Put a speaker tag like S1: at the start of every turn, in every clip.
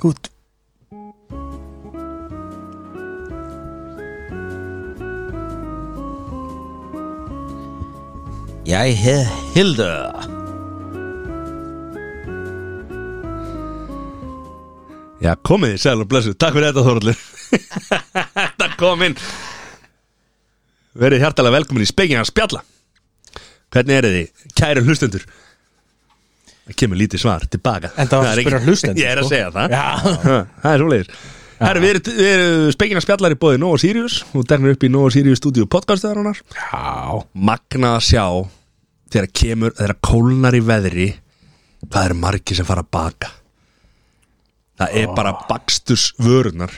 S1: Gut.
S2: Jeg hed Hildur.
S3: Já, komið þið, sæl og blessu, takk fyrir þetta Þorallur Þetta kom inn Verið hjartalega velkomin í spekingan spjalla Hvernig eru þið, kæru hlustendur? Það kemur lítið svar tilbaka
S1: En það var
S3: er
S1: að spyrja
S3: engin-
S1: hlustendur,
S3: Ég er að
S1: sko.
S3: segja það
S1: Já.
S3: Ha, Það er svoleiðis Herru, við erum, erum spekingan spjallar í bóði Nova Sirius Þú teknir upp í Nova Sirius stúdíu podcastuðarunar
S1: Já.
S3: Magna að sjá Þegar kemur, þegar kólnar í veðri Hvað eru margir sem fara að baka Það er bara baksturs vörunar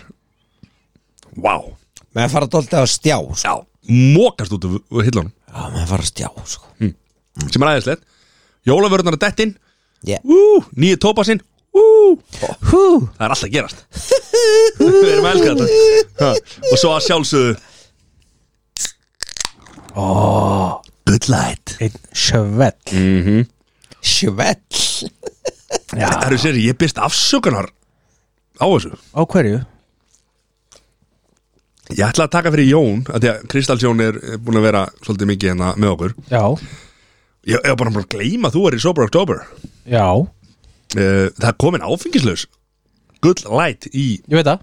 S3: Vá wow.
S2: Menn fara dóltið að stjá sko.
S3: Já, mókast út úr hillunum
S2: Já, menn fara að stjá sko.
S3: Sem er aðeinslegt Jólavörunar að dettin
S2: yeah.
S3: Ú, nýju tópasinn Ú,
S2: Hú
S3: það er alltaf að gerast Við erum að elska þetta Ha, Og svo að sjálfsögðu oh, Good light
S1: Einn sjövell.
S2: Sjövell
S3: Það eru sér, ég byrst afsökunar Á þessu
S1: Á hverju?
S3: Ég ætla að taka fyrir Jón af Því að Kristals Jón er er búin að vera svolítið mikið hérna með okkur
S1: Já.
S3: Ég ég var bara búin að gleyma að þú er í Sober October uh,
S1: Já.
S3: Það er komin áfengislaus Good light í
S1: Ég veit það.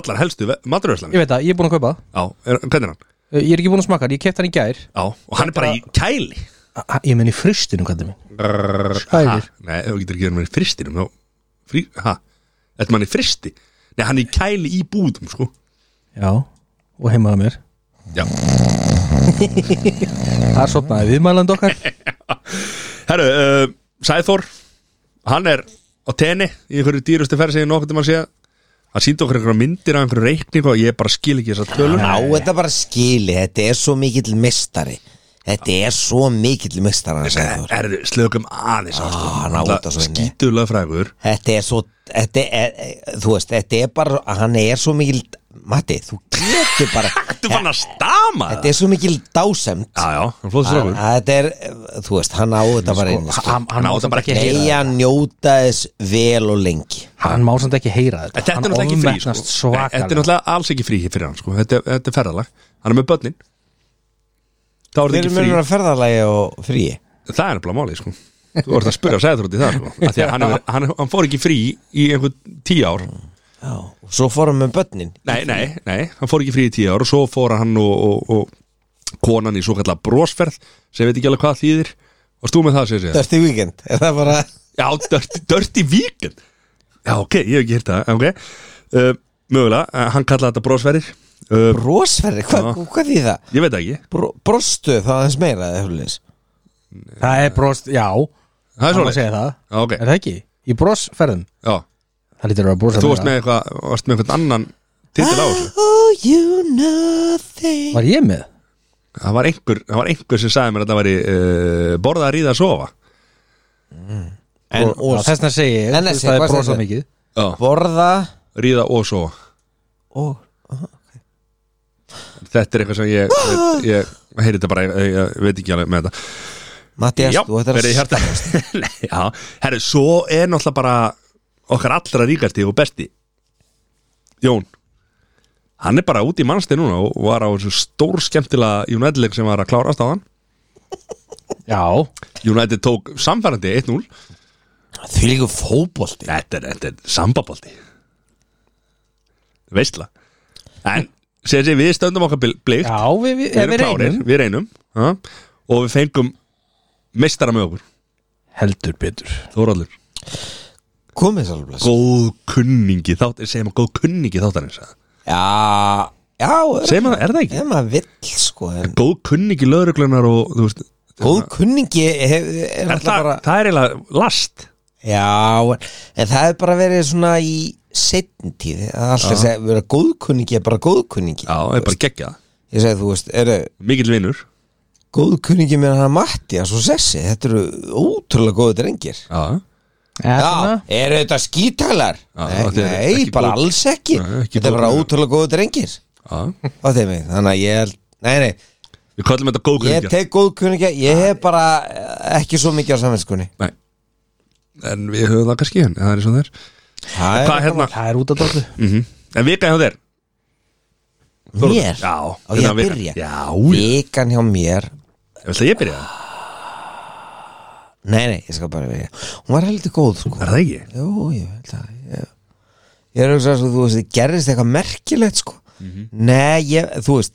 S3: allar helstu maturöðslan
S1: Ég veit það. Ég er búin að kaupa. það.
S3: Já, er, hvernig er hann?
S1: Uh, Ég er ekki búin að smaka það. Ég kefti hann í gær.
S3: Já, og hann er bara í kæli
S1: A- a- Ég menn í frustinu, kallið minn.
S3: ha,
S1: Hægir.
S3: Nei, þú getur ekki verið með í fristinum þá, frí, ha, Þetta mann í fristi Nei, hann er í kæli í búðum, sko
S1: Já. Og heimaða mér.
S3: Já.
S1: Það sopnaði viðmæland okkar.
S3: Herru, uh, Sæþór Hann er á tenni í einhverju dýrustu ferð sem ég nokkuð um að segja Hann síndi okkur einhverja myndir af einhverju reikning og ég bara skil ekki þessar tölur
S2: Á þetta bara skili, þetta er svo mikill mistari Þetta er svo mikill mistari hann sagði Þór.
S3: Erðu, slökum aðeins á, sko.
S2: Ah, hann á
S3: Alla
S2: út af svo inni.
S3: Skítulega frægur
S2: Þetta er svo þetta er, Þú veist, þetta er bara Hann er svo mikill Matti, þú getur bara
S3: Þú fann að stama
S2: Þetta er svo mikill dásemt
S3: Já, já, hann flóði
S2: Að-
S3: strákur
S2: að Þetta er, þú veist, hann á þetta bara inn sko.
S1: Hann- Hann má samt ekki heyra
S2: Nei,
S1: það.
S2: hann njóta þess vel og lengi
S1: Hann má samt ekki heyra þetta.
S3: Þetta er
S1: Hann
S3: náttúrulega ekki frí sko.
S1: ofmetnast
S3: Nei, Þetta er
S1: svakalega.
S3: náttúrulega alls ekki frí fyrir hann sko. þetta, þetta er ferðalag, hann er með börnin Þá er þetta
S2: Þeir
S3: ekki
S2: eru
S3: frí
S2: munur að ferðalagi og fríi
S3: Það er nefnilega málið sko Þú voru að spyrja að segja þrótt í það sko. Af því að hann, er, hann, hann fór ekki frí í einhvern tíu ár
S2: Já, og svo fórum við börnin
S3: Nei, nei, nei, hann fór ekki frí í tíu ár og svo fór hann og, og, og konan í svo kallar brosferð sem veit ekki alveg hvað þýðir og stú með það sér sér
S2: Dörti víkend, er það bara
S3: Já, dörti, dörti víkin Já, ok, ég hef ekki hirt það, ok uh, Mögulega, uh, hann kallaði þetta brosferðir uh,
S2: brosferði, hvað, hvað því það?
S3: Ég veit það ekki,
S2: Bro, brostu það aðeins meira eða hefurleis
S1: Það er brost, já. Hann
S3: það er
S1: má
S3: svona
S1: segja það.
S3: Já, ok,
S1: Er það ekki? Í brosferðum.
S3: já
S1: Það lítur að Ah! vera brosa
S3: Þú varst með eitthvað, varst með einhvern annan titil á þessu
S2: Oh you nothing
S1: Var ég með?
S3: það var einhver, það var einhver sem sagði mér að það væri uh, borða að ríða að sofa
S2: En
S1: og
S2: og
S1: þess að segja ég, þú
S2: En
S1: veist,
S2: þessi,
S1: það
S2: hvað
S1: er brosa
S2: stendur?
S1: mikið
S3: Já.
S2: borða
S3: ríða og sofa
S2: og
S3: þetta er eitthvað sem
S1: Ah!
S3: ég ég, ég heyri þetta bara, ég, ég veit ekki alveg með þetta
S2: Mattias, þú ættir
S3: verið
S2: að
S3: hjarta Nei, já, herru, svo er náttúrulega bara okkar allra ríkasti og besti Jón hann er bara út í mannsteg núna og var á þessu stór skemmtilega United-leik sem var að klárast á hann
S1: Já,
S3: United tók samfærandi 1-0
S2: Því líku fótbolti
S3: Þetta er, þetta er sambabolti Veistla En, segir sér, við stöndum okkar bl- blikt
S1: já, við, við,
S3: Við
S1: við,
S3: erum
S1: við
S3: klárir,
S1: reynum
S3: við reynum ha? Og við fengum Mestara með okkur,
S1: Heldur betur
S3: Þóraldur
S2: Komið sálfbless
S3: Góð kunningi þátt Segjum að góð kunningi þáttarins eða?
S2: Já, já
S3: Segjum að, er það ekki?
S2: Ef maður vill sko en
S3: Góð kunningi lögreglunar og þú veist
S2: Góð kunningi hef, er,
S3: er
S2: er
S3: það,
S2: bara
S3: það er eiginlega last
S2: Já, en- en það hefur bara verið svona í setn tíð Það er alltaf að segja, vera góðkunningi er bara góðkunningi
S3: Já, það er bara geggja
S2: Ég segi, þú veist, eru
S3: Mikill vinnur
S2: góðkunningi með hann Mattias og Sessi Þetta eru ótrúlega góðu drengir
S3: Já,
S2: Já, eru þetta skítalar?
S3: Já,
S2: Nei,
S3: þetta er
S2: nei
S3: ekki
S2: bara
S3: góð-
S2: alls ekki
S3: Nei, ekki
S2: Þetta er
S3: góð-
S2: bara ótrúlega góðu drengir
S3: já
S2: á þeim, þannig að ég held Nei, nei,
S3: Við kallum þetta góð
S2: ég
S3: kunningi
S2: tek góðkunningi Ég hef bara eh, ekki svo mikið á samvinskunni
S3: Nei En við höfum það kannski en það er eins og það er
S2: Það
S3: Hvað
S2: er
S3: hérna?
S1: Það er út af dollu
S3: Mm En vika hjá þér? Þórhallur?
S2: mér
S3: Já
S2: Á ég
S3: hérna
S2: að
S3: vika.
S2: byrja?
S3: Já,
S2: Vikan hjá mér
S3: ég ætla ég byrja það
S2: Nei, nei, ég skal bara byrja Hún var heldur góð sko
S3: Er það ekki?
S2: Jú, ég veit það Ég, ég er auðvitað svo, þú veist, það gerðist eitthvað merkilegt sko
S3: Mhm.
S2: Nei, ég, þú veist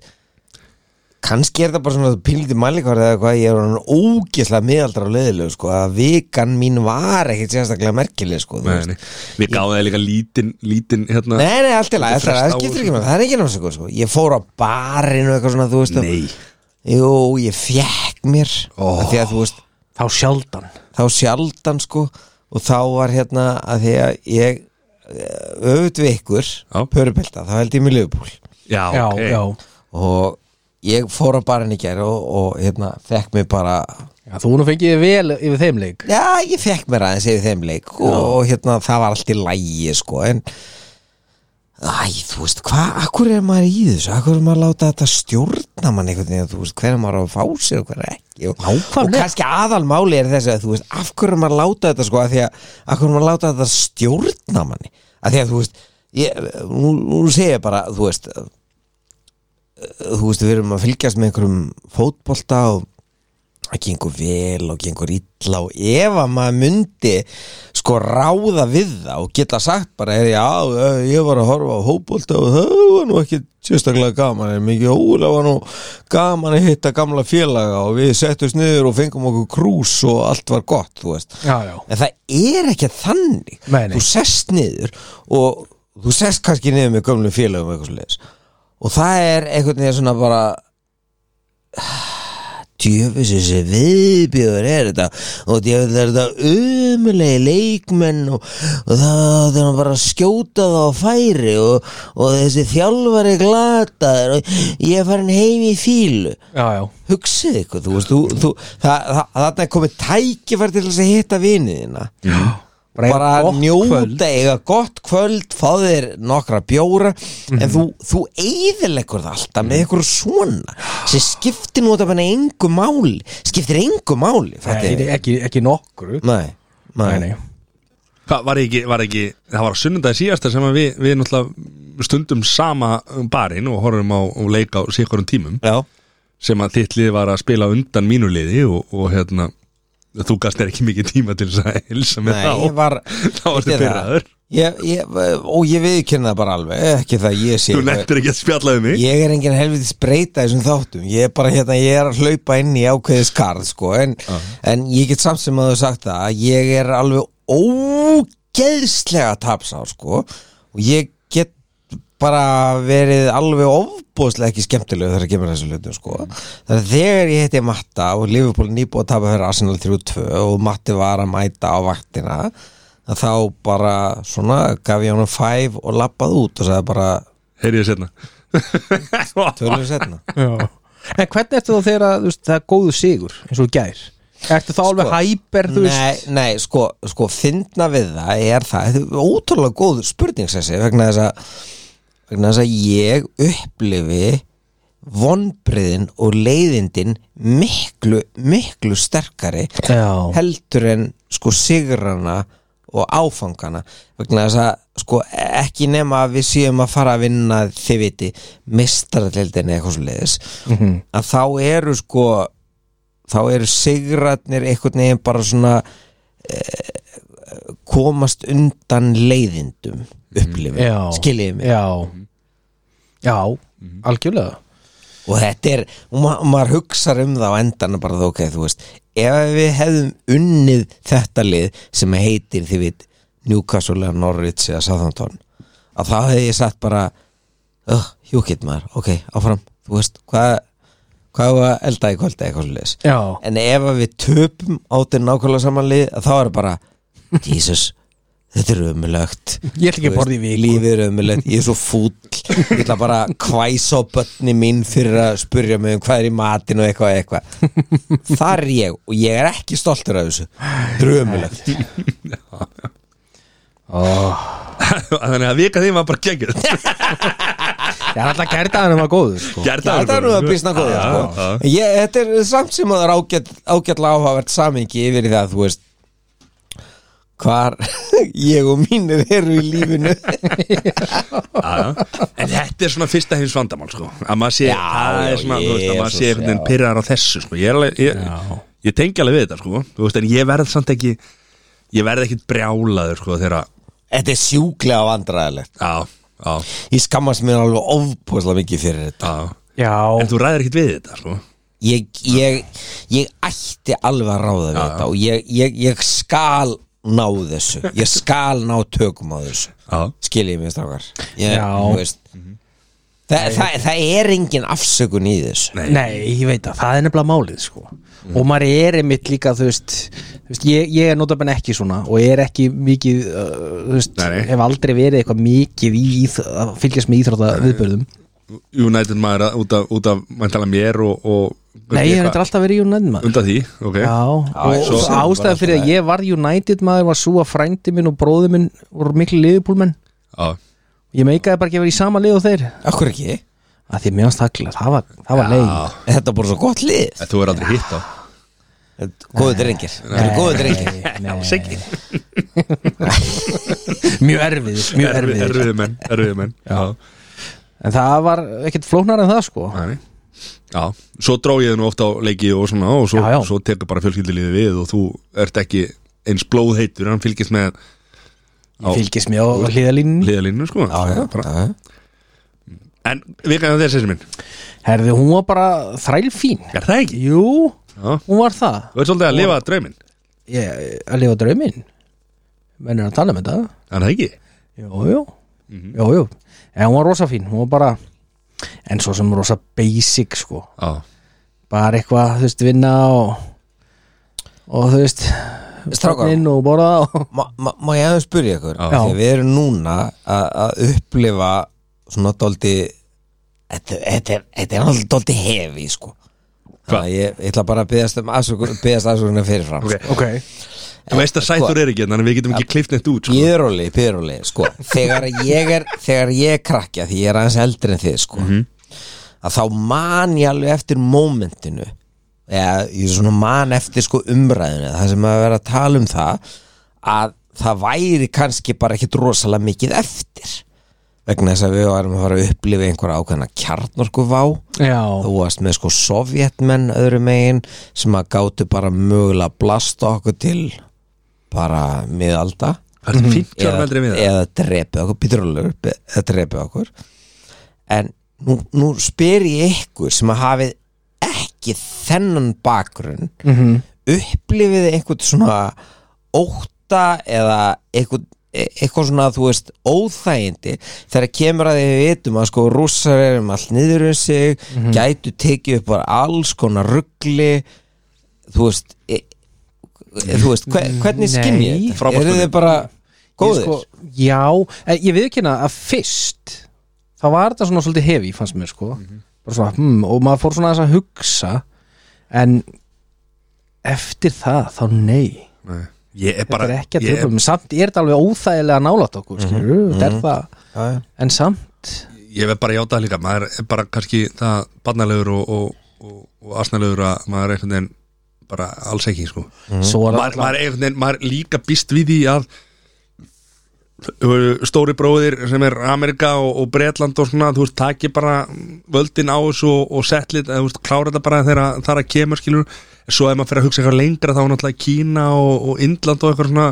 S2: kannski er það bara svona pílítið mælikvarð eða eitthvað, ég er hann ógeðslega miðaldra og leiðilegu sko, að vikan mín var ekkit sérstaklega merkileg sko þú
S3: Nei,
S2: veist.
S3: nei. Við gáðum það líka lítinn lítinn hérna
S2: Nei, nei, allt í lagi,
S3: Þetta
S2: það,
S3: fresta
S2: það
S3: á-
S2: skiptir ekki með það er ekki náttúrulega sko, ég fór á barinu eitthvað svona, þú veist og-
S3: Nei.
S2: Jú, ég fekk mér
S3: Ó.
S2: oh. því að þú veist,
S1: Þá sjaldan
S2: þá sjaldan sko og þá var hérna að því að ég öfut við ykkur
S3: Já.
S2: pörubelta, þá held ég mig liðbúl
S3: Já,
S1: Já,
S3: ok.
S1: já
S2: og ég fór á barinn í gær og, og hérna fekk mér bara
S1: Já, þú nú fengið þig vel yfir þeim leik
S2: já, ég fekk mér aðeins yfir þeim leik og, og hérna það var allt í lægi sko en Æ, þú veist, hvað, akkur er maður í þessu akkur er maður að láta þetta stjórna mann einhvern veginn, þú veist, hver er maður á að fá sér og hver er ekki og,
S1: Nákvæmlega.
S2: og kannski aðalmáli er þess að þú veist, af hverju er maður að láta þetta sko, af því að, af hverju er maður að láta þetta stjórna manni, af því að þú veist ég, nú, nú segja bara, þú veist uh, þú veist, við erum að fylgjast með einhverjum fótbolta og það gengur vel og gengur illa og ef að maður myndi sko ráða við það og geta sagt bara, er, já, eh, ég var að horfa á hópbólta og það var nú ekki sérstaklega gaman, en mikið ólega var nú gaman að hitta gamla félaga og við settumst niður og fengum okkur krús og allt var gott, þú veist
S1: Já, já
S2: en það er ekki þannig
S1: Nei, nei.
S2: þú sest niður og þú sest kannski niður með gömlum félagum eitthvað svoleiðis og það er einhvern veginn svona bara djöfis þessi viðbjöður er þetta og djöfis er þetta umulegi leikmenn og, og það er hann bara að skjóta það á færi og, og þessi þjálfari glataður og ég er farin heim í fílu
S1: Já, já
S2: hugsið ykkur, þú veist þú, þú, það, það, þarna er komið tækifæri til þess að hitta viniðina
S1: Bara
S2: bara,
S1: eiga
S2: bara
S1: gott
S2: njóta
S1: kvöld.
S2: eiga gott kvöld, fá þér nokkra bjóra en þú, þú eyðilegur það alltaf með ykkur svona sem skiptir nú þetta bara engu máli skiptir engu máli
S1: Nei,
S2: fattir þið?
S1: ekki, ekki nokkru
S2: nei, nei,
S1: nei,
S2: nei.
S3: Hvað var ekki, var ekki Það var á sunnundagi síðasta sem að við, við náttúrulega stundum sama um barinn og horfum á og leik á síkurum tímum
S2: Já,
S3: sem að þitt lið var að spila undan mínu liði og, og hérna þú gast þér ekki mikið tíma til þess að hilsa með
S2: nei,
S3: þá
S2: ég var
S3: þá varstu
S2: Veitir það?
S3: pyrraður
S2: ég, ég, og ég viðkynna það bara alveg ekki það ég sé
S3: þú nefndir ekki að spjalla um mig
S2: Ég er enginn helvitis breyta þessum þáttum Ég er bara hérna, ég er að hlaupa inn í ákveðið skarð sko, en, en ég get samt sem að þú sagt það að Ég er alveg ógeðslega tapsá sko, Og ég get bara verið alveg ofbóðslega ekki skemmtilegu þegar að kemur að þessu hlutum sko. þannig að þegar ég heiti Matta og Liverpool nýbúið að tapa fyrir Arsenal 3-2 og Matti var að mæta á vaktina að þá bara svona gaf ég honum 5 og lappað út og sagði bara
S3: heyri ég setna
S2: tölum setna
S1: Já. En hvernig ertu þá þegar að, þú veist, það er góðu sigur eins og í gær? Ertu
S3: Sko,
S1: þá alveg hæper, þú
S2: Nei,
S1: veist?
S2: nei, sko, sko, fyndna við það er það, þetta er ótrúlega góð spurning þessi, vegna þess að vegna þess að ég upplifi vonbriðin og leiðindin miklu, miklu sterkari
S1: Já.
S2: heldur en sko sigrana og áfangana vegna þess að sko ekki nema að við séum að fara að vinna þið viti mistaraldildin eitthvað svo leiðis
S1: Mhm.
S2: að þá eru sko þá eru sigratnir einhvern veginn bara svona eh, komast undan leiðindum upplifin,
S1: Mhm. Já.
S2: skiljiði mig
S1: Já. Já, Mhm. algjörlega.
S2: og þetta er, og ma maður hugsar um það á endan bara þó, ok, þú veist ef við hefðum unnið þetta lið sem heitir því við Newcastle eða Norwich eða Southampton að þá hefði ég sagt bara oh, hjúkitt maður, ok, áfram þú veist, hvað hvað var elda í kvölda eitthvað svo liðs
S1: Já.
S2: en ef að við töpum áttir nákvæmlega samanlið þá er bara, Jesus þetta er umulögt
S1: Ég ætla ekki að borða í viku.
S2: lífið er ömulegt, ég er svo fúll ég ætla bara að hvæsa á börni mín fyrir að spurja mig um hvað er í matin og eitthvað eitthvað þar er ég og ég er ekki stoltur af þessu þetta er ömulegt
S1: Oh.
S3: þannig að vika þín var bara geggjur
S1: Ég er alltaf gerðaðan um að góðu, sko.
S2: þetta er nú að býsna góð sko. Ég- þetta er samt sem að það er ágæt, ágætlega áhugavert samingi yfir í það þú veist hvar ég og mínir eru í lífinu
S3: Já, já. en þetta er svona fyrsta hins vandamál sko. að maður sé,
S2: Já,
S3: það
S2: já,
S3: er svona, þú veist, að maður
S2: Jesus,
S3: sé einhvern veginn
S2: já.
S3: pyrrar á þessu sko. ég, er alveg, ég, ég tengi alveg við þetta sko. Þú veist, en ég verð samt ekki ég verð ekkit brjálaður sko, þegar að
S2: Þetta er sjúklega vandræðilegt
S3: já, já,
S2: Ég skammast mér alveg ofbúðslega mikið fyrir þetta
S3: já.
S1: Já,
S3: en þú ræðir ekkit við þetta sko.
S2: Ég, ég, ég ætti alveg að ráða við þetta og ég, ég, ég skal ná þessu Ég skal ná tökum á þessu
S3: já,
S2: Skiljið mér strákar ég,
S1: Já.
S2: þú veist. Þa, það, það er engin afsökun í þessu
S3: nei, Mhm.
S1: Nei, ég veit að það er nefnilega málið sko. og maður er einmitt líka þú veist, þú veist ég, ég er notabenn ekki svona og er ekki mikið uh, þú veist,
S3: Nei, nei.
S1: hef aldrei verið eitthvað mikið í íþ- að fylgjast með íþrótta viðbörðum
S3: United maður að- út af, út af mæntala mér og, og
S1: Nei, ég er
S3: eitthvað
S1: eitthvað alltaf verið United maður
S3: undan því, ok
S1: Já, og
S2: svo-
S1: svo, ástæðan fyrir að ég var United maður var svo að frændi minn og bróði minn voru miklu liðbúlmenn
S3: já.
S1: ég meikaði bara ekki að vera í sama lið og þeir
S2: Akkur ekki?
S1: að því að mér varst þakla, það var, það var leið
S2: Þetta er bara svo gott lið
S3: En þú er aldrei hitt á
S2: Góðu drengir Þetta er góðu drengir
S3: Siggi.
S1: mjög erfið, mjög
S3: Erfi-
S1: erfið
S3: erfiðu menn, erfiðu menn já.
S1: en það var ekkert flóknar en það sko
S3: Nei. Já, svo dró ég nú ofta á leiki og svona og svo,
S1: Já, já.
S3: svo tekur bara fjölskyldilíði við og þú ert ekki eins blóðheitur hann fylgist með á
S1: fylgist mér á hliðalínunni
S3: hliðalínu sko
S2: Já, já,
S3: Bara-
S2: já.
S3: En vikaðan þessi minn,
S1: herði, hún var bara þrælfín
S3: er það ekki?
S1: jú,
S3: Já,
S1: hún var það
S3: þú ert svolítið að lifa drauminn
S1: ég, að lifa drauminn mennir að tala um þetta
S3: Er það ekki?
S1: jú, jú, jú, jú en hún var rosa fín, hún var bara en svo sem rosa basic sko
S3: Já,
S1: bara eitthvað, þú veist, vinna og og þú veist
S2: Strákar.
S1: barninn og borða og
S2: Má má- má ég aðeins spyrja ykkur
S3: Já.
S2: Þegar við erum núna að að upplifa svona doldi þetta, þetta, er- þetta er alltaf doldi hefi sko Þannig að ég, ég ætla bara að byggast um afsökun byggast afsökunna fyrirfram
S3: Ok.
S2: okay.
S1: ok,
S3: þú veist að sættur er ekki þannig að við getum ekki klift neitt út sko.
S2: Ég er róli, ég er róli sko. þegar, ég er, þegar ég er krakja því ég er aðeins eldri en þið sko. að þá man ég alveg eftir momentinu eða ég svona man eftir sko umræðinu það sem að vera að tala um það að það væri kannski bara ekkit rosalega mikið eftir vegna þess að við varum að fara að upplifa einhverja ákveðna kjarnorku vá
S1: já
S2: þú varst með sko sovjetmenn öðru megin sem að gátu bara mögulega blasta okkur til bara miðalda
S3: Það er 50 ára meldri við
S2: eða, eða drepið okkur pítrólur, eða drepið okkur en nú, nú spyr ég ykkur sem að hafið ekki þennan bakgrunn mm -hmm.
S1: Mhm.
S2: upplifið þið einhvern svona óta eða einhvern e- eitthvað svona þú veist óþægindi þegar kemur að því við vitum að sko rússar erum allt niður um sig
S1: Mhm.
S2: gætu tekið upp bara alls konar ruggli þú veist e, e, þú veist, hver, hvernig
S1: Nei.
S2: skinn ég þetta?
S3: Frábær
S2: eru þið
S3: spurning.
S2: bara góðir
S1: Ég sko, já, en ég viðkynna að fyrst þá var þetta svona svolítið hefi fannst mér sko bara svona, hmm, og maður fór svona aðeins að hugsa en eftir það þá nei
S3: Nei. Ég er
S1: þetta
S3: bara
S1: er ekki að
S3: ég er- Mhm.
S1: tröfum, samt er þetta alveg óþægilega nálat okkur, skilur, mm þetta er það
S2: Já, já.
S1: en samt,
S3: ég verð bara að játa það líka maður er bara kannski það barnalegur og, og, og, og asnalegur að maður er einhvern veginn bara alls ekki sko.
S1: svo er
S3: maður, maður er einhvern veginn, maður er líka býst við því að uh, stóri bróðir sem er Amerika og, og Bretland og svona, þú veist, taki bara völdin á þessu og, og settlit eða, þú veist, klára þetta bara þegar það er að kemur skilur, svo ef maður fer að hugsa eitthvað lengra þá er náttúrulega Kína og, og Indland og eitthvað svona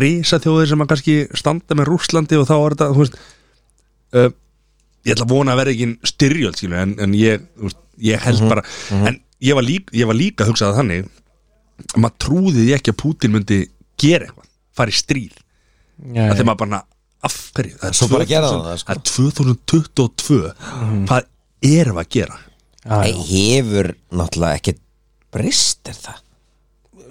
S3: risa þjóðir sem að kannski standa með Rússlandi og þá er þetta, þú veist uh, ég ætla að vona að vera ekki styrjöld skilur, en, en ég, þú veist, ég held bara en ég var, líka, ég var líka að hugsa það þannig að maður trúði því ekki að Putin myndi gera eitthvað, fara í stríð
S1: já,
S3: að þegar maður bara, af hverju það er,
S2: Svo bara gerði hann
S3: 2000
S2: það, sko. Mm.
S3: er 2022 hvað erum við að gera Ah,
S1: já, já.
S2: Nei, hefur náttúrulega ekki breyst er það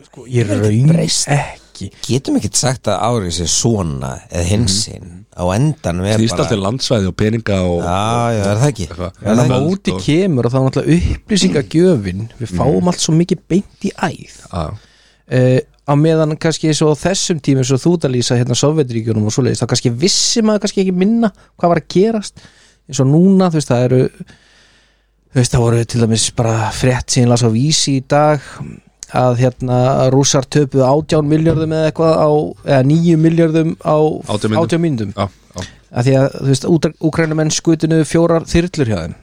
S1: Sko, ég raun
S2: breyst.
S1: ekki
S2: getum ekki sagt að árið sé svona eða hinsinn á endanum er
S3: Mhm. snýst
S2: bara
S3: alltaf landsvæði og peninga og
S2: já, já, er það ekki
S3: eitthvað,
S1: en að
S3: völd
S1: móti
S3: og- Mhm.
S1: kemur og þá er náttúrulega upplýsingagjöfin við fáum allt svo mikið beint í æð
S3: Já,
S1: uh, á meðan kannski eins og á þessum tímum svo þú ert að lýsa hérna Sovjetríkjunum og svoleiðis þá kannski vissi maður kannski ekki minna hvað var að gerast eins og núna þú veist það eru þú veist það voru til dæmis bara frétt sem ég las á vísi í dag að hérna rússar töpuðu 18 miljardum eða eitthvað á, eða 9 miljardum á
S3: 18 mínútum.
S1: 18 myndum
S3: Já, já,
S1: að því að þú veist, úkrænumenn skutinu fjórar þyrlur hjá þeim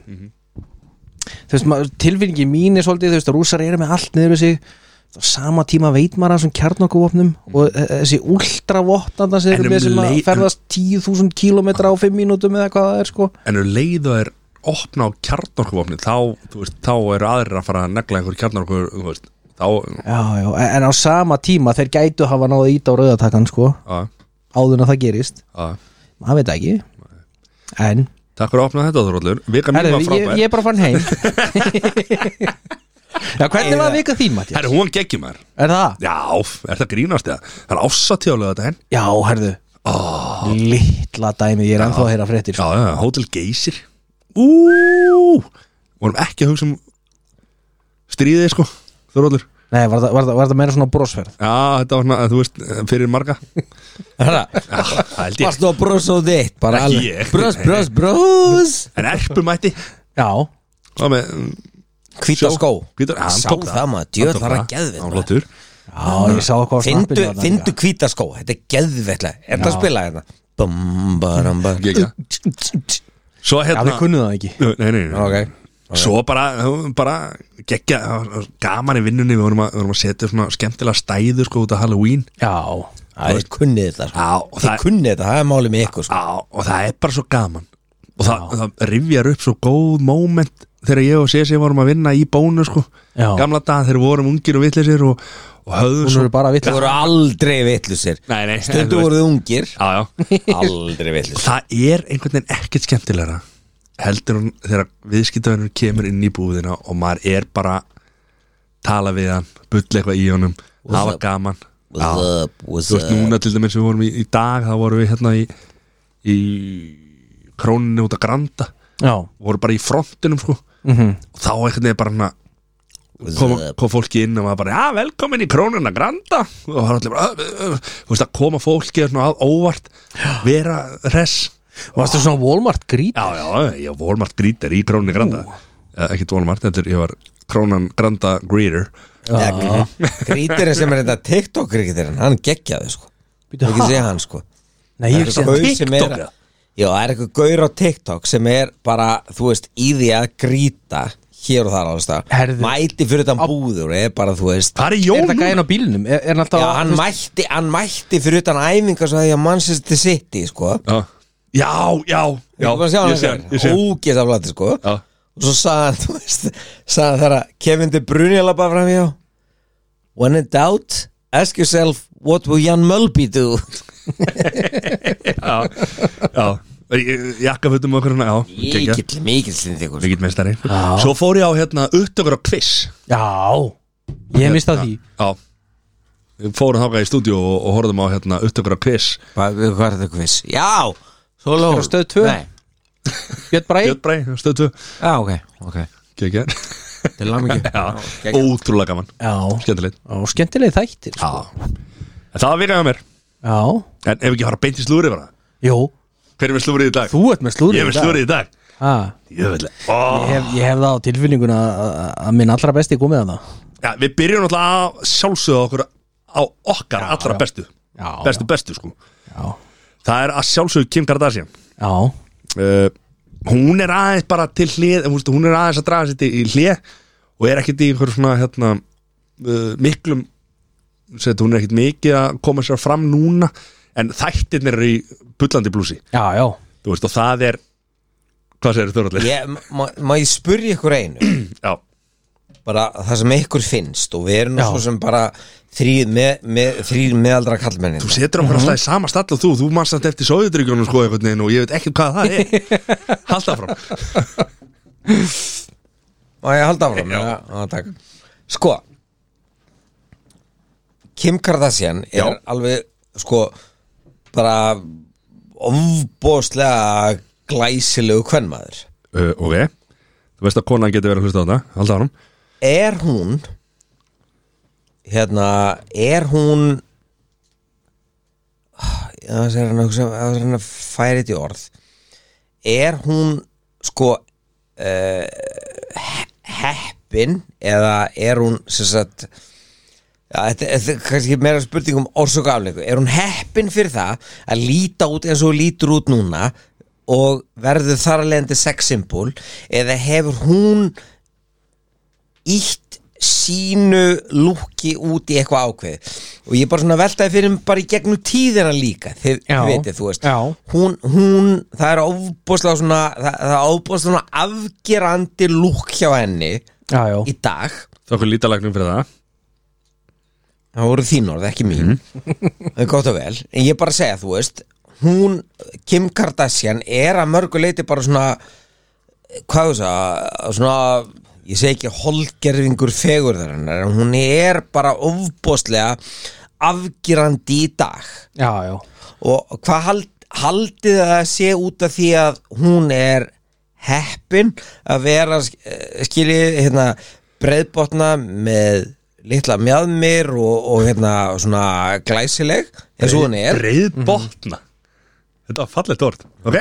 S1: þú veist, maður- tilfinningin mín er svolítið, þú veist, að rússar eru með allt niður sig á sama tíma veit maður af þessum kjarnokuvopnum og e- e- þessi ultravopnanda sem
S3: En
S1: eru
S3: um
S1: með sem að
S3: leið-
S1: ferðast 10.000 kílómetra á 5 mínútum eða hvað það er sko
S3: en eru leið og er opna á kjarnorkuvopni þá, þú veist, þá eru aðrir að fara að negla einhver kjarnorkur þú veist, þá
S1: já, já, e, en- en á sama tíma þeir gætu hafa náða ít á rauðatakan sko
S3: að,
S1: áður en að það gerist,
S3: að,
S1: maður veit það ekki en,
S3: takk fyrir að opna þetta Þorvallur vika mín
S1: herru,
S3: var
S1: ég,
S3: frábær
S1: ég er bara fann heim já, hvernig var vika þín, Matti?
S3: herru, hún geggjum maður
S1: Er það?
S3: já, er það grínast eða það er ásatíðalega þetta henn
S1: Já, herðu oh. Littla dæmið, ég er ennþá að heyra fréttir
S3: já, já, Hotel Geysir úúúú vorum ekki að hugsa um stríðið sko Þorvallur
S1: Nei, var það, var, það, var það meira svona brosferð?
S3: já, þetta var svona, þú veist, fyrir marga já, það held ég
S2: Varstu að brosa út eitt bara
S3: Ekki
S2: alveg.
S3: ég.
S2: Bros, bros, bros
S3: en erpum mætti
S1: Já
S3: og með mm,
S2: Hvíta
S3: Sjó.
S2: skó
S3: Hvítar- hann
S2: Sá
S3: tók
S2: það maður, djöð
S3: Hann tók
S2: það er
S3: hann var
S2: geðvitt
S3: flottur
S1: Já, ég sá hvað
S2: Findu, findu hvíta skó, þetta er geðvitt Er þetta að spila hérna? Bum, baram, baram
S3: Gegja. Svo
S1: Já,
S3: hérna
S1: við kunnu það ekki
S3: Nei, nei, nei.
S2: Ok.
S3: Svo bara, bara geggja gaman í vinnunni, við vorum að, við vorum að setja svona skemmtilega stæðu sko út af Halloween
S1: Já
S2: Það er kunnið þetta sko.
S3: Já, og
S2: Þið
S3: það,
S2: kunnið þetta, það er málið með ykkur sko.
S3: á, og það er bara svo gaman og það, það rifjar upp svo góð moment þegar ég og Sesi vorum að vinna í bónu sko,
S1: Já.
S3: gamla dag þegar við vorum ungir og vitleysir og, og höfðu
S1: Hún
S3: svo
S1: eru bara vitt
S2: Þið voru aldrei vitlusir
S3: Nei, nei, en þú
S2: Stundu voruð ungir
S3: Já, já
S2: Aldrei vitlusir
S3: Það er einhvern veginn ekkert skemmtilegra heldur hún þegar viðskiptavinnur kemur inn í búðina og maður er bara tala við hann, bulla eitthvað í honum hafa
S2: up?
S3: gaman
S2: What's
S3: Já.
S2: up, what's
S3: Þú veist
S2: up
S3: núna til dæmis við vorum í, í dag þá vorum við hérna í, í króninni út að granda
S1: Já
S3: vorum bara í frontinum sko
S1: Mhm.
S3: og þá einhvern veginn bara hana,
S2: What's
S3: kom,
S2: up?
S3: kom fólki inn og maður bara, já, velkomin í krónuna Granda og það var allir bara, "Ö, ö, ö." þú veist að koma fólki er svona að óvart vera res
S1: Varstu svona Walmart grít?
S3: Já, já, ég var Walmart greeter í krónunni Granda uh, Ekkert Walmart, þetta er, ég var krónan Granda greeter
S2: Grítirinn sem er þetta TikTok-grítirinn Hann geggjaði sko
S1: Bíddu,
S2: Ég ekki
S1: ha?
S2: segja hann sko
S1: Nei, ég hugsa
S2: gaur
S1: TikTok
S2: sem er-
S1: eða?
S2: Já, það er eitthvað gaur á TikTok sem er bara, þú veist, í því að gríta hér og þar alveg stað
S1: Herðu.
S2: Mæti fyrir utan búður og er bara, þú veist
S3: Hvað er
S1: Er
S3: Jón
S1: þetta
S3: núna?
S1: gæðin á bílnum? Er, er hann alltaf
S2: Já, hann
S1: þú veist-
S2: mætti, hann mætti fyrir utan æfingar svo að ég mann sér til sitt í, sko
S3: Já, já, já, já
S2: Ég sé
S3: Ég sé hann, ég sé hann
S2: Ógist af lati, hérna. sko
S3: Já.
S2: Og svo sagði hann, þú veist sagði hann þegar Kevin De Bruyne labba fram hjá When in doubt, ask yourself what will Jan Mölby do
S3: Já, jakkafutum okkur hana, já geggjað.
S2: Mikill, mikill slindíkur
S3: Mikill meistari Svo fór ég á hérna upptökur á quiz
S1: Já Ég mista því
S3: Já Við fórum þáka í stúdíu og, og horfðum á hérna upptökur á quiz
S2: Hvað hvað er þetta quiz? Já, svo lóð
S1: Er á Stöð tvö?
S2: Nei,
S1: Björn Bræ
S3: Björn Bræ, stöðtu
S2: já, ok, ok
S3: Kekja
S2: Til langt
S3: Já,
S2: ekki
S3: ótrúlega gaman
S1: Já
S3: Skemmtilegt
S1: Og skemmtilegi þættir sko.
S3: En það var virkað á mér
S1: Já
S3: En ef ekki fara beint í slúrið bara
S1: Jó
S3: Hver er með slúrið í dag?
S1: Þú ert með slúrið
S3: Ég er með slúrið í dag
S1: ah.
S3: Jöfnveld oh.
S1: Ég hef, ég hef það á tilfinninguna að- að- að minn allra besti komið að það
S3: ja, Við byrjum náttúrulega að sjálfsögða okkur á okkar allra
S1: já.
S3: bestu
S1: Já,
S3: Bestu bestu sko
S1: já,
S3: Það er að sjálfsögðu Kim Kardashian
S1: já,
S3: uh, Hún er aðeins bara til hlið Hún, hún er aðeins að draga sér til í hlið Og er ekkit í einhver svona hérna, uh, miklum set, Hún er ekkit mikið að koma sér fram núna En þættirnir eru í bullandi blúsi
S1: já, já.
S3: Þú veist og það er Hvað segir þurrallir?
S2: Ég, má, má ég spurja ykkur einu
S3: Já,
S2: bara það sem ykkur finnst og við erum
S1: Já.
S2: nú svo sem bara þrýr með, með, þrýr meðaldra kallmennin
S3: þú setur okkur alltaf í sama stall og þú Þú manst þetta eftir sóðutryggjunum sko einhvern veginn Og ég veit ekkert hvað það er Halda fram
S2: Má ég halda áfram?
S3: Já.
S2: Já, já, takk Sko Kim Kardashian er
S3: Já.
S2: alveg sko bara ofbóðslega glæsilegu kvenmaður
S3: uh, ok þú veist að konan getur verið að hlusta á þetta alltaf árum
S2: Er hún hérna er hún það er hann að hugsa- það er hann að færi þetta í orð er hún sko eh, uh, heppin eða er hún sem sagt Já, þetta, þetta er kannski meira spurning um orsök og afleiku Er hún heppin fyrir það að líta út eins og hún lítur út núna og verður þar að leiðandi sexsymbol eða hefur hún ítt sínu lúki út í eitthvað ákveð og ég bara svona veltaði fyrir mér bara í gegnum tíðina líka þið
S1: Já,
S2: þið vitið, þú veist
S1: já.
S2: hún, hún, það er ofbúslega svona það, það er ofbúslega svona afgerandi lúk hjá henni
S1: já, já,
S2: í dag
S3: Það okkur lítalagnum fyrir það
S2: Það voru þín orð, ekki mín Það er gott og vel En ég bara að segja, þú veist Hún, Kim Kardashian, er að mörgu leiti bara svona Hvað þú sagði, svona Ég segi ekki holgerfingur fegurðarinnar En hún er bara ofbóðslega afgirandi í dag
S1: já, já.
S2: Og hvað hald, haldið það að sé út af því að hún er heppin að vera eh, skilið hérna, breiðbotna með litla mjadmir og, og hérna svona glæsileg eins og hún er
S3: Breiðbotna Þetta var fallegt orð Ok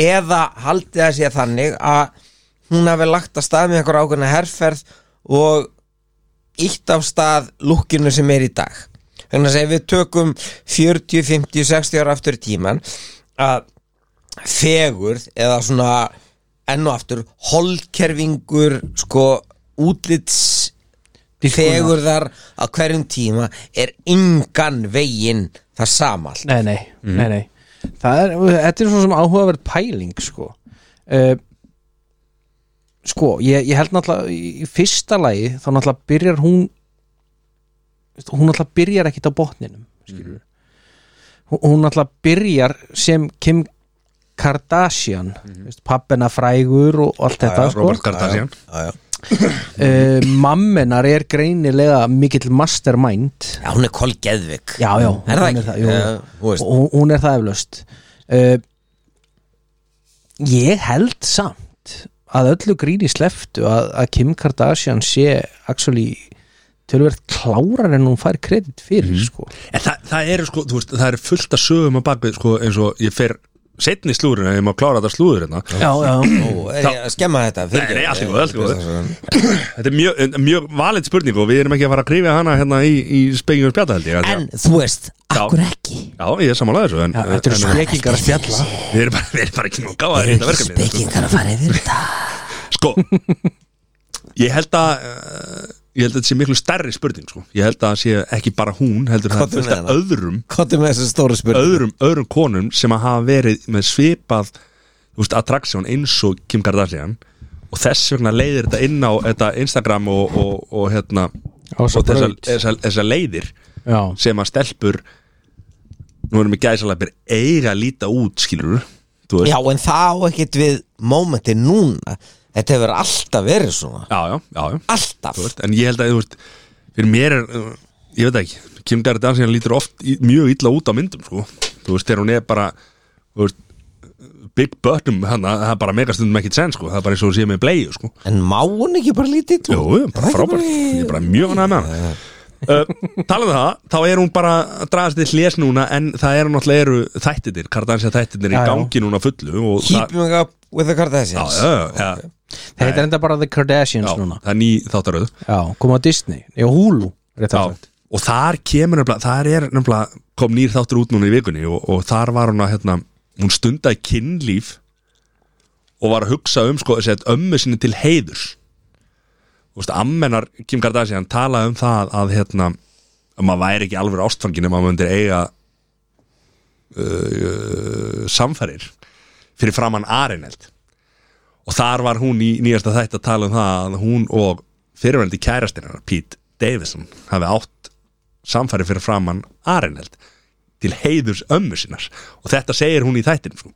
S2: eða haldið það sé þannig að hún hafi lagt að stað með einhver ákveðna herrferð og ítt af stað lúkinu sem er í dag þannig að ef við tökum 40, 50, 60 ára aftur í tíman að fegurð eða svona enn og aftur holdkerfingur sko útlits
S1: Dýrkunar.
S2: fegurðar á hverjum tíma er engan veginn það samall
S1: Nei, nei, nei, nei Það er, þetta er svona sem áhugaverð pæling sko uh, Sko, ég, ég held náttúrulega í- í fyrsta lagi þá náttúrulega byrjar hún veist, hún náttúrulega byrjar ekkit á botninum skilur mm. hún náttúrulega byrjar sem Kim Kardashian mm -hmm. pappina frægur og allt þetta sko
S3: Robert Kardashian
S2: já, já.
S1: uh, mammenar er greinilega mikill mastermind
S2: já, hún er kolgeðvik
S1: Já, já,
S2: Er það
S1: hún
S2: ekki?
S1: er það, jú.
S2: Já, þú veist.
S1: og hún- hún er það eflaust uh, ég held samt að öllu gríni sleftu að, að Kim Kardashian sé actually tölverð klárar en hún fær kredit fyrir sko.
S3: En það, það eru sko, þú veist, það eru fullt að sögum á bakvið sko eins og ég fer setni slúðurinn ef ég má klára þetta slúður hérna
S1: já, já,
S2: Ó, er ég að skemma þetta?
S3: Nei, nei,
S2: Fyrirgefðu. Eh,
S3: allt í góðu, allt í góðu. Þetta er mjög, en- mjög valið spurning og við erum ekki að fara að grífa hana hérna í, í spekingjum spjata held ég
S2: En þú veist,
S3: Já.
S2: akkur ekki
S3: Já, ég er sammálaðið þessu en,
S1: já þetta eru
S3: en,
S1: spekingar að spjalla
S3: við, erum bara, við erum bara ekki nú gáða
S2: Eru
S3: hérna
S2: ekki
S3: verkefni sko.
S2: spekingar að fara yfir þetta
S3: sko ég held að eh, ég held að þetta sé miklu stærri spurning sko. ég held að það sé ekki bara hún heldur það er
S2: Komdu
S3: fullt
S2: með
S3: af
S2: hana.
S3: öðrum,
S2: Kottum með þessu stóru spurning
S3: öðrum öðrum konum sem að hafa verið með svipað þú veist, attraksjón eins og Kim Kardashian og þess vegna leiðir þetta inn á þetta Instagram og, og, og hérna
S1: Á þessa
S3: og þessar
S1: braut.
S3: þessa, þessa leiðir
S1: já,
S3: sem að stelpur nú erum við gæsalapir eiga að líta út skilur þú veist
S2: Já, en það á ekkert við mómenti núna Þetta hefur alltaf verið svona
S3: já, já, já, já.
S2: Alltaf
S3: þú veist, en ég held að þú veist, fyrir mér er, uh, ég veit það ekki Kim Kardashian lítur oft í, mjög illa út á myndum sko. þú veist, þegar hún er bara þú veist, big bottom hana, það er bara megastundum ekkit sen sko. það er bara eins og hún sé með bleju sko.
S2: En má hún ekki bara lítið út?
S3: Jú, bara
S2: Er það
S3: frábært,
S2: ekki
S3: ég er bara mjög hann að með hana Uh, talað um það, þá er hún bara að draga til hlés núna en það eru náttúrulega eru þættitir, Kardashian þættitir í
S1: Já, já.
S3: gangi núna fullu og það,
S2: Keeping up with the
S3: já,
S2: Kardashians
S3: já, já,
S1: það heitir enda bara The Kardashians
S3: já,
S1: núna
S3: það er ný þáttaröð
S1: já, koma á Disney, já, Hulu rétt að
S3: Já,
S1: sagt.
S3: og þar kemur nefnilega, þar er nefnilega kom nýr þáttur út núna í vikunni og, og þar var hún að hérna, hún stundaði kynlíf og var að hugsa um sko, þessi að ömmu sinni til heiðurs Þú veist, ammenar Kim Kardashian talaði um það að hérna, að maður væri ekki alveg ástfangin ef maður myndir eiga uh, samfærir fyrir framann Arineld og þar var hún í nýjasta þætt að tala um það að hún og fyrirvændi kærastinn hennar, Pete Davidson hafi átt samfæri fyrir framann Arineld til heiðurs ömmu sinnar og þetta segir hún í þættinum sko,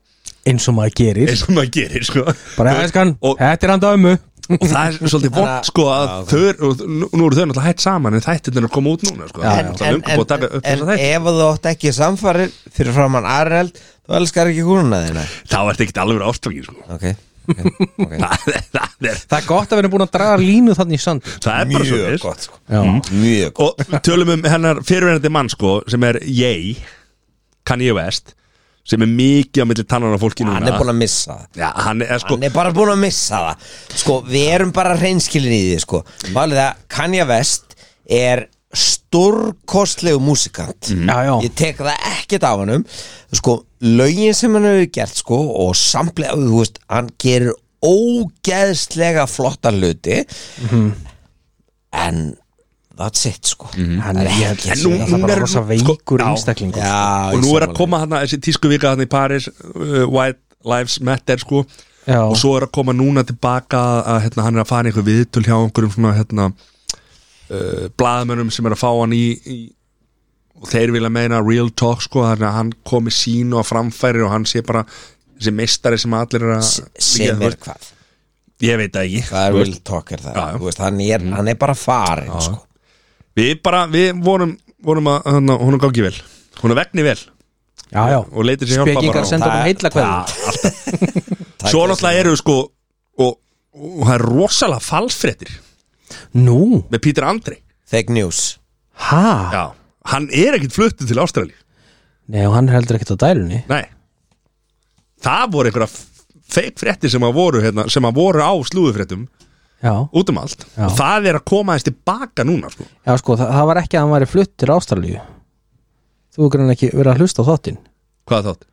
S1: eins og maður gerir
S3: eins og maður gerir sko.
S1: bara æskan,
S3: og,
S1: þetta er handa ömmu
S3: og það er svolítið vond sko að þau, eru- og nú nú eru þau náttúrulega hætt saman en þættirnir eru að koma út núna sko. Það er
S2: En,
S3: náttúrulega
S2: en,
S3: löngu búið
S2: en,
S3: að taka upp
S2: en,
S3: þessa þætti.
S2: ef þú átt ekki samfarið fyrir framann Arnald þú elskar ekki húnuna þína
S3: þá ertu ekkert alveg ástfangin sko.
S2: Ok, okay. okay.
S3: það, er- það, er,
S1: það er gott að vera búin að draga línu þannig í sand Mhm.
S3: það er bara
S2: Mjög
S3: svo
S2: gott sko. Mjög gott
S3: og tölum um hennar fyrirverandi mann sko sem er Ye Kanye West sem er mikið á milli tannan á fólki núna
S2: Hann er búin að missa það
S3: Já, hann er sko
S2: Hann er bara búin að missa það Sko, við erum bara reynskilin í því sko Málið að Kanye West er stórkostlegu músikant
S1: Já, já.
S2: ég tek það ekkert af hann sko, lögin sem hann hefur gert sko, og samlega, þú veist, hann gerir ógeðslega flotta hluti en that's it, sko
S1: hann er
S2: ekki
S1: ekki
S3: nú-
S1: það er
S3: hún
S1: bara
S3: er-
S1: rosa
S3: sko,
S1: veikur
S3: já.
S1: einstaklingur
S2: Já,
S3: og
S2: ég
S3: nú er að
S2: sammála.
S3: koma þarna þessi tísku vika þarna í Paris uh, White Lives Matter sko
S1: Já.
S3: og svo er að koma núna tilbaka að hérna, hann er að fara í einhver viðtöl hjá einhverjum svona hérna uh, blaðmönnum sem er að fá hann í, í og þeir vilja meina real talk sko þannig að hann komi sín og framfæri og hann sé bara þessi meistari sem allir er að
S2: sem
S3: Ég-
S2: er hvað
S3: ég veit það ekki
S2: það er real talker það
S3: Já, já.
S2: Þú veist, hann, er, hann er bara farin sko.
S3: við bara, við vorum, vorum að hérna, hún er gangi vel hún er vegni vel
S1: já, já.
S3: og leitir sér hjálpa
S1: spekingar
S3: bara
S1: senda
S2: Það-
S1: okkur heitla
S3: Já,
S1: hverju
S3: alltaf. svo náttúrulega eru sko og, og það er rosalega falsfréttir
S1: nú,
S3: með Pítur Andri
S2: fake news
S1: hæ,
S3: Já. hann er ekkit fluttu til Ástrali
S1: nei og hann er heldur ekkert á dælunni
S3: nei það voru einhverja f- fake fréttir sem að voru, hérna, sem að voru á slúðufréttum
S1: já,
S3: út um allt
S1: Já.
S3: og það er að koma aðeins tilbaka núna sko.
S1: já sko, það, það var ekki að hann væri flutt til Ástralíu þú er ekki verið að hlusta á þáttinn
S3: hvað þátt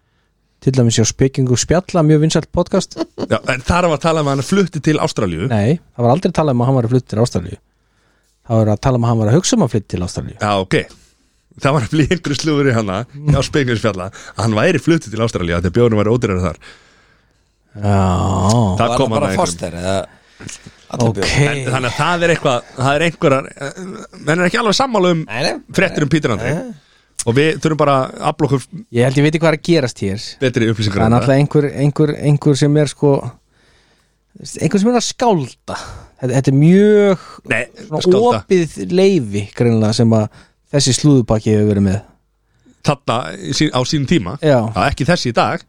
S1: til dæmis hjá spekingu spjalla mjög vinsælt podcast
S3: Já, en þar var að tala um að hann flutti til Ástralíu
S1: nei, það var aldrei að tala um að hann væri flutt til Ástralíu það var að tala um að hann væri að hugsa um að flutt til Ástralíu
S3: Já, ok Það var að bli einhverju slúður í hana Já, spengjumsfjalla Hann væri fluttu til Ástralíu Þegar bjóðunum var ódýrar þar
S1: já,
S3: Það kom
S2: var það
S3: hann að
S2: bara
S3: einhverjum
S2: foster eða allir
S1: ok
S2: bjór.
S3: En Þannig að það er eitthvað, það er einhverjar eh, Menn er ekki alveg sammála um
S2: Nei, nei.
S3: fréttir um Pítur Andri Og við þurfum bara að afla okkur
S1: ég held ég veit ekki hvað er að gerast hér
S3: betri upplýsingar
S1: það er
S3: um
S1: náttúrulega einhver, einhver, einhver sem er sko einhver sem er að skálda þetta, þetta er mjög
S3: Nei,
S1: svona
S3: skálda
S1: opið leifi greinlega sem að þessi slúðubakki hefur verið með
S3: Þarna í sí- á sínum tíma
S1: já,
S3: Já, Ekki þessi í dag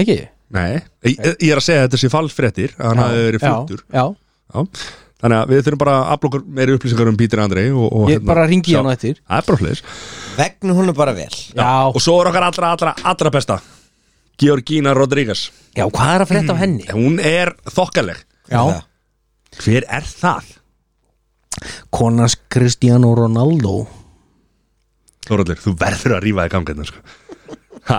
S1: ekki?
S3: Nei, ég, ég er að segja að þetta sé falsfréttir að Hann hafi verið fluttur
S1: já, já.
S3: Já. Þannig að við þurfum bara að afla okkur meiri upplýsingar um Pítur Andri og, og,
S1: ég bara ringi
S3: hérna, sjá-
S1: hann á eftir
S3: Það er bara hlis
S2: vegna hún er bara vel
S1: já,
S3: Og svo er okkar allra, allra, allra besta Georgina Rodríguez
S1: já, hvað er að frétta af henni?
S3: Hún er þokkaleg
S1: já,
S3: Hver er það?
S1: konans Cristiano Ronaldo
S3: Þóraldur, þú verður að rífa þig gangaðna sko. Ha.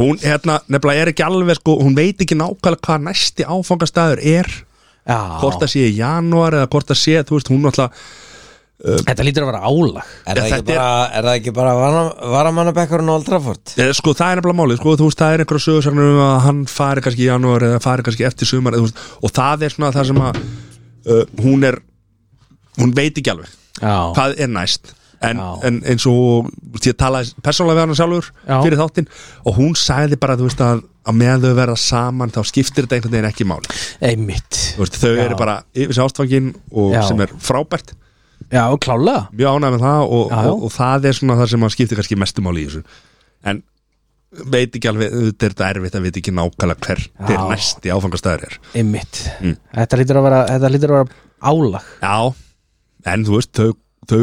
S3: Hún hérna, nefnilega er ekki alveg sko, hún veit ekki nákvæmlega hvað næsti áfangastæður er
S1: já,
S3: hvort það sé í janúar eða hvort það sé, þú veist, hún náttúrulega
S1: þetta lítur að vera álag
S2: Er það,
S3: Þetta
S2: ekki bara, er það ekki bara vara- varamannabekkurinn á Old Trafford?
S3: eða, sko, það er nefnilega málið, sko, þú veist, það er einhverja sögursagnur um að hann fari kannski í janúar eða fari kannski eftir sumar eða, þú veist, og það er svona það sem að uh, hún er, hún veit ekki alveg
S1: já,
S3: hvað er næst en,
S1: Já.
S3: en eins og þú veist, ég talaði persónulega við hana sjálfur
S1: Já.
S3: fyrir þáttinn og hún sagði bara þú veist að að meðan þau verða saman þá skiptir þetta einhvern veginn ekki máli
S1: einmitt
S3: Þú veist, þau eru bara yfir sér ástfangin og
S1: Já.
S3: sem er frábært,
S1: já, klálega
S3: mjög ánægð með það og,
S1: Já, já.
S3: og, og það er svona það sem að skiptir kannski mestu máli í þessu en veit ekki alveg, þetta er þetta erfitt að veit ekki nákvæmlega hver til næsti áfangastæður er
S1: einmitt,
S3: Mm.
S1: þetta lítur að vera þetta lítur að vera álag
S3: já, en þú veist þau, þau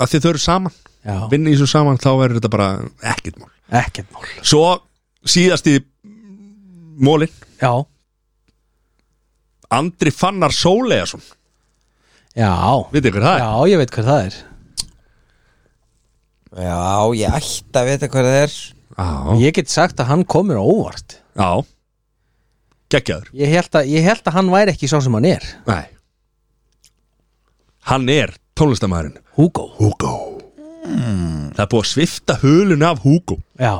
S3: að því þau eru saman,
S1: já,
S3: vinni í þessu saman þá er þetta bara ekkert mál
S1: ekkert mál
S3: Svo síðasti mólin
S1: já,
S3: Andri Fannar Sólegason
S1: já,
S3: Vitið ykkur það er?
S1: já, ég veit hvað það er
S2: Já, ég ætti að vita hvað það er
S3: Já,
S1: ég get sagt að hann komur á óvart
S3: já. Gekkjaður
S1: ég held, að, ég held að hann væri ekki sá sem hann er
S3: Nei Hann er tónlistamæðurinn
S1: Hugo
S3: Hugo Hmm. Það er búið að svifta hulunni af Hugo
S1: já,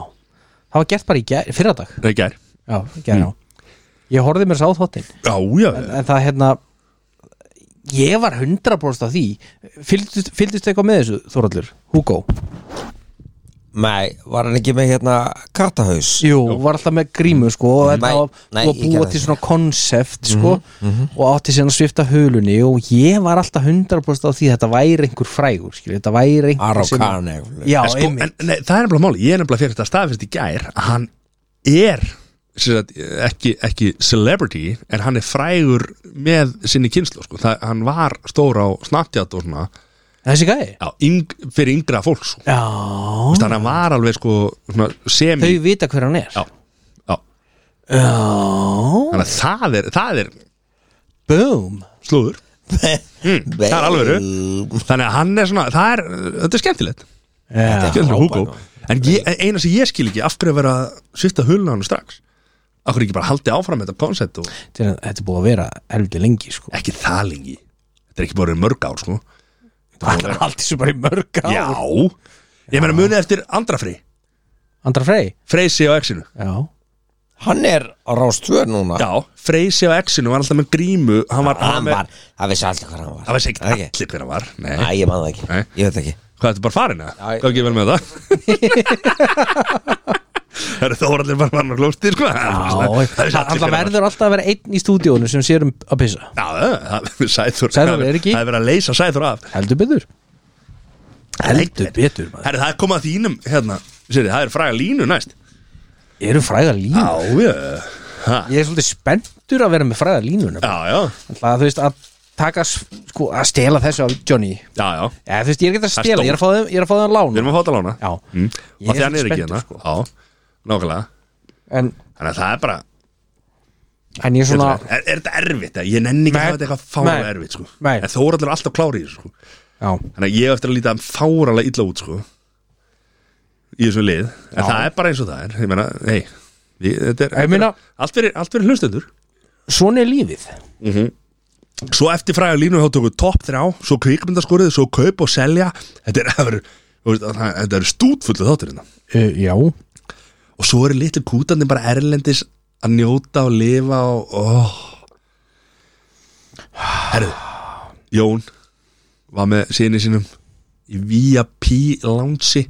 S1: það var gert bara í gær, fyrradag
S3: Nei, gær
S1: já, gær, já ég horfði mér sá þóttin
S3: Já, já
S1: en, en það hérna ég var 100% af því fylgdist, fylgdist eitthvað með þessu, Þorallur Hugo,
S2: Nei, var hann ekki með hérna kattahaus?
S1: jú, var alltaf með grímu sko,
S3: Mhm.
S1: og þetta
S2: Nei,
S1: var
S2: nei,
S1: búið að
S2: ég
S1: búa
S2: gerði
S1: til
S2: það.
S1: svona konsept sko,
S3: mhm.
S1: og átti síðan að svifta hulunni og ég var alltaf 100% af því að þetta væri einhver frægur, skilur, þetta væri einhver
S2: Aró
S1: sem
S2: Kane
S1: já,
S3: en, sko,
S1: einmitt.
S3: en, nei, Það er nefnilega máli Ég er nefnilega fyrir þetta staðfyrst í gær að Hann er sem sagt, ekki, ekki celebrity en hann er frægur með sinni kynslu sko. það, hann var stór á Snapchat og svona
S1: þessi gæði
S3: já, yng, fyrir yngra fólk sko.
S1: já,
S3: Vist, hann var alveg sko, svona, semi
S1: þau vita hver hann er
S3: já, já.
S1: já
S3: Þannig, að það, er, það er
S1: boom
S3: slúður
S2: Það
S3: það er alvöru. Þannig að hann er svona, það er, þetta er skemmtilegt
S1: Já.
S3: Ekki öllur
S2: frábær
S3: Hugo
S2: maður.
S3: En ég, eina sem ég skil ekki, af hverju að vera að svifta hulna hann strax Akkur ekki bara haldi áfram þetta koncept og
S1: Þetta er- þetta er búið að vera helviti lengi sko.
S3: ekki það lengi Þetta er ekki bara í mörg ár, sko
S1: Það er alltaf svo bara í mörg á
S3: Já, ég meina munið eftir Andrafri
S1: Andra Frey
S3: Freysi á exinu
S1: Já,
S2: Hann er á rástvör núna
S3: Já, Freysi á exinu var alltaf með grímu Hann var,
S2: Hann
S3: með-
S2: var, það vissi allir hvað hann var
S3: Það var ekki
S2: Ekki?
S3: allir hver hann var Nei,
S2: Æ, ég man það ekki,
S3: Nei.
S2: ég veit ekki
S3: hvað þetta bara farin að?
S2: Já, ég-
S3: Hvað ekki vel með það? Það eru þó allir bara varin að klósti sko. Það er
S1: Já,
S3: svona- það er allir
S1: hann
S3: hver hann var.
S1: verður alltaf að vera einn í stúdíónu sem sér um að pissa
S3: Já, það- það- Sæþór
S1: Sæþór er ekki.
S3: Það er verið að leysa Sæþór af
S1: Heldur betur Heldur betur maður
S3: Herri, það er komað að þínum hérna Sér, það er fræga línu næst
S1: Eru fræða línu?
S3: Já, já Ha.
S1: Ég er svolítið spenntur að vera með fræða línuna
S3: Já, já,
S1: Það þú veist að taka s- sko að stela þessu af Johnny
S3: já, já
S1: Já, þú veist, ég er ekki að
S3: Það er
S1: stela, ég er að fá þeim, ég er að fá þeim
S3: Við
S1: lána
S3: erum að fóta lána
S1: Já,
S3: mm.
S1: Ég
S3: Og
S1: er
S3: því hann er ekki
S1: spenntur, sko.
S3: hérna Já, nákvæmlega
S1: en,
S3: Þannig að það er bara
S1: en ég er svona
S3: Er, er þetta erfitt? eða? Ég nenni ekki að
S1: Nei.
S3: hafa þetta eitthvað fára
S1: Nei.
S3: erfitt sko.
S1: Nei.
S3: En Þóraldur er alltaf klári í þessu sko.
S1: Já,
S3: Þannig að ég á eftir að líta fáralega illa út sko. Í þessu lið En
S1: Já.
S3: það er bara eins og það er Ég meina, hei Þetta er,
S1: Ég meina-
S3: allt, fyrir, allt fyrir hlustendur
S1: svona er lífið
S3: Svo eftir fræða línu þá tóku topp þrjá Svo kvikmyndaskorið, svo kaup og selja Þetta er, það eru- þú veist, það- þetta eru stútfullu þátturinn
S1: uh, Já,
S3: Og svo eru litlu kútandi bara erlendis Að njóta og lifa og oh. Herðu Jón Var með sinni sínum Í VIP lounge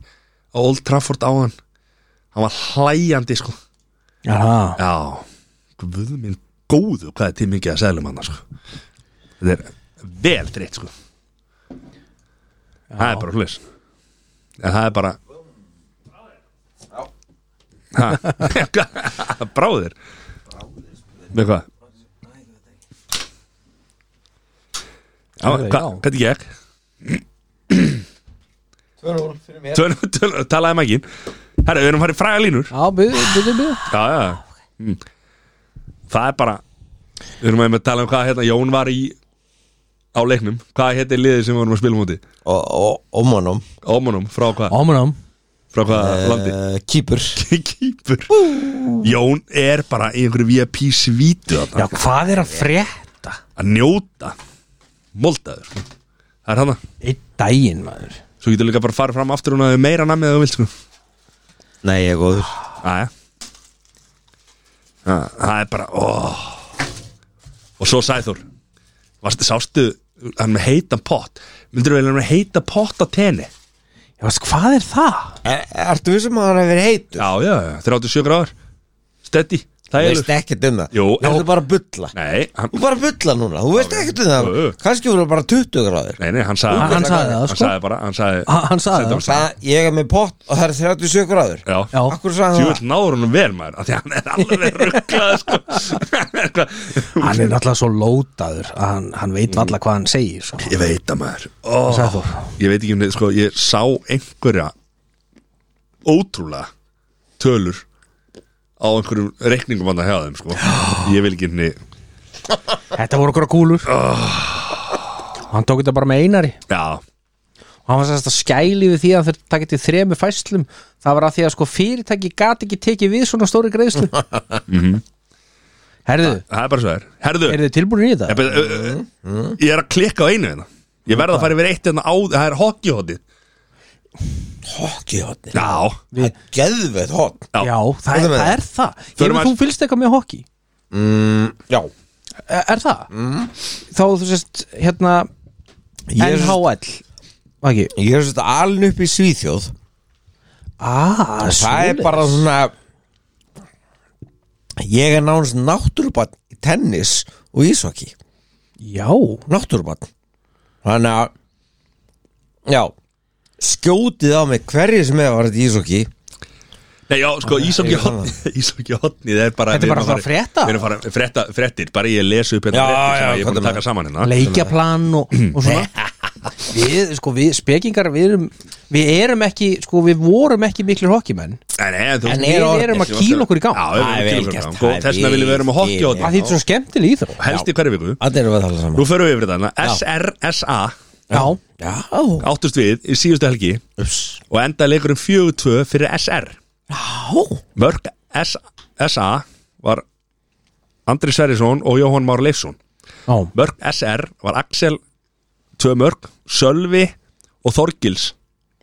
S3: Á Old Trafford á hann Hann var hlæjandi sko
S1: Aha.
S3: Já, Sko, guð minn góðu hvað er til mikið að seglum hann sko. Þetta er vel dreitt sko. Það er bara hlis En það er bara Ha, Bráðir Með hvað? Já,
S1: Herðu,
S3: hvað,
S1: já.
S3: hvernig gekk?
S2: Tvörúl fyrir mér
S3: Tölum, tölum, talaði maginn Herra, við erum farið fræga línur
S1: já, byrðu, byrðu, byrðu
S3: já, já. Mm. Það er bara Við erum að tala um hvað hérna Jón var í á leiknum, hvað hétti liðið sem við vorum að spila múti
S2: Og, og, og mannum
S3: Ómanum, frá hvað,
S1: Ámanam
S3: frá hvað landi
S2: uh, Kýpur
S3: Eh, Kýpur Jón er bara í einhverju VIP svítu
S1: Já,
S3: þarna,
S1: hvað er að frétta?
S3: að njóta Moldaður sko. Það er hana,
S1: Einn daginn, maður
S3: svo getur líka bara að fara fram aftur hún að meira namið að þú vilt sko.
S2: Nei, ég er góður
S3: Æja Æ, Það er bara oh. Og svo Sæþór Varstu sástu hann með heitan pott Myndur við hann með heita pott á tenni
S1: Já, veist, hvað er það?
S2: er, Ertu við sem að hann hefur verið heitur?
S3: Já, já, já, 37 gráður Steady, það
S2: Þú
S3: er
S2: veist ekkert um það
S3: Jú.
S2: Þú ert bara að bulla
S3: Nei, hann,
S2: Þú ert bara að bulla núna, þú veist ekkert um það
S3: Jú, jú.
S2: Kannski voru bara 20 gráður
S3: nei, nei, hann sagði
S1: Hann- hann sagði það,
S3: Hann
S1: sko.
S3: sagði bara, hann sagði
S1: Ha- hann sagði
S3: Sæþór
S2: Það, ég er með pott og það er 37 gráður
S3: Já,
S1: Já.
S2: Akkur sagði hann
S3: Tjúvill náður hann vel maður af Því hann er alveg sko. rugglað sko.
S1: Hann er náttúrulega svo lótaður að hann, hann veit mm. hvað hann segir sko.
S3: Ég veit að maður oh.
S1: Sæþór.
S3: Ég veit ekki um þetta, sko, ég sá einhverja ótrúlega tölur á einhverjum reikningum andan hjá þeim, sko Ég vil ekki henni
S1: Þetta voru okkur að kúlur Hann tók þetta bara með einari
S3: Já,
S1: og hann var sérst að skæli við því að þeir takið til þremi fæslum það var að því að sko fyrirtæki gat ekki tekið við svona stóri greiðslu
S2: Mhm.
S1: Herðu,
S3: það er bara svo þær Herðu,
S1: eru þið tilbúin í
S3: ég,
S1: þetta?
S3: be- ö- ö- ö- ég er að klikka á einu hérna Ég verð að fara yfir eitt hérna á Það er hockeyhotið
S2: Hockeyhotni
S3: Já,
S2: Það er geðveitt hotn
S3: já,
S1: Já, það er
S2: Hvað er
S1: það, er það. Ég
S3: Förum
S1: veit
S3: að-
S1: þú fylgst eitthvað með hockey
S2: Já
S1: Er, er það? Mm. Þá þú sérst hérna
S2: Ég er svo-
S1: NHL Var ekki?
S2: Ég er svolítið aln upp í Svíþjóð
S1: Ah,
S2: Það er
S1: svoleiðis.
S2: bara svona Ég er nánast náttúrubann í tennis og ísvaki
S1: Já,
S2: Náttúrubann Þannig að Já Skjótið á mig hverju sem hefur varðið ísvaki
S3: Nei, já, sko, ísokkiðhotnið er
S1: Þetta
S3: bara
S1: er bara
S3: við erum
S1: að fara að frétta.
S3: Við erum að fara frétta, fréttir, bara ég les upp hérna
S2: Já,
S3: fréttir sem
S2: já,
S3: ég er búin
S2: komdu
S3: að
S2: með.
S3: taka saman hérna
S1: leikjaplan og, og svona Við, sko, við spekingar við erum, við erum ekki, sko, við vorum ekki miklir hockeymenn
S3: Nei, nei, en þú
S2: En
S3: veist,
S2: er
S1: Við
S2: orðnir
S1: erum að
S3: sem
S1: kýla
S3: okkar-
S1: okkur í gang
S3: Já, við erum
S2: Það
S3: að kýla okkur í
S2: er vel gert,
S3: gang
S2: það
S3: og
S2: er
S3: Þess vegna viljum við erum að
S2: vel
S3: hokki á
S1: að
S3: þetta
S1: því þetta er svo skemmtileg íþró
S3: Helst hérna. í hverju viku
S2: Allir eru að tala saman
S3: Nú förum við yfir þetta hérna. SRSA
S1: Já,
S2: Já
S3: áttust við í síðustu helgi
S2: Ups
S3: og endaði leikurinn 4-2 fyrir SR
S2: Já
S3: Mörk S SA var Andri Sverrisson og Jóhann Már Leifsson
S1: já,
S3: Mörk SR var Axel Tvö mörk, Sölvi og Þorgils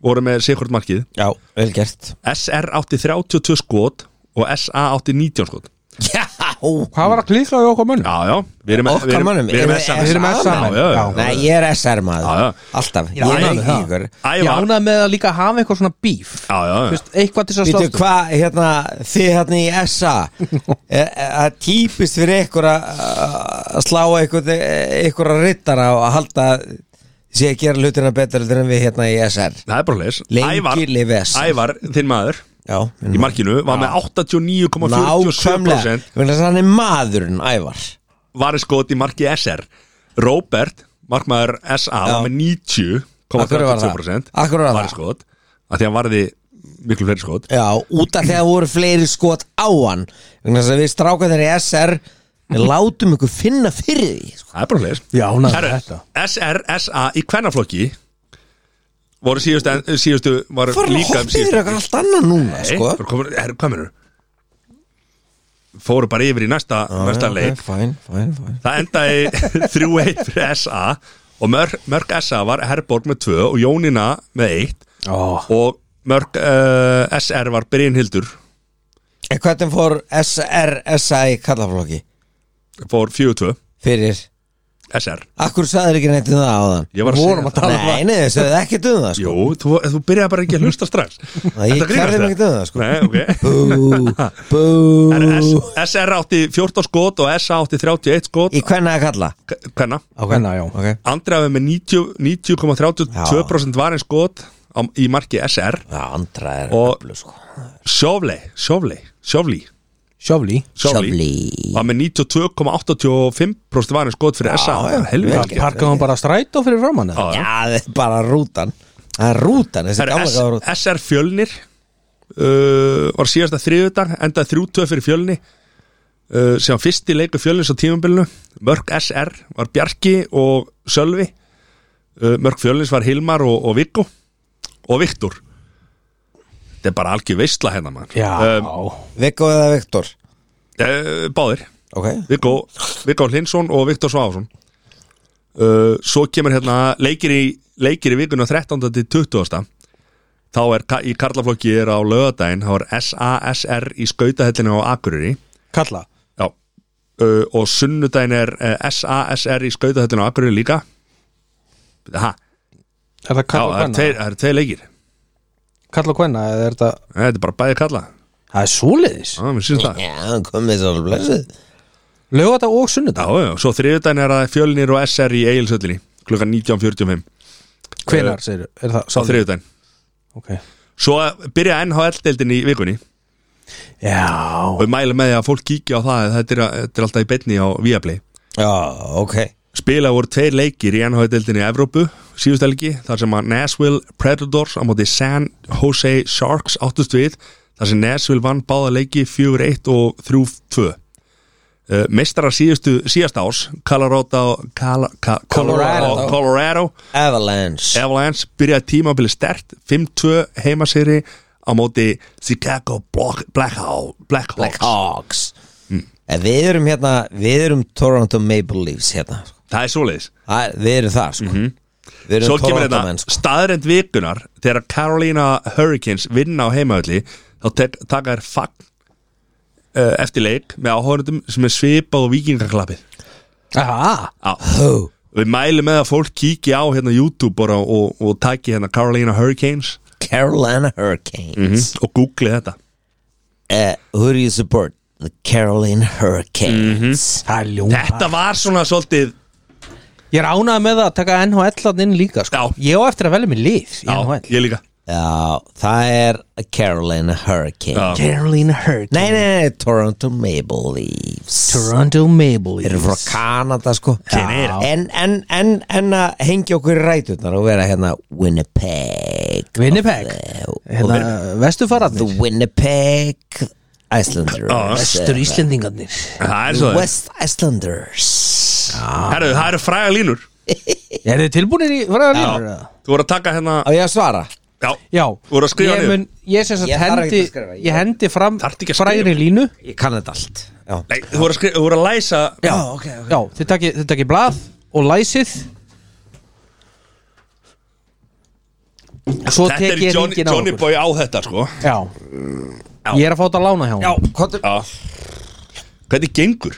S3: voru með Sigurd markið
S2: Já, vel gert
S3: SR átti 32 skot og SA átti 19 skot
S2: Já
S1: hvað var að klíkla við okkur mönnum?
S3: Já, já, við erum
S2: Okkar mönnum,
S3: við erum
S2: erum við
S3: SA
S1: Við erum
S2: Já,
S1: með
S3: já,
S1: saman
S3: já, já.
S2: Nei, ég er SR maður
S3: Já, já.
S2: Alltaf
S1: Já,
S2: Ég er
S1: já,
S2: ekki
S1: já.
S2: ykkur
S1: Ég
S3: Ævar,
S1: ánaði með að líka hafa eitthvað svona bíf
S3: já, já, já.
S1: Vist, Eitthvað til þess að
S2: Býtu
S1: slást um.
S2: hvað, hérna, þið hérna í SA er- er- Það er típist fyrir ykkur að að slá ykkur, ykkur að rittara og að halda sé að gera hlutina betur heldur en við hérna í SR
S3: Það er bara leis
S2: Lengi lifi SR.
S3: Ævar, þinn maður
S2: Já,
S3: í markinu var með 89,47%
S2: nákvæmlega Þannig að hann er maðurinn ævar
S3: var skot í marki SR Robert, markmaður SA
S2: Já.
S3: var með
S2: Af hverju var það?
S3: 90,32%
S2: Af hverju var það?
S3: var skot að því hann varði miklu fleiri skot
S2: Já, út af þegar voru fleiri skot á hann Þannig að við stráka þeirri SR Við látum ykkur finna fyrir því sko.
S3: það er bara hlæs
S1: Já, hún hafði þetta.
S3: SR, SA í kvennaflokki voru síðustu, síðustu var
S2: Hvað er að
S3: líka um
S2: hoppa yfir ykkur allt annað núna
S3: Nei,
S2: sko?
S3: voru komin- herru, hvað mennur fóru bara yfir í næsta, næsta leik
S2: Fæn, fæn, fæn
S3: Það endaði 3-1 fyrir SA og mörg, mörg SA var Herborg með 2 og Jónína með 1
S1: Ó,
S3: og mörg uh, SR var Brynhildur
S2: En hvernig fór SR, SA í kallaflokki?
S3: fór 4-2
S2: Fyrir
S3: SR
S2: Akkur sagður ekki neitt um það á þann
S3: Ég var að segja
S1: Vorum að
S3: það
S1: tala um
S2: Nei, nei, þau sagði ekki um það sko
S3: Jú, þú, þú byrjaði bara ekki að hlusta strax
S2: Nei, ég
S3: Ertu að grínast
S2: gerði mig ekki um það sko
S3: Nei, ok
S2: Bú, bú
S3: Herru, S- SR átti 14 skot og SA átti 31 skot
S2: Í hvernig að kalla?
S3: Hvenna?
S1: hvenna, já
S2: Ok
S3: Andri hafði með 90 90,32% varin skot á, í marki SR
S2: Já, andra er
S3: Og-
S2: öflug, sko
S3: Sjófli, Sjófli, Sjófli
S1: Sjöfli
S3: Sjófli
S2: Sjöfli.
S3: var með 92,85% varinn skot fyrir SA
S2: já, vel
S3: helvita
S2: gert.
S1: Parkaði hún bara strætó fyrir framann eða?
S3: Já,
S2: Já, það er bara rútan Það er rútan, þessi gamla
S3: S-
S2: gáða rútan
S3: SR Fjölnir uh, var síðasta þriðudag endaði 32 fyrir Fjölni uh, sem fyrsti leikur Fjölnis á tímabilinu mörg SR var Bjarki og Sölvi uh, mörg Fjölnis var Hilmar og, og Viggo og Viktor þetta er bara algjör veistla hérna maður
S1: Já,
S3: um,
S2: Viggo eða Viktor
S3: uh, báðir
S2: Ok
S3: Viggo, Viggo Hlinsson og Viktor Svavarsson uh, Svo kemur hérna leikir í, leikir í vikuna 13. til 20. Þá er ka- í Karlaflokki er á lögadaginn þá er SASR í skautahellinu á Akureyri
S1: kalla
S3: Já uh, Og sunnudaginn er uh, SASR í skautahellinu á Akureyri líka Ha,
S1: Er það kalla
S3: já, það
S1: og
S3: eru
S1: hvenna?
S3: tveir, það eru tveir leikir
S1: Kalla og hvenna, eða er þetta
S3: Nei, Þetta er bara bæði kalla
S1: Það er svoleiðis
S3: Já, mér syns það Já,
S2: Já, komið svo blessið
S1: Lögata og sunnudag
S3: já, svo þriðudaginn er að fjölnir og SR í Egilsöllinni klukkan 19.45
S1: Hvenar, segir Er það
S3: Eh, á þriðudaginn
S1: Ok
S3: Svo byrja NHL-deildin í vikunni
S1: Já
S3: og við mælum með því að fólk kíkja á það þetta er, þetta er alltaf í beinni á Viaplay
S2: Já, ok
S3: Spila voru tveir leikir í NHL-deildinni í Evrópu síðust helgi þar sem að Nashville Predators á móti San Jose Sharks áttust við þar sem Nashville vann báða leiki 4-1 og 3-2 Uh, mestara síðustu, síðast ás Colorado, Cala, Ca, Colorado,
S2: Colorado.
S3: Colorado
S2: Avalanche
S3: Avalanche byrjaði tímabili stert 5-2 heimasýri á móti Chicago Black, Blackhawks Black
S2: Black
S3: Black
S2: Hawks
S3: Mm.
S2: En við erum hérna, við erum Toronto Maple Leafs hérna sko.
S3: Það er svoleiðis
S2: Það- Við erum það, sko Við erum
S3: Svo Mhm. kemur hérna.
S2: Toronto menn,
S3: þetta
S2: sko
S3: staðrend vikunar þegar Carolina Hurricanes vinna á heimaölli þá tek, taka þær fagn uh, eftir leik með áhörnundum sem er svipað og vikingaklappið
S1: Aha
S3: Já.
S2: Hú
S3: Við mælum með að fólk kíki á hérna YouTube bara og, og taki hérna Carolina Hurricanes
S2: Carolina Hurricanes
S3: og googli þetta
S2: uh, Who do you support? The Carolina
S3: Mhm.
S2: Hurricanes
S1: Það er ljón
S3: Þetta var svona svolítið
S1: Ég er ánað með það að taka NHL -arna inn líka sko.
S3: Já.
S1: Ég á eftir að velja mér lið í
S3: Já,
S1: NHL
S3: ég líka
S2: Já, það er Carolina Hurricanes
S3: Já.
S1: Carolina Hurt
S2: Nei, nei, nei, Toronto Maple Leafs Leafs
S1: Toronto Maple
S2: Þeir eru frá Kanada sko
S3: Þeir
S2: en, en, en, en að hengja okkur í ræturnar og vera hérna Winnipeg Eh,
S1: Winnipeg hérna,
S2: The
S1: Vesturfararnir
S2: Winnipeg Icelanders
S3: Já,
S1: Vestur Íslendingarnir
S3: Það er svo það
S2: West Icelanders
S3: Herru, það eru fræga línur
S1: Er þið tilbúinir í fræðanir?
S3: Þú voru að taka hérna
S2: Á ég að svara?
S3: Já,
S1: Já,
S3: Þú voru að skrifa
S1: ég,
S3: niður.
S1: ég, sem sagt
S2: Ég þarf
S1: hendi,
S2: ekki að skrifa, ég-
S1: ég hendi fram
S3: Þarftu ekki að skrifa.
S1: fræðinni línu
S2: Ég kann þetta allt Já,
S3: nei, þú voru að, skri... þú voru að læsa
S2: Já ok, ok
S1: Já, þið takki, þið takki blað og læsið Svo
S3: Þetta er
S1: tek ég
S3: Johnny,
S1: hringin á
S3: Johnny
S1: okkur.
S3: Boy á þetta sko
S1: Já. Ég er að fá þetta að lána hjá hún
S2: Kontur
S3: Já Hvernig gengur?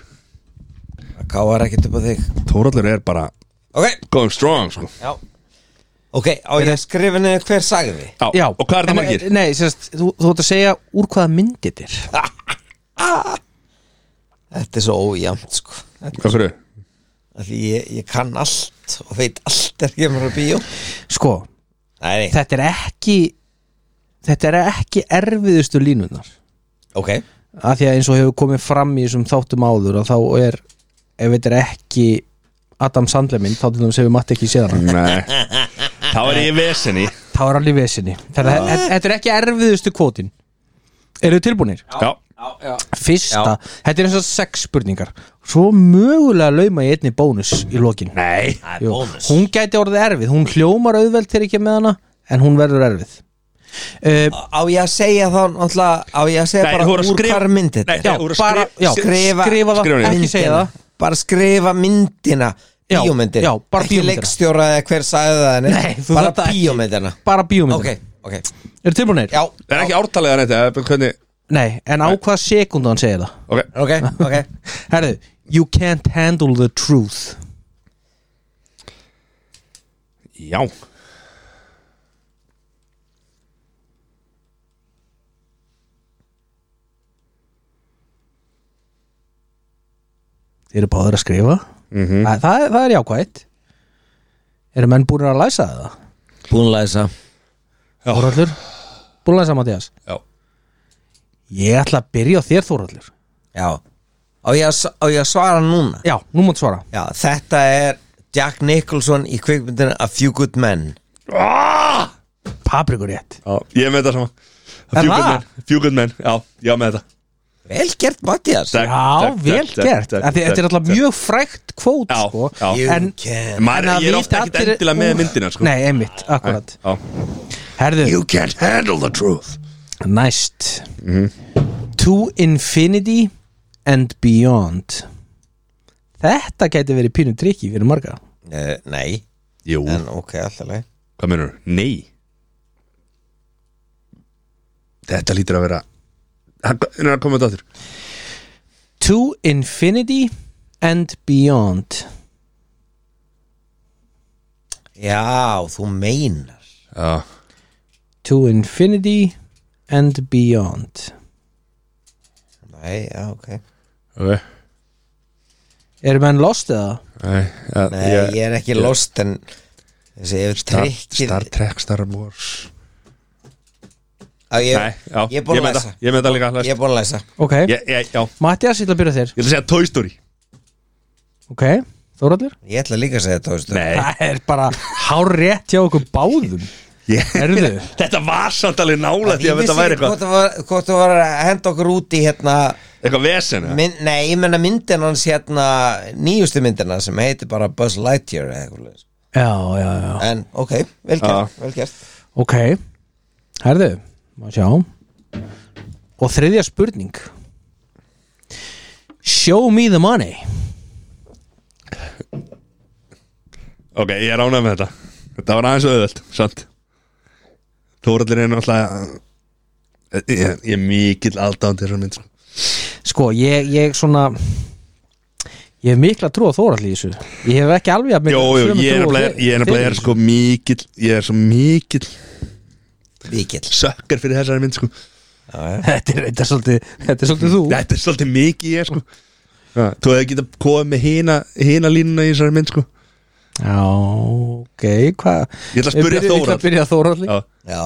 S2: Káar ekkert upp á þig
S3: Þóraldur er bara
S2: Ok
S3: going strong sko
S2: Já Ok, á ég að skrifa niður hver sagði
S3: Já,
S1: Já.
S3: og hvað er það
S1: En,
S3: margir?
S1: Nei, sérst, þú, þú ert að segja úr hvaða myndið þér
S2: Þetta er svo ójæmt sko Þetta-
S3: Hvað fyrir?
S2: af Því ég, ég kann allt og veit allt er kemur á bíó
S1: Sko,
S2: Nei, nei,
S1: þetta er ekki Þetta er ekki erfiðustu línunar
S2: ok
S1: Af því að eins og hefur komið fram í þessum þáttum áður að þá er, ef þetta er ekki Adam Sandler mynd, þá til þess hefur Matti ekki séð hana
S3: Nei Þá er ég í vesinni
S1: þá er allir vesinni þetta þetta- þetta er ekki erfiðustu kvotin eru þið tilbúinir?
S3: Já
S1: fyrsta, þetta er eins og sex spurningar svo mögulega lauma ég einni bónus í lokin
S3: Nei
S2: Það er
S1: Jú,
S2: bónus
S1: hún gæti orðið erfið, hún hljómar auðveld þegar ekki með hana, en hún verður erfið uh,
S2: Á ég að segja þá náttúrulega Á ég að segja
S3: Nei,
S2: bara
S3: þú voru að
S2: úr
S3: skrifa-
S2: hvar mynd þetta
S3: Nei,
S2: er?
S1: já,
S3: þú voru að
S1: bara,
S3: skrifa-
S1: já,
S2: skrifa-
S1: skrifa, það,
S3: skrifa niður.
S1: ekki segja
S2: Myndina.
S1: það
S2: Bara skrifa myndina
S1: Já,
S2: Bíómyndina
S1: já, bara
S2: Ekki
S1: bíómyndina.
S2: leikstjóra eða hver sagði það nei.
S1: Nei, þú
S2: Bara
S1: þarft það ekki.
S2: bíómyndina
S1: bara bíómynd
S2: Ok, ok
S1: eru tilbúinir?
S2: Já,
S3: Það er ekki ártalið að þetta Hvernig
S1: Nei, en á hvað sekundu hann segja það
S3: Ok
S2: ok, ok
S1: herðu, you can't handle the truth
S3: Já
S1: Þið eru báður að skrifa
S3: Mhm.
S1: mm það, það, það er jákvætt Eru menn búin að læsa það?
S2: Búinlæsa
S1: Þórallur? Búin að læsa Mattias?
S3: Já
S1: Ég ætla að byrja á þér Þórallur
S2: Já Á ég að, s- á ég að svara núna
S1: Já, nú mátt svara
S2: Já, þetta er Jack Nicholson í kvikmyndinu A Few Good Men
S3: Ah!
S1: Paprikur rétt
S3: Já, ég er með þetta sama
S1: Er
S3: Fjúkund
S1: það?
S3: menn, fjúkund menn, já, ég er með þetta
S2: Vel gert, Mattias
S3: Takk,
S1: Já,
S3: takk,
S1: vel
S3: takk,
S1: gert
S3: takk,
S1: Af því
S3: takk,
S1: Þetta er alltaf
S3: takk.
S1: mjög frægt kvót
S3: Já,
S1: sko.
S3: já.
S2: You
S1: En
S2: can
S3: Maður,
S1: en að
S3: ég er
S1: vita
S3: ofta ekkert
S1: allir-
S3: endilega með myndina sko.
S1: Nei, einmitt, akkurat
S3: Já.
S1: Herðu,
S3: can't handle the truth
S1: næst
S3: Mhm.
S1: To infinity and beyond Þetta gæti verið pínu trikki fyrir marga
S2: Eh, Nei,
S3: Jú,
S2: en ok, alltaf leið
S3: hvað mennur? Nei Þetta lítur að vera Hann er að koma þetta aftur
S1: To infinity and beyond
S2: Já, þú meinar
S3: Já,
S1: To infinity and beyond
S2: Nei, já, ok
S3: ok
S1: Eru menn lost eða?
S3: Nei, ja,
S2: Nei, ég er ekki lost en þessi yfir
S3: Star,
S2: trikkið
S3: Star Trek, Star Wars
S2: Á, ég,
S3: Nei, já,
S2: ég er búin
S3: ég
S2: að
S3: með
S2: læsa
S3: þetta- ég með þetta líka
S2: Ég
S3: læst.
S2: er búin að læsa
S1: Ok,
S3: Ég- ég- Já,
S1: Mattias, ég ætla að byrja á þér
S3: ég ætla að segja Toy Story
S1: Ok, Þóraldur?
S2: Ég ætla líka að segja þetta, veistu
S3: Nei,
S1: Það er bara hár rétt hjá okkur báðum
S3: ég,
S1: Erðu?
S3: þetta var samt alveg nálægt Ég
S2: Ég
S3: að
S2: vissi
S3: þetta væri
S2: ekki
S3: eitthvað
S2: hvort það var- hvort þú var að henda okkur út í hérna
S3: Eitthvað vesen eða?
S2: mynd, Nei, ég menna myndin hans hérna nýjustu myndina sem heitir bara Buzz Lightyear eða eitthvað leis.
S1: Já, já, já
S2: En ok, vel
S3: Já.
S2: gert, vel gert
S1: Ok, herðu, maður sjá Og þriðja spurning Show me the money
S3: Ok, ég er ánægð með þetta Þetta var aðeins auðvöld, sant Þóraldur er náttúrulega eh, Ég, ég er mikill aldánd þessar mynd sko.
S1: Sko, ég, ég svona Ég hef mikla trú á Þórall í þessu Ég hef ekki alveg að
S3: Jó, jó, ég er nefnilega Ég er nefnilega er sko mikill Ég er svo mikill
S2: Víkill
S3: sökkar fyrir þessari mynd sko.
S1: Þetta er, þetta er svolítið, þetta er svolítið þú
S3: Þetta er svolítið mikið ég sko. Ha, Þú hefði getað komið með hina, hina línuna í þessari mynd sko.
S1: Já, ok, hvað
S3: Ég ætla að spyrja
S1: Ég ætla
S3: Þórhall.
S1: að byrja Þórall
S3: Já,
S2: Já,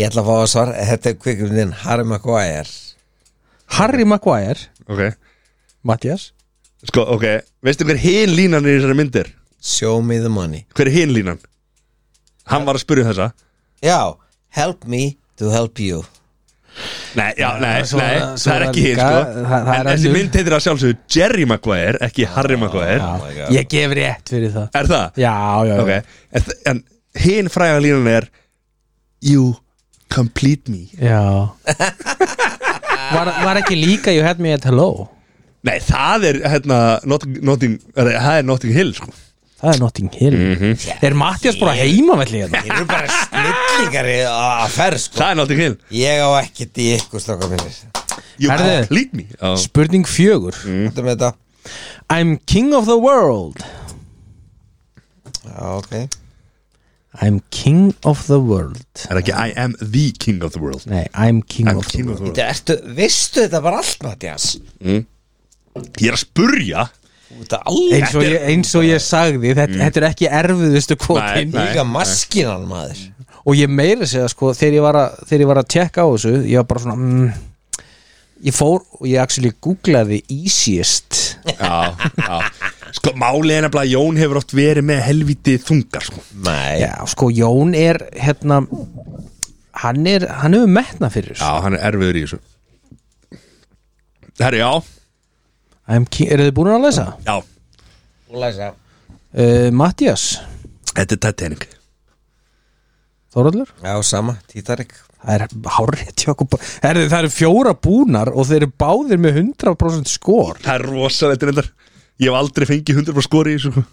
S2: ég ætla að fá að svara Þetta er kvikmyndin Harry Maguire
S1: Harry Maguire
S3: ok
S1: Mattias
S3: Sko, ok, veistu hver hin línan er í þessari myndir?
S2: Show me the money
S3: Hver er hin línan? Hann var að spyrja um þessa
S2: Já, help me to help you
S3: Nei, já, nei,
S1: svo-
S3: nei,
S1: svo
S3: það
S1: var
S3: er ekki hin,
S1: líka-
S3: sko
S1: það- það er
S3: En þessi
S1: önnur.
S3: mynd heitir að sjálfsögðu Jerry Maguire, ekki Harry Maguire
S2: my God.
S1: Ég gef rétt fyrir það
S3: Er það?
S1: Já, já, já
S3: Oh Ok, en, en hin fræga línan er You complete me
S1: Já var, var ekki líka You had me at hello
S3: Nei, það er, hérna, Notting, Notting, er, það er Notting Hill, sko
S1: Það er Notting Hill
S3: Mhm.
S1: Er Mattias bara heimavelli hérna?
S2: Þeir eru bara snillingar í- að að ferð sko
S3: Það er Notting Hill
S2: Ég á ekkert í ykkur stráka mínir
S3: You
S1: Herðu.
S3: complete me Já.
S1: Spurning fjögur
S3: Mm.
S2: Þetta með þetta
S1: I'm king of the world
S2: Já, ok
S1: I'm king of the world
S3: Er ekki I am the king of the world
S1: Nei, I'm king,
S3: I'm
S1: of,
S3: king
S1: the
S3: of the world
S2: Þetta ertu, vistu þetta bara allt Mattias
S3: Ég er að spurja
S2: Þetta
S1: world
S2: alveg
S1: eins og, ég, eins og ég sagði þetta, þetta er ekki erfiðustu
S3: Mm. Nei,
S1: kvotin
S3: nei.
S2: Líka maskinan maður
S1: og ég meira segja sko þegar ég var að, þegar ég var að tjekka á þessu ég var bara svona mm, ég fór og ég actually googlaði easiest
S3: Já, já Sko, málið er nefnilega að Jón hefur oft verið með helviti þungar, sko
S2: Nei
S1: já, sko Jón er hérna hann er, hann hefur metna fyrir þessu.
S3: Já, hann er erfiður í þessu Herri, já
S1: I'm king, eru þið búin að lesa?
S3: Já,
S2: Og læsa
S1: Uh, Mattias,
S3: þetta er Titanic
S1: Þóraldur
S2: Já, sama, Titanic
S1: það er hárið hjá okkur bá- Herðu, það eru fjóra búnar og þeir eru báðir með 100% skor
S3: Það er rosalegt reyndar Ég hef aldrei fengið 100% skori í þessu sko.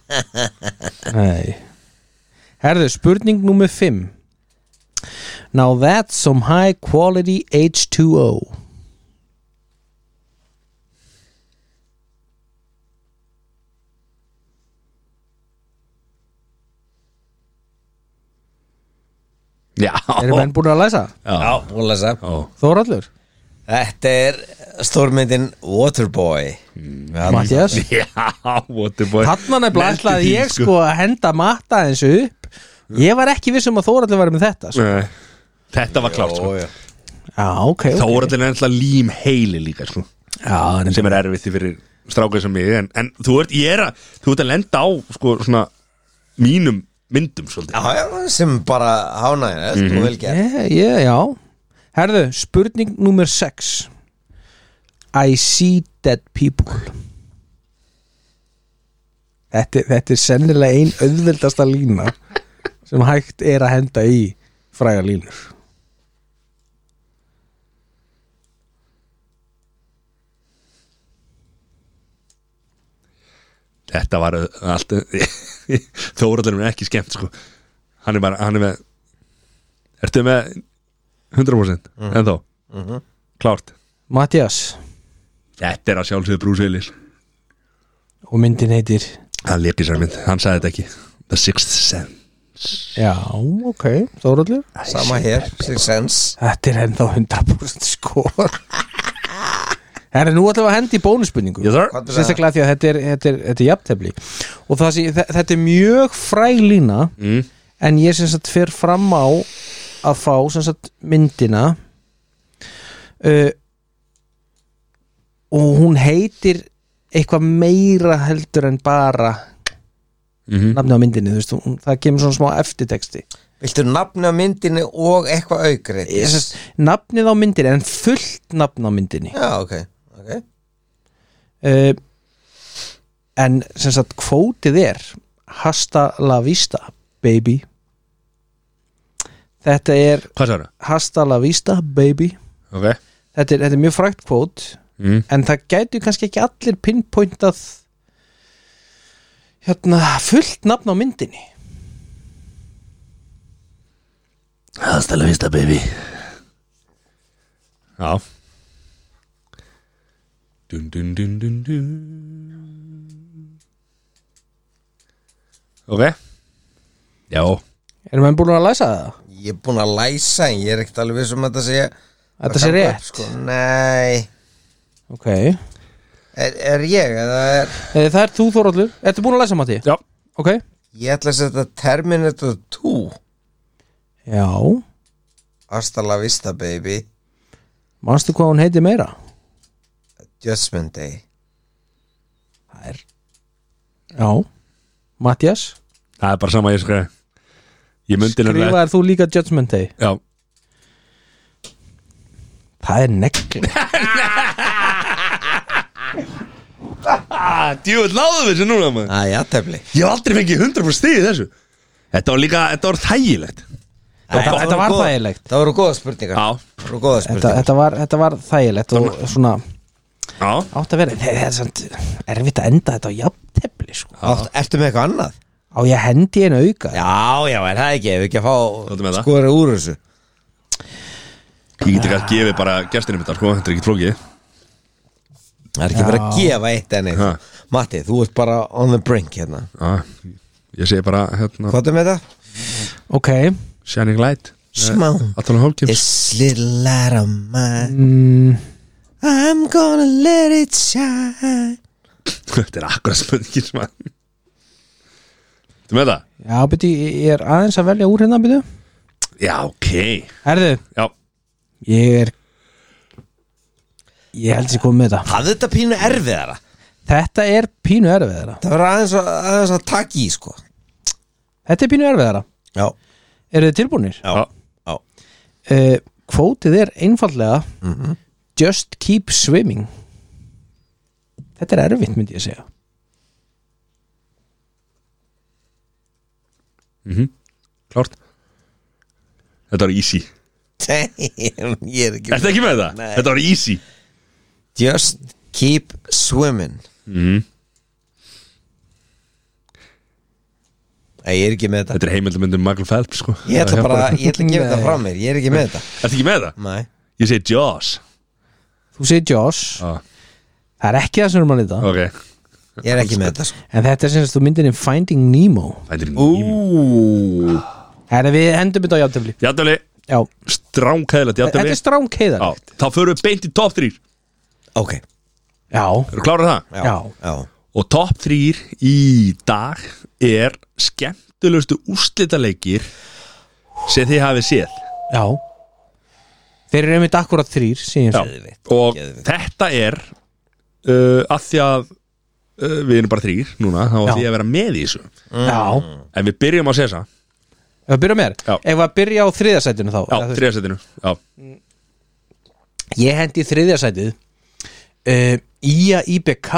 S1: Nei Herðu, spurning nummer 5 Now that's some high quality H2O
S3: Já
S1: Eru menn búin að læsa?
S3: Já,
S2: Og læsa
S3: já.
S1: Þóraldur?
S2: Þetta er stórmyndin Waterboy mm.
S1: Mattias?
S3: Já, what the boy
S1: Þarna nefnilega
S3: Neldi
S1: ætlaði
S3: þín,
S1: ég sko að henda matta eins upp Ég var ekki viss um að Þóraldur var með þetta sko.
S3: Nei, Þetta var klárt sko.
S2: já.
S1: Já, ok,
S3: Þá
S1: ok
S3: er allir nefnilega lím heili líka sko,
S1: Já, en-
S3: sem er erfitt fyrir strákað sem ég en, en þú ert, ég er að þú ert að lenda á sko, svona, mínum myndum svolítið
S2: Já, já, sem bara hánæðin mm -hmm. og velgerð
S1: yeah, yeah, Eh, Já, herðu, spurning nummer 6 I see dead people Þetta, þetta er sennilega ein auðveldasta lína sem hægt er að henda í fræga línur
S3: Þetta var uh, allt Þóraldur er ekki skemmt sko. Hann er bara, hann er með Ertu með 100% mm. En þó, klárt
S1: Mattias
S3: Þetta er að sjálfsögðu Bruce Willis
S1: og myndin heitir
S3: Hann leik í sér mynd, hann sagði þetta ekki The Sixth Sense
S1: Já, ok, Þóraldur
S2: Sama hér, Six Sense
S1: Þetta er ennþá 100% skor Herra, nú ætlum við að henda í bónusspurningu
S3: Yes sir
S2: Hvað er það?
S1: sérstaklega því að þetta er, þetta er, þetta er jafntefli og það sé, þe- þetta er mjög fræg lína
S3: Mm.
S1: en ég sem sagt fer fram á að fá sem sagt myndina uh, og hún heitir eitthvað meira heldur en bara
S3: Mhm.
S1: nafni á myndinni, þú veist, hún, það kemur svona smá eftirteksti
S2: Viltu nafni á myndinni og eitthvað aukrið?
S1: Ég sem sagt, nafnið á myndinni en fullt nafn á myndinni
S2: Já, ok, ok
S1: uh, en sem sagt kvótið er hasta la vista baby þetta er
S3: Hvað sagði það?
S1: hasta la vista baby
S3: Ok
S1: þetta er, þetta er mjög frægt kvót
S3: mm.
S1: en það gætu kannski ekki allir pinpointað hérna fullt nafn á myndinni
S3: Hasta la vista baby Já dun, dun, dun, dun, dun. Ok Já
S1: erum við búin að læsa það?
S2: Ég er búinn að læsa en ég er ekkert alveg viss um að þetta sé
S1: Þetta sé
S2: að ganga upp,
S1: rétt.
S2: sko. Nei,
S1: ok, Eh,
S2: er, er ég eða er,
S1: það er þú Þorallur ertu búin að læsa Matti?
S3: Já
S1: ok,
S2: Ég ætla að setja Terminator 2
S1: já
S2: Hasta la vista baby
S1: manstu hvað hún heiti meira?
S2: Judgment Day
S1: Já, Mattias
S3: Það er bara sama ég skræði Ég myndi nefnilega-
S1: Skrifaðir þú líka Judgment Day
S3: Já,
S1: Það er negli
S3: djúvill láðu þessu núna maður
S2: Æja, tefli
S3: Ég hef aldrei fengið 100% stig í þessu Þetta var líka, þetta var þægilegt
S1: Þetta- þetta var þægilegt.
S2: Það voru góða spurningar
S3: Já,
S2: Það voru góða
S1: þetta,
S2: spurningar
S1: þetta, var, þetta var þægilegt og svona
S3: já
S1: átt að vera Nei, Það er samt erfitt að enda þetta á jafntefli sko.
S2: Átt- Ertu með eitthvað annað?
S1: Á ég hendi einu auka
S2: Já, já, er það ekki, ef við ekki að
S3: Þáttu með
S2: fá
S3: það.
S2: skora úr þessu
S3: Ég geti kannski gefið bara gestinum þetta, sko, þetta er ekki flókið
S2: Það er ekki bara að gefa eitt en
S3: Ha.
S2: eitt Matti, þú ert bara on the brink hérna
S3: Já, ég segi bara, hérna,
S2: Hvað er með það?
S1: Ok,
S3: Shining Light
S2: Smá
S3: Atalum Hólkims
S2: This little light of mine
S1: Mm,
S2: I'm gonna let it shine
S3: Þetta er akkurat spurningin sem að Þú með það?
S1: já, beti, ég er aðeins að velja úr hérna byrju
S3: Já, ok
S1: Herðu,
S3: Já,
S1: ég er Ég held sér komið með þetta
S2: Hafði þetta pínu erfiðara?
S1: Þetta er pínu erfiðara
S2: Það var aðeins, að- aðeins að taka í sko
S1: Þetta er pínu erfiðara
S2: Já,
S1: Eru þið tilbúinir?
S2: já, já
S1: Uh, kvótið er einfallega
S2: Mhm.
S1: Just keep swimming Þetta er erfitt myndi ég segja
S3: klárt Þetta var easy
S2: Damn, ég er ekki
S3: Ertu ekki með það?
S2: Nei.
S3: Þetta var easy
S2: Just keep swimming Nei, Ég er ekki með þetta
S3: Þetta er heimildamundum Michael Phelps, sko
S2: Ég ætla bara, ég ætla að gefa
S1: Nei.
S2: þetta frá mér Ég er ekki með þetta
S3: Ertu ekki með það?
S2: Nei
S3: Ég segi Jaws
S1: Þú segir Josh,
S3: ah,
S1: það er ekki það sem erum að lita
S3: Ok
S2: Ég er ekki með þetta sko
S1: En þetta er sem þú myndinni Finding Nemo
S3: Þetta er ným
S1: Herðu við endum þetta á játtöfli
S3: Játtöfli
S1: Já,
S3: Stránkæðilegt
S1: þetta
S3: játtöfli
S1: er stránk heiðar
S3: Já, þá förum við beint í top 3 Eru
S2: Ok,
S1: Já,
S3: klárar það?
S2: já,
S1: Já.
S2: já.
S3: Og top 3 í dag er skemmtilegustu úrslitaleikir sem þið hafið séð
S1: já Þeir eru einmitt akkurat þrýr síðan
S3: Já.
S1: sem-
S2: Geðveikt,
S3: Og
S2: geðveikt.
S3: þetta er uh, að því að uh, við erum bara þrýr núna þá
S1: Já.
S3: er því að vera með í þessu
S1: Já,
S3: En við byrjum á Sesa
S1: ef að byrja mér
S3: Mm. Já.
S1: Ef að byrja á þriðasætinu þá
S3: Já,
S1: eða þú-
S3: þriðasettinu Já,
S1: Ég hendi í þriðja sætið uh, Ía IBK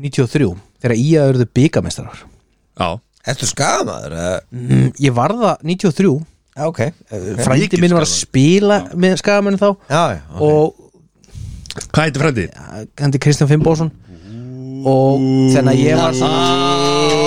S1: 93 þegar Ía eruðu byggamestrar
S3: já
S2: Ertu skamaður? eða?
S1: mm, Ég var það 93 okay.
S2: Já, ok
S1: Frændi
S3: mikið
S1: minn var að spila með skagamennu þá
S2: Já, já, ok
S1: og
S3: Hvað heitir frændið?
S1: uh, hendi Kristján Finnbósson og þannig að ég var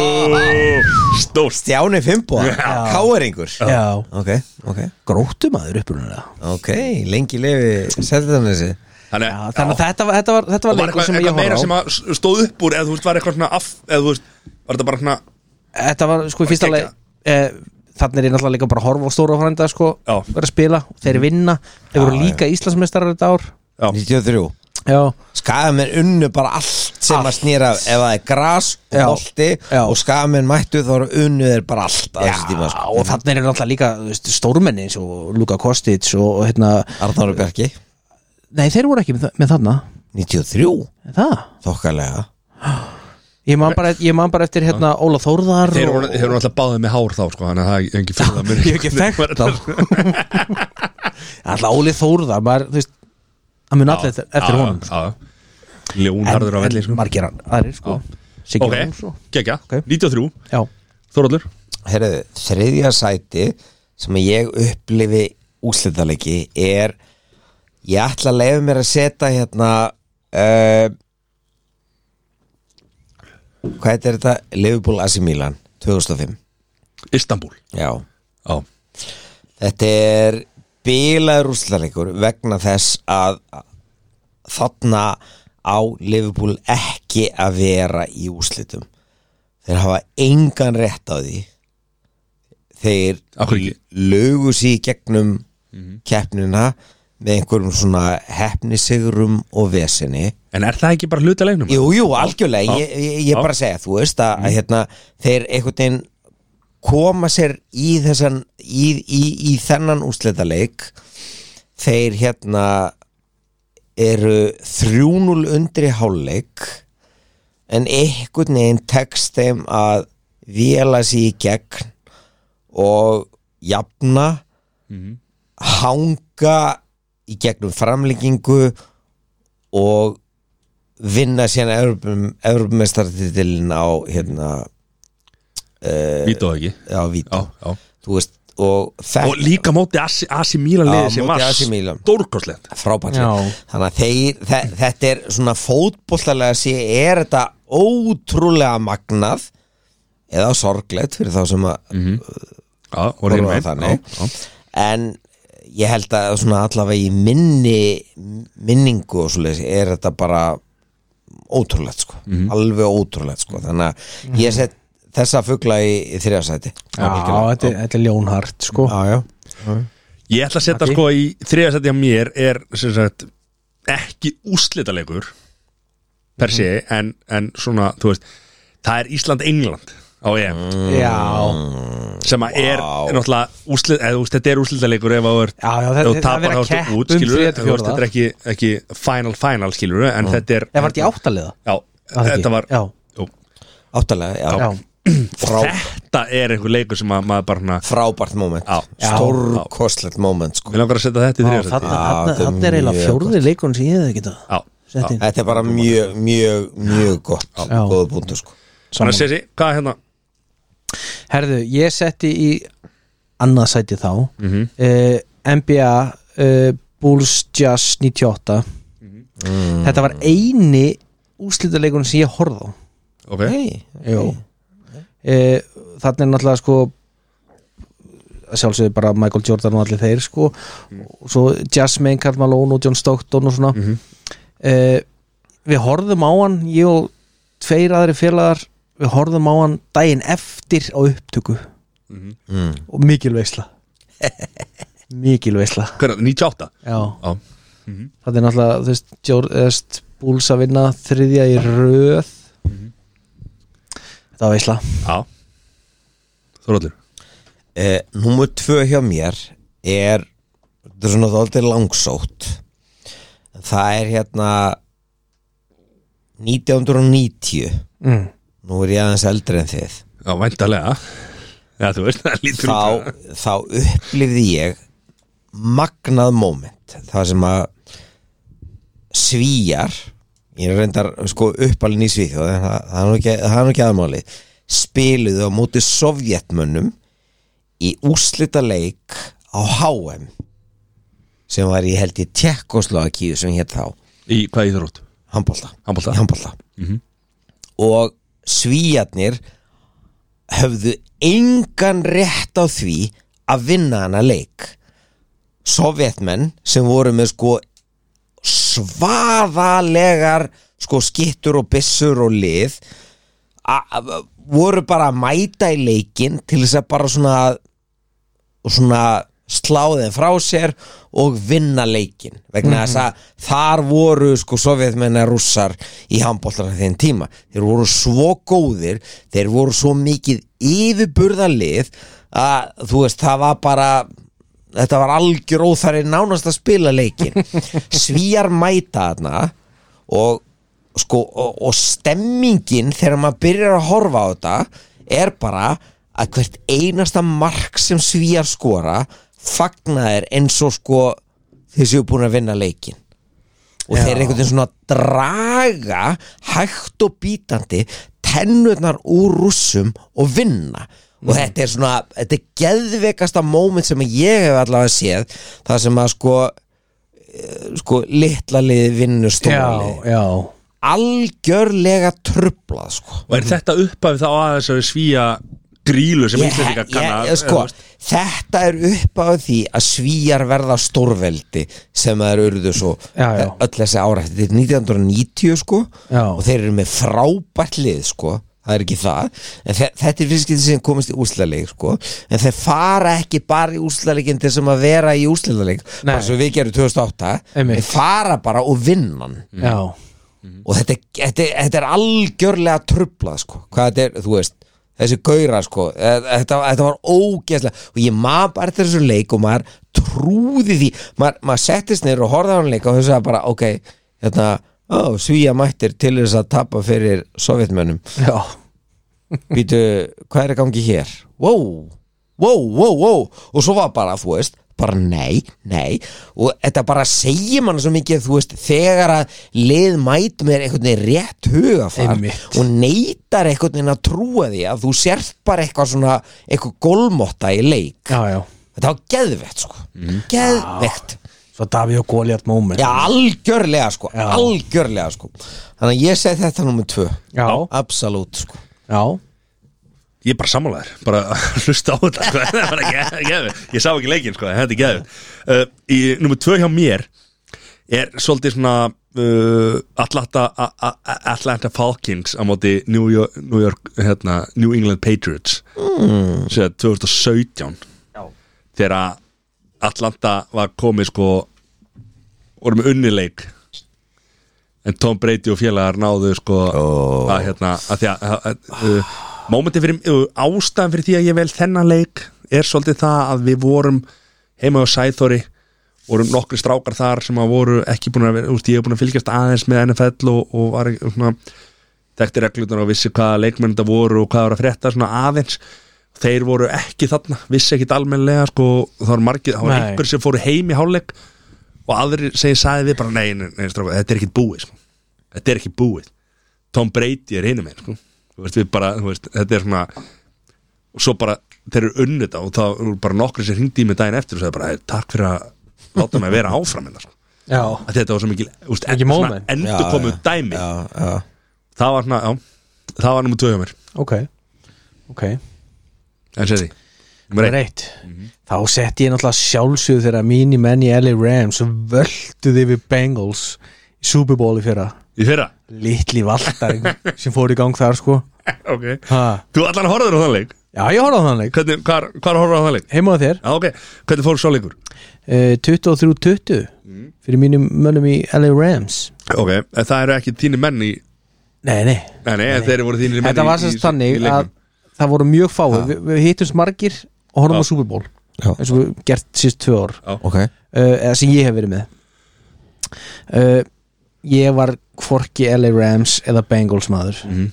S3: Stórt
S2: Stjáni Fimbo Káeringur
S1: Já,
S2: Ok, ok
S1: gróttumaður upprunalega
S2: Ok, lengi lifi Seldanesi
S3: Þannig
S1: Já,
S3: að
S1: þannig að þetta var, þetta var, þetta var
S3: var
S1: leikur
S3: eitthvað,
S1: sem ég
S3: eitthvað meira
S1: horfði á
S3: sem að stóð upp úr eða þú veist var eitthvað svona af eða þú veist var þetta bara svona
S1: Þetta var sko í
S3: Bara
S1: fyrsta leik
S3: geggjað.
S1: eh, Þannig er ég náttúrulega líka bara að horfa á stóra frænda sko,
S3: Já.
S1: vera að spila, þeir vinna þeir voru líka Íslandsmeistarar þetta ár
S2: 93
S1: Já,
S2: Skagamenn unnu bara allt sem að snýra af- ef það er gras og
S1: Já.
S2: bolti
S1: Já.
S2: og skagamenn mættu þá eru unnu þeir bara allt á þessu tíma
S1: Já,
S2: sko.
S1: og þannig eru náttúrulega líka þú veist, stórmenni eins og Luka Kostic og, og hérna,
S2: Arnóru Bjarki
S1: nei þeir voru ekki með, þa- með þarna
S2: 93
S1: Er það,
S2: Þokkalega
S1: ég man bara, ég man bara eftir hérna Óla Þórðar
S3: Þeir
S1: og-
S3: voru, þeir voru alltaf báðið með hár þá sko, þannig að það er engin fyrir það muni
S1: Ég hef ekki þekkt þá Alltaf Óli Þórðar, maður, þú veist hann mun allir eftir, eftir honum sko.
S3: honum Ljónharður á
S1: en,
S3: velli
S1: en
S3: sko.
S1: margir hann- aðrir sko Siggi
S3: Ok,
S1: Jóns og-
S3: gegja,
S1: Ok.
S3: 93
S1: Já,
S3: Þorallur
S2: Herðu, þriðja sæti sem ég upplifi úslitaðleiki er ég ætla að leiða mér að setja hérna uh, hvað heitir þetta? Liverpool AC Milan 2005
S3: Istanbul
S2: Já.
S3: Já,
S2: Þetta er bilaður úslitaðleikur vegna þess að þarna á Liverpool ekki að vera í úslitum þeir hafa engan rétt á því þeir
S3: Af hverju ekki?
S2: lögu sig í gegnum keppnina með einhverjum svona hefnisigrum og veseni
S3: en er það ekki bara hluta leiknum?
S2: Jú, jú, algjörlega,
S3: Já.
S2: ég, ég, ég
S3: Já. Mm.
S2: bara segja þú veist að, að hérna, þeir einhvern veginn koma sér í þessan í, í, í þennan úrslitaleik þeir hérna eru 3-0 undri háleik en einhvern veginn tekst þeim að vila sig í gegn og jafna
S3: Mhm.
S2: hanga í gegnum framlíkingu og vinna síðan Evrópum- Evrópumestartitilin á hérna eh,
S3: Vító ekki
S2: á Vító
S3: Já, já.
S2: þú veist og
S3: Og
S2: þetta
S3: líka móti Asi, Asi Mílan
S2: Já,
S3: liði sem
S2: móti
S3: var
S2: AC Milan.
S3: stórkostlegt
S2: frábært
S1: Já.
S2: lið. þannig að þeir, þe þetta er svona fótbollalega sé er þetta ótrúlega magnað eða sorglegt fyrir þá sem að
S3: Já, og
S2: horfa
S3: reynum
S2: á
S3: einn Já,
S2: þannig.
S3: já.
S2: en ég held að svona allavega í minni minningu og svoleiðis er þetta bara ótrúlegt sko
S1: Mhm.
S2: alveg ótrúlegt sko þannig að ég set þessa fugla í, í þriðasæti
S1: Já, þetta, er- þetta er ljónhart sko
S2: já, já.
S3: Ég ætla að setja
S1: Maggi?
S3: sko í þriðasætti á mér er sem sagt ekki úslitalegur per se en, en svona, þú veist það er Ísland-England á EM
S1: Já,
S3: sem að er náttúrulega úslit, eða, þú veist, þetta er úslitalegur ef að
S1: já, já
S3: Ef
S1: þetta,
S3: þú
S1: þetta er
S3: tapar
S1: verið að
S3: þá ertu
S1: kepp um
S3: út, skilur
S1: þriðja til
S3: Þetta er
S1: fjórða
S3: ekki, ekki final final, skilur En þetta er
S1: Það var þetta í áttaliða
S3: Já,
S1: Var það ekki?
S3: þetta var
S1: Já,
S3: jú,
S2: áttalega, já,
S1: já,
S2: Frá,
S3: Þetta er einhver leikur sem að maður bara hana,
S2: frábært moment
S3: Já.
S1: Já.
S2: stórkostlegt moment sko.
S3: Við langar að setja þetta í
S1: já
S3: þriðasætti
S1: þarna-
S2: Já,
S1: þarna-
S2: þetta er
S1: þarna er eiginlega
S2: mjög
S1: fjórði leikurinn sem ég hefði getað
S3: Já, já.
S1: sett inn
S2: þetta er bara mjög, mjög, mjög gott
S1: Já.
S2: góða búndu sko
S3: Þannig
S1: Sammála.
S3: að Sessi, hvað er hérna?
S1: Herðu, ég setti í annað sæti þá mm NBA uh, Bulls Jazz 98 Þetta var eini úslitaleikurinn sem ég horfði á
S3: Ok,
S2: hey,
S1: Jó Þannig er náttúrulega sko að sjálfsögðu bara Michael Jordan og allir þeir sko og svo Jazz Main, Karl Malone og John Stockton og svona mm Við horfðum á hann ég og tveir aðri félagar við horfðum á hann daginn eftir á upptöku
S2: mm.
S1: og mikil veisla mikil veisla
S3: hvernig, 98
S1: Já,
S3: Já,
S1: það er náttúrulega þú veist, Jórðest Búls að vinna þriðja í röð Þetta var veisla
S3: já Þorallur
S2: Eh, Númer tvö hjá mér er þetta er svona þóldið langsótt En það er hérna 1990
S1: mm.
S2: nú er ég aðeins eldri en þið
S3: Já, væntalega Já, þú veist, það lítur út
S2: þá, þá upplifði ég magnað moment það sem að svíjar ég er reyndar sko uppalinn í Svíþjóð en það, það er nú ekki, það er nú ekki aðmáli spiluðu á móti sovjetmönnum í úslita leik á HM sem var ég held í Tjekkoslóakíu sem hétt þá
S3: Í hvað ég þurft?
S2: handbólta
S3: Handbolta.
S2: í handbólta og svíjarnir höfðu engan rétt á því að vinna hana leik sovjetmenn sem voru með sko svaðalegar sko skittur og byssur og lið a- a- voru bara að mæta í leikin til þess að bara svona og svona sláðin frá sér og vinna leikin vegna þess að þar voru sko sovjetmennar rússar í handbóltarna þeim tíma þeir voru svo góðir þeir voru svo mikið yfirburðalið að þú veist það var bara þetta var algjör óþari nánast að spila leikin svíjar mæta þarna og sko og, og stemmingin þegar maður byrjar að horfa á þetta er bara að hvert einasta mark sem svíjar skora fagnaðir eins og sko þeir séu búin að vinna leikin og þeir einhvern veginn svona draga hægt og bítandi tennurnar úr rússum og vinna og þetta er svona, þetta er geðveikasta moment sem ég hef allavega séð það sem að sko eh, sko litla liði vinnu stóra liði
S1: Já, já
S2: algjörlega trublað sko.
S3: Og er þetta upphafið þá að þessari svíja grílu sem Íslandika kann að
S2: ég- sko, þetta er upp á því að svíjar verða stórveldi sem þeir urðu svo eh,
S1: Já, já.
S2: öll þessi ára þetta er 1990 sko
S1: Já.
S2: og þeir eru með frábært lið sko það er ekki það en þe- þetta er fyrskið sem komist í úslaleik sko en þeir fara ekki bara í úslaleikin til sem að vera í úslaleik
S1: Nei.
S2: bara svo við gerum 2008
S1: Einmitt.
S2: þeir fara bara og vinna hann
S1: Já,
S2: og þetta, er- þetta, er- þetta er algjörlega trublað sko. hvað þetta er, þú veist þessi gauðra sko, eh, þetta, þetta var ógeðslega og ég maður bara eftir þessu leik og maður trúði því, maður, maður settist neyru og horfði á hann leik og þess að bara, ok, þetta hérna, Ó, svíja mættir til þess að tapa fyrir sovjetmönnum
S1: Já
S2: Býtu, hvað er að gangi hér? Wow, wow, wow, wow Og svo var bara, þú veist, bara nei, nei Og þetta bara segir mann svo mikið, þú veist Þegar að lið mætum er einhvern veginn rétt hugafar
S1: Einmitt.
S2: Og neytar einhvern veginn að trúa því Að þú sért bara eitthvað svona Eitthvað golmotta í leik
S1: Já, Mm. já
S2: Þetta var geðvegt, sko Geðvegt
S1: Svo Davíð og Góliart moment
S2: Já, algjörlega, sko
S1: Já.
S2: Algjörlega, sko Þannig að ég segi þetta nummer tvö
S1: Já.
S2: Absolút, sko
S1: já.
S3: Ég er bara sammálaður, bara að hlusta á þetta sko. Það er bara geð- geðveikt. Ég sá ekki leikin sko, en þetta er geðu uh, Í nummer tvö hjá mér er svolítið svona uh, Atlanta, a, a, Atlanta Falcons á móti New York, New, York, hérna, New England Patriots mm. 2017 þegar að Atlanta var komið sko voru með unnileik en Tom Brady og félagar náðu sko að hérna að því að, að, að uh, momenti fyrir uh, ástæðan fyrir því að ég vel þennan leik er svolítið það að við vorum heima á Sæþóri vorum nokkri strákar þar sem að voru ekki búin að vera, úst, ég hef búin að fylgjast aðeins með NFL og, og var ekki svona þekkti reglunar og vissi hvaða leikmenn þetta voru og hvað var að frétta svona aðeins þeir voru ekki þarna, vissi ekkit almennilega sko, það var margir, það var
S1: Nei.
S3: einhver sem fóru heim í hálfleik og aðrir sem ég sagði við bara nei, nei, nei stráka, þetta er ekkit búið sko. þetta er ekki búið Tom Brady er hinum einn sko. Þú veist, við bara, þú veist, þetta er svona og svo bara, þeir eru unnið þetta og það eru bara nokkri sem hringdi í mig daginn eftir og sagði bara, "Hey, takk fyrir að láta mig vera áfram hérna, sko.
S1: já
S3: að þetta var svo mikil úst,
S1: Mikið moment.
S3: endur komu dæmi
S2: Já, já
S3: það var svona, já, það var nummer 2 hjá mér
S1: Ok Ok
S3: en sér því,
S1: Nummer
S3: nummer 1
S1: eitt Þá setti ég náttúrulega sjálfsögðu þegar mín í menn í LA Rams og völduði við Bengals í Super Bowl í fyrra
S3: í fyrra,
S1: Litli valdar sem fór í gang þar sko
S3: ok
S1: ha.
S3: þú allan horfður á þann leik,
S1: Já, ég horfði á þann leik
S3: hvernig, hvar, hvar horfður á þann leik
S1: Heima á þér
S3: já, ok, hvernig fór svo leikur
S1: eh, 23-20
S3: Mm.
S1: fyrir mínum mönnum í LA Rams
S3: ok, en Eh, það eru ekki þínir menn í
S1: Nei, nei
S3: nei, nei, en þeir eru voru þínir menn
S1: Þetta
S3: í-
S1: var
S3: í-
S1: sérst
S3: í- í
S1: þannig að
S3: leiknum.
S1: það voru mjög fáið Vi, Við hittumst margir og horfum á
S3: Já.
S1: Super Bowl
S2: Já.
S1: eins og við gert síst tvö ár
S2: Ok
S1: uh, eða sem ég hef verið með uh, ég var hvorki LA Rams eða Bengals maður
S3: Mhm.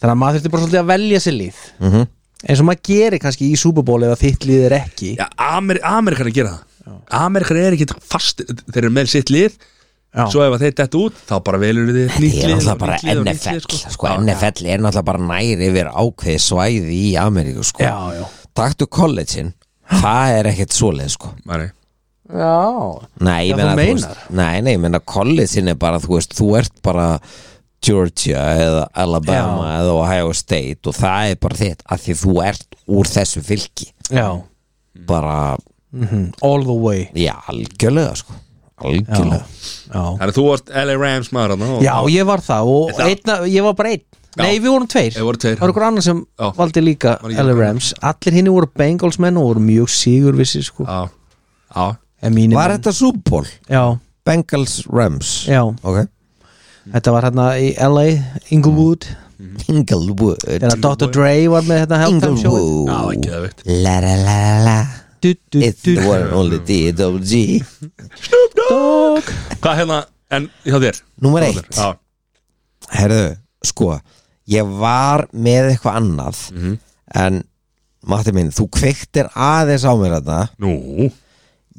S1: þannig að maður þurfti bara svolítið að velja sér líð
S2: mm -hmm.
S1: eins og maður gerir kannski í Super Bowl eða þitt líð er ekki
S3: Já, Amer, Amerikanar gera það Amerikanar er ekki fast þeir eru með sitt lið
S1: Já.
S3: svo ef að þeir dett út þá bara velur þið nýtt lið
S2: Ég er
S3: og
S2: náttúrulega bara
S3: nýtt lið og nýtt
S2: NFL
S3: lið, sko.
S2: sko,
S3: Já,
S2: NFL er náttúrulega bara nær yfir ákveð svæði í Ameríku sko.
S1: já, já,
S2: Taktu kollegin Það er ekkert svoleið sko
S3: já, nei.
S1: já. Já,
S2: Nei, ég meina,
S1: þú
S2: þú
S1: meinar.
S2: veist, nei, nei, ég meina kollegin er bara, þú veist, þú ert bara Georgia eða Alabama eða Ohio State og það er bara þitt að því þú ert úr þessu fylki
S1: já.
S2: bara,
S1: Mhm. all the way
S2: já, algjörlega sko algjörlega
S1: já.
S3: Þannig að þú varst LA Rams maður þarna og-
S1: já, ég var það og
S3: Það-
S1: einna, ég var bara einn
S3: Já.
S1: nei, við vorum tveir
S3: Þeir voru tveir.
S1: það var ykkur annar sem
S3: Já.
S1: valdi líka
S3: Var ekki
S1: LA
S3: annar.
S1: Rams allir hinn voru Bengals menn og voru mjög sigur vissi sko
S3: Já, já
S1: en mínir
S2: Var
S1: menn
S2: þetta Super Bowl?
S1: já,
S2: Bengals Rams?
S1: já,
S2: Ok
S1: þetta var hérna í LA Inglewood
S2: Mm. Inglewood
S1: Þegar Dr. Dre var með þetta halftime show
S2: Inglewood
S3: Já, ekki það veikt
S2: La la la la la
S1: du, du,
S2: It's
S1: du,
S2: the one and only D.W.G
S1: dog.
S3: Hvað hérna, en hjá þér?
S2: Númer eitt Ah.
S3: Já,
S2: Herðu, sko Ég var með eitthvað annað En Matti minn, þú kveiktir aðeins á mér þetta
S3: nú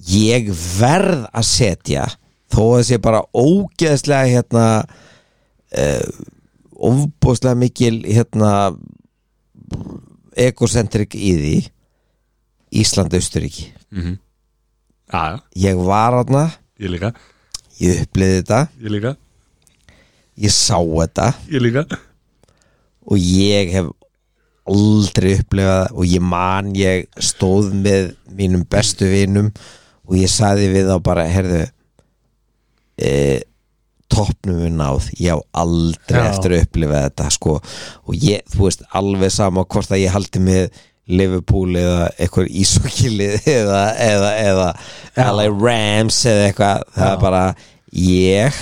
S2: Ég verð að setja Þó að sé bara ógeðslega hérna uh, Óbúðslega mikil hérna Egocentrik í því Ísland-Austuríki
S3: Já, já,
S2: ég var aðna,
S3: ég líka,
S2: ég upplýði þetta
S3: ég líka,
S2: ég sá þetta
S3: ég líka
S2: og ég hef aldrei upplifað það og ég man ég stóð með mínum bestu vinum og ég saði við þá bara herðu e, toppnum við náð ég hef aldrei
S1: Já.
S2: eftir að upplifa þetta sko. og ég, þú veist, alveg sama hvort að ég haldi með Liverpool eða eitthvað ísokilið eða, eða, eða LA Rams eða eitthvað, það er bara ég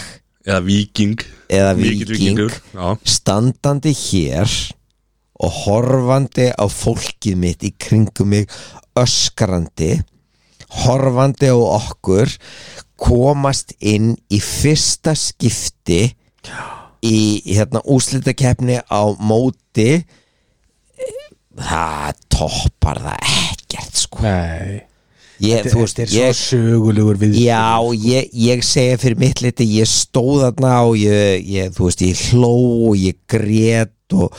S3: Eða viking
S2: Eða
S3: Mikill
S2: Víking.
S3: víkingur. Já,
S2: standandi hér og horfandi á fólkið mitt í kringum mig öskrandi horfandi á okkur komast inn í fyrsta skipti í hérna úslitakeppni á móti það toppar það ekkert sko
S1: Nei
S2: ég, þú veist,
S1: Þetta er svo
S2: ég,
S1: sögulegur við
S2: já, ég, ég segja fyrir mitt liti ég stóð þarna og ég, ég þú veist, ég hló og ég grét og,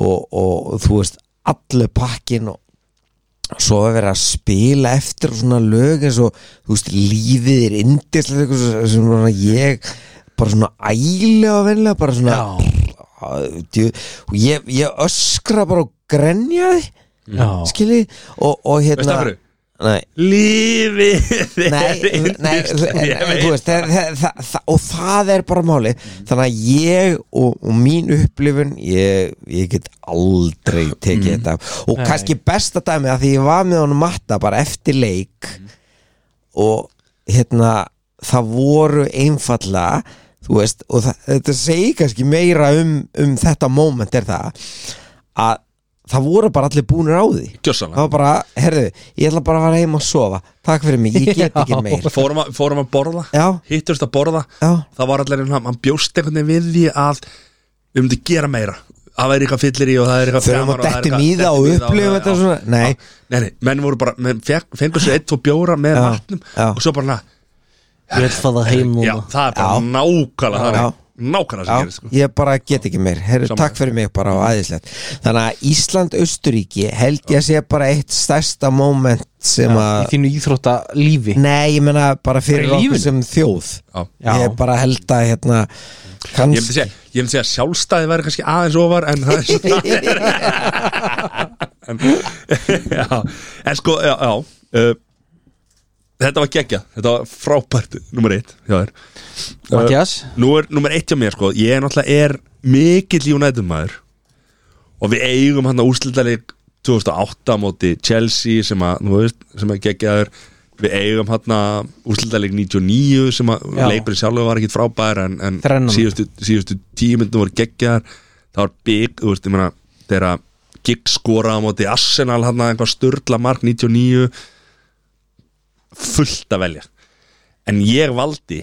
S2: og, og þú veist, allu pakkin og svo að vera að spila eftir og svona lög eins og þú veist, lífið er indislega eitthvað svo- sem svona ég bara svona ægilega og venlega bara svona Á, djú, og ég, ég öskra bara og grenja því
S1: Já.
S2: skilji og, og hérna
S3: Veistu af hverju?
S2: Nei,
S3: Lífið er
S2: nei, nei,
S3: yndislegt,
S2: nei,
S3: ég veit.
S2: nei,
S3: Mm.
S2: þú veist, það, það, það, það, og það er bara máli þannig að ég og, og mín upplifun ég, ég get aldrei
S3: Mm.
S2: tekið þetta og
S1: Nei.
S2: kannski besta dæmi að því ég var með honum matta bara eftir leik
S3: Mm.
S2: og hérna það voru einfalla þú veist, og það, þetta segir kannski meira um, um þetta moment er það að það voru bara allir búnir á því
S3: Gjörsamlega.
S2: það var bara, herðu, ég ætla bara að fara heim að sofa takk fyrir mig, ég get ekki
S1: Já.
S2: meir
S3: fórum, að, fórum að borða
S2: Já.
S3: hittumst að borða
S2: Já.
S3: það var allir einhvern hann bjóst einhvern veginn við því að við myndum gera meira það væri eitthvað fyllir í og það er eitthvað
S2: Förum
S3: framar
S2: og
S3: það er
S2: dettum
S3: eitthvað-
S2: í það og
S3: dettum
S2: upplifum
S3: já.
S2: þetta svona. Nei.
S3: Já. nei, nei, menn voru bara menn fekk, fengur sér eitt, tvo bjóra með
S2: Já.
S3: vatnum
S2: Já.
S3: og svo bara na,
S1: Ég vil fara heim
S3: já,
S1: núna
S3: það er bara nákvæmlega
S2: Já.
S3: það
S2: Já.
S3: er nákvæmlega sem
S2: Já,
S3: gerist sko.
S2: ég bara get ekki meir Heru,
S3: Sammála.
S2: Takk fyrir mig bara og aðeinslegt Þannig að Ísland-Austuríki held ég að sé bara eitt stærsta moment sem
S1: Í
S2: að
S1: þínu íþrótta lífi
S2: Nei, ég meina bara fyrir
S1: Bara í
S2: okkur
S1: lífinu?
S2: sem þjóð
S3: Já.
S2: Ég bara held að hérna
S3: ég myndi
S2: kannski
S3: segja, ég myndi segja að sjálfstæði væri kannski aðeins ofar en það er svona en, já, en sko, já, já uh, þetta var geggja þetta var frábært nummer eitt hjá þér
S1: Mattias
S3: Nú er nummer eitt hjá mér sko Ég er náttúrulega er mikill United maður Og við eigum hann að úrslitaðleik 2008 á móti Chelsea sem að, nú veist, sem að geggjaður Við eigum hann að úrslitaðleik 99 sem að
S1: Já.
S3: leikurinn sjálfur var ekkit frábær En, en
S1: Þrennan.
S3: síðustu, síðustu tímyndum voru geggjaðar Það var bygg, þú veist, ég meina Þegar að gigg skora á móti Arsenal hann að einhvað störla mark 99 Fullt að velja En ég valdi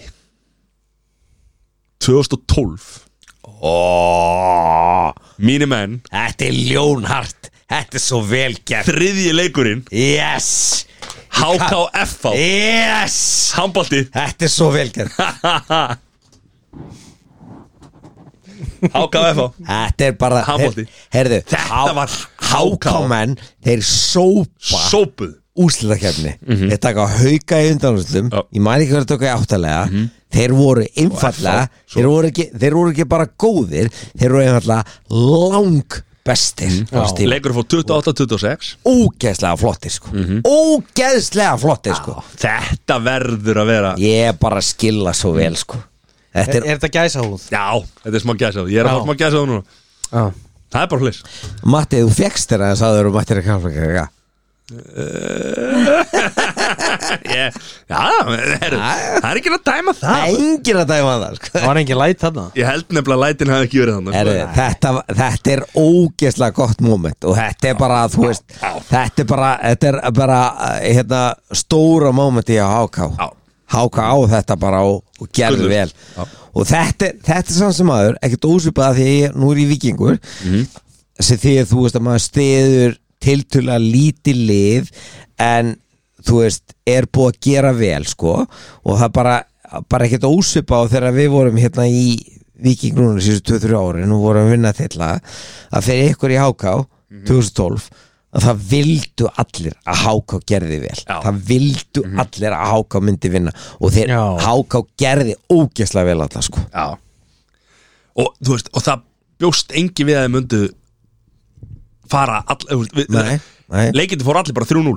S3: 2012
S2: Ó,
S3: Mínu menn,
S2: Þetta er ljónhart Þetta er svo vel gert
S3: þriðji leikurinn
S2: Yes,
S3: HKFA
S2: yes
S3: Handbólti
S2: Þetta er svo vel gert
S3: HKFA
S2: Þetta er bara
S3: Hambolti.
S2: Herðu,
S3: Þetta var HK.
S2: hákámenn Þeir sópa
S3: Sópuð
S2: úrslitakeppni Þeir taka hauka í undanúslum
S3: Mhm. Já. Mhm.
S2: Ég mæri ekki verið að taka í áttalega Þeir voru einfallega
S3: Og FH, svo.
S2: þeir voru, ekki, þeir voru ekki bara góðir Þeir voru einfallega lang bestir
S3: Mhm.
S2: mm.
S3: Leikur fór 28-26
S2: Ógeðslega flottir sko
S3: Mhm.
S2: Ógeðslega flottir sko
S3: Þetta verður að vera
S2: Ég bara skilla svo vel sko Þetta
S1: Er
S2: er
S1: þetta gæsa húð?
S3: Já, þetta er smá gæsað Ég er að fá
S1: Já.
S3: smá gæsað núna Það er bara hlis
S2: Matti, þú fegst þér að þess að þau eru Matti er að kalla
S3: Ég- Eh, Já, heru, það er ekki að dæma
S2: Það
S3: það
S2: er engin að dæma það sko
S1: Það var engin læt þarna
S3: Ég held nefnilega að lætin hafi ekki verið sko. þannig
S2: Herðu, þetta, þetta er ógeðslega gott moment og þetta er bara, þú veist þetta er bara, þetta er bara eh, hérna, stóra moment í að háká
S3: Já.
S2: háká á þetta bara og, og gerðu
S3: Gullur.
S2: vel
S3: Já.
S2: og þetta, er- þetta er samt sem aður, ekkert ósvipað að því að ég, nú er ég vikingur
S3: Mhm.
S2: sem því að þú veist að maður stiður tiltölulega lítið lið en þú veist er búið að gera vel sko og það er bara, bara ekkert ósvipa á þegar við vorum hérna í vikingrúnum síðustu 2-3 árin og vorum að vinna til að að fyrir ykkur í háká
S3: Mhm.
S2: 2012 að það vildu allir að háká gerði vel
S3: Já. Mhm.
S2: það vildu allir að háká myndi vinna og þeir
S1: Já.
S2: háká gerði ógeðslega vel alla sko
S3: Já Og þú veist, og það bjóst engi við að þið myndu fara all, þú veist, við,
S2: Nei, nei.
S3: Leikindi fór allir bara 3-0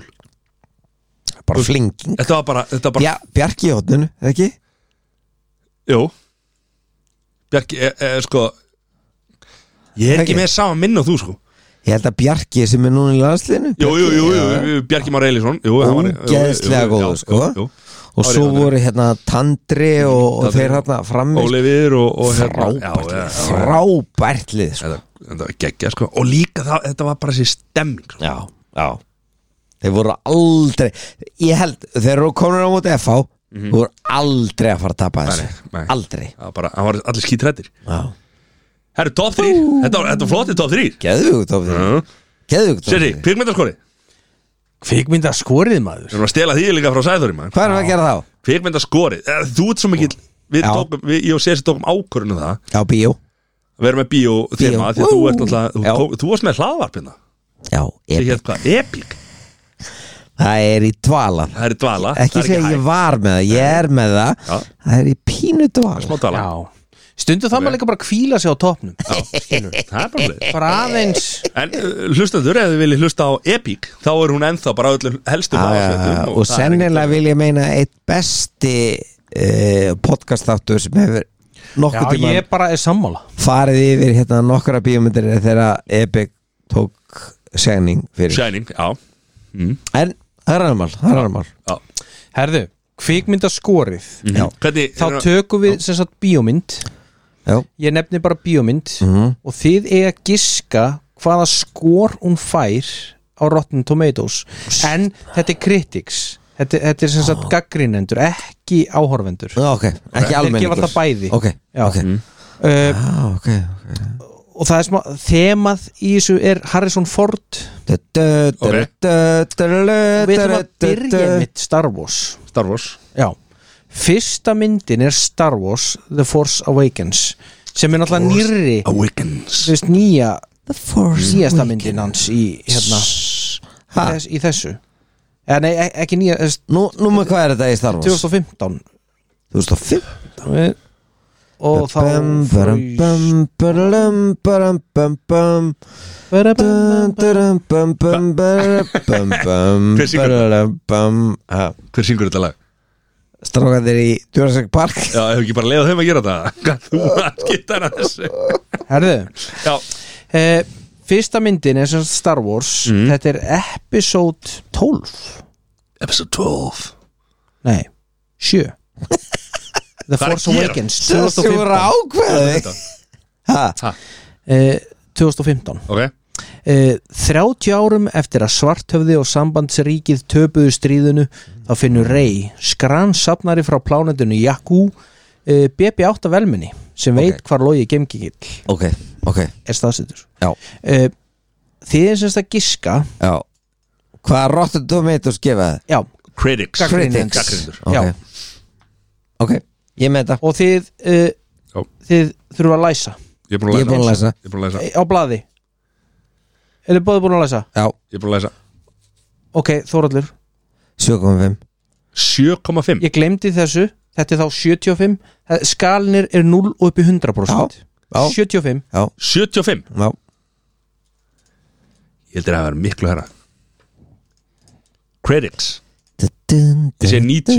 S2: bara flinging
S3: Þetta var bara, þetta var bara,
S2: Bjar Bjarki í hóttinu, ekki?
S3: jú Bjarki, e, e, sko Ég er
S2: Ekki.
S3: ekki með sama minn og þú sko
S2: Ég held að Bjarki sem er núna í landsliðinu
S3: Jú, jú, jú, jú,
S2: Já.
S3: jú Bjarki Már Eilisson Jú, hann var- jú, jú,
S2: Ógeðslega
S3: jú,
S2: góður,
S3: já,
S2: sko.
S3: jú, jú.
S2: Og svo
S3: Árið,
S2: voru hérna Tandri og, og
S3: Tandri.
S2: þeir hérna frammi
S3: Óliðir og, og hérna
S2: Frábært
S3: já, já,
S2: lið,
S3: já.
S2: frábært lið sko.
S3: Þetta þetta var geggja, sko Og líka það, þetta var bara þessi stemming sko.
S2: Já, já Þeir voru aldrei Ég held, þeir eru komin á móti FH þú er aldrei að fara að tapa þessu
S3: Mhm. nei.
S2: aldrei
S3: Það var bara, hann var allir skítrættir
S2: já.
S3: Herru, top 3, þetta var, þetta var flotti top 3
S2: geðvögu tófið uh.
S3: Mhm.
S2: geðvögu
S3: Sérri,
S2: tófið
S3: kvikmyndaskori Við
S1: Kvikmynda skorið maður
S3: erum að stela því líka frá sæðurinn maður
S2: hvað erum við að gera þá?
S3: Kvikmyndaskori, Eh, þú ert svo mikill Við
S2: Já.
S3: tókum, við, ég og Sérsi tókum ákvörðinu það
S2: já, bíó
S3: Við erum með bíó þema Því
S2: Bíó.
S3: að þú ert
S2: Já.
S3: náttúrulega, þú, tók- þú varst með hlaðvarpina
S2: já,
S3: Ég
S2: epic.
S3: hétt hvað, Epic
S2: það er í dvala
S3: Það er í dvala,
S2: ekki
S3: það er
S2: segja
S3: ekki
S2: ég var með það, ég er með það
S3: Já.
S2: það er í pínu dvala
S3: Smá dvala,
S1: Já Stundu það maður líka bara kvíla sig á topnum Skilur
S3: það er bara leið
S1: Bara aðeins
S3: En uh, hlustandur, ef þið viljið hlusta á Epic þá er hún ennþá bara á öllum helstum
S2: Já, já,
S3: aðalfréttum
S2: já.
S3: um og
S2: Ah, og
S3: það er
S2: sennilega vil ég meina eitt besti uh, podcastáttur sem hefur
S1: Já,
S2: nokkuð tíma
S1: ég bara er sammála
S2: farið yfir hérna nokkra bíómyndir þegar Epic tók segning
S3: ekkert-
S2: fyrir
S3: Shining, já
S2: en það er aðmál, það er aðmál
S3: Já.
S1: Herðu, kvikmynda skorið
S2: Já.
S3: Hvernig,
S1: Þá tökum við sem sagt bíómynd
S2: já,
S1: Ég nefni bara bíómynd Og þið eiga að giska hvaða skor hún fær á Rotten Tomatoes En þetta er critics Þetta, þetta er sem sagt gaggrinendur, ekki áhorfendur
S2: Já, ok, ekki
S1: Þeir
S2: almenningur
S1: gefa alltaf bæði.
S2: ok,
S1: Já.
S2: ok,
S1: uh,
S2: já, ok, okay.
S1: Og það er smá, þemað í þessu er Harrison Ford
S2: Du, du, du,
S3: Ok.
S2: du, du, du,
S1: Við ætlum að
S2: du, du,
S1: byrja mitt Star Wars
S3: Star Wars
S1: Já, fyrsta myndin er Star Wars The Force Awakens sem er náttúrulega nýrri þú
S3: Awakens
S1: veist nýja,
S2: The Force
S1: nýjasta
S2: Awakens.
S1: myndin hans í, hérna,
S2: Ha?
S1: þess, í þessu eða nei, e- ekki nýja, þess,
S2: Nú, nú með hvað er þetta í Star Wars?
S1: 2015
S2: 2005
S1: Eh, og þá
S2: Bum, barum,
S1: fraus-
S2: bum, barum, barum, bum, bum. Dun, dun, bum, bum, barum, bum, bum,
S3: Hver syngur þetta?
S2: barum, bum. Ha,
S3: Hver syngur þetta lag?
S2: Strákarnir í Jurassic Park
S3: Já, ef ekki bara leiða þeim að gera þetta Hvað þú að geta hana þessu
S1: Herðu,
S3: Já,
S1: eh, fyrsta myndin er sem sagt Star Wars þetta er episode 12
S3: episode 12
S1: nei, 7 The
S3: Hvað er að
S1: Force
S3: gera?
S1: Awakens
S2: Þessi voru
S1: 2015
S2: ákveði
S3: Þetta,
S2: Ha,
S1: Eh, 2015
S3: ok
S1: Eh, 30 árum eftir að svartöfði og sambandsríkið töpuðu stríðinu þá finnur Rey skransafnari frá plánendinu Jakku uh, BB8 velminni sem veit hvar logi gemgigill
S2: Ok, ok,
S1: er staðsettur
S2: já,
S1: uh, Þið er semst að giska
S2: já Hvað Rotten Tomatoes gefa það?
S1: já,
S3: Critics
S1: Gagnrýnendur.
S3: Gagnrýnendur.
S2: Ok.
S1: Já.
S2: Ok, ég með þetta
S1: og þið
S3: Já.
S1: uh, þið þurfa að læsa
S3: Ég er búin að
S2: Ég er
S3: læsa
S2: búin að læsa.
S3: Ég er búin að læsa
S1: Eh, á blaði Er þið báði búin að læsa?
S2: Já,
S3: Ég er búin að læsa
S1: Ok, Þóraldur,
S2: 7,5
S3: 7,5
S1: ég glemdi þessu þetta er þá 75 Eh, skalinir er 0 og upp í 100%
S2: Já, já.
S1: 75
S2: Já,
S3: 75
S2: já
S3: Ég heldur að það verið miklu herra Critics
S2: Ég
S3: sé 90.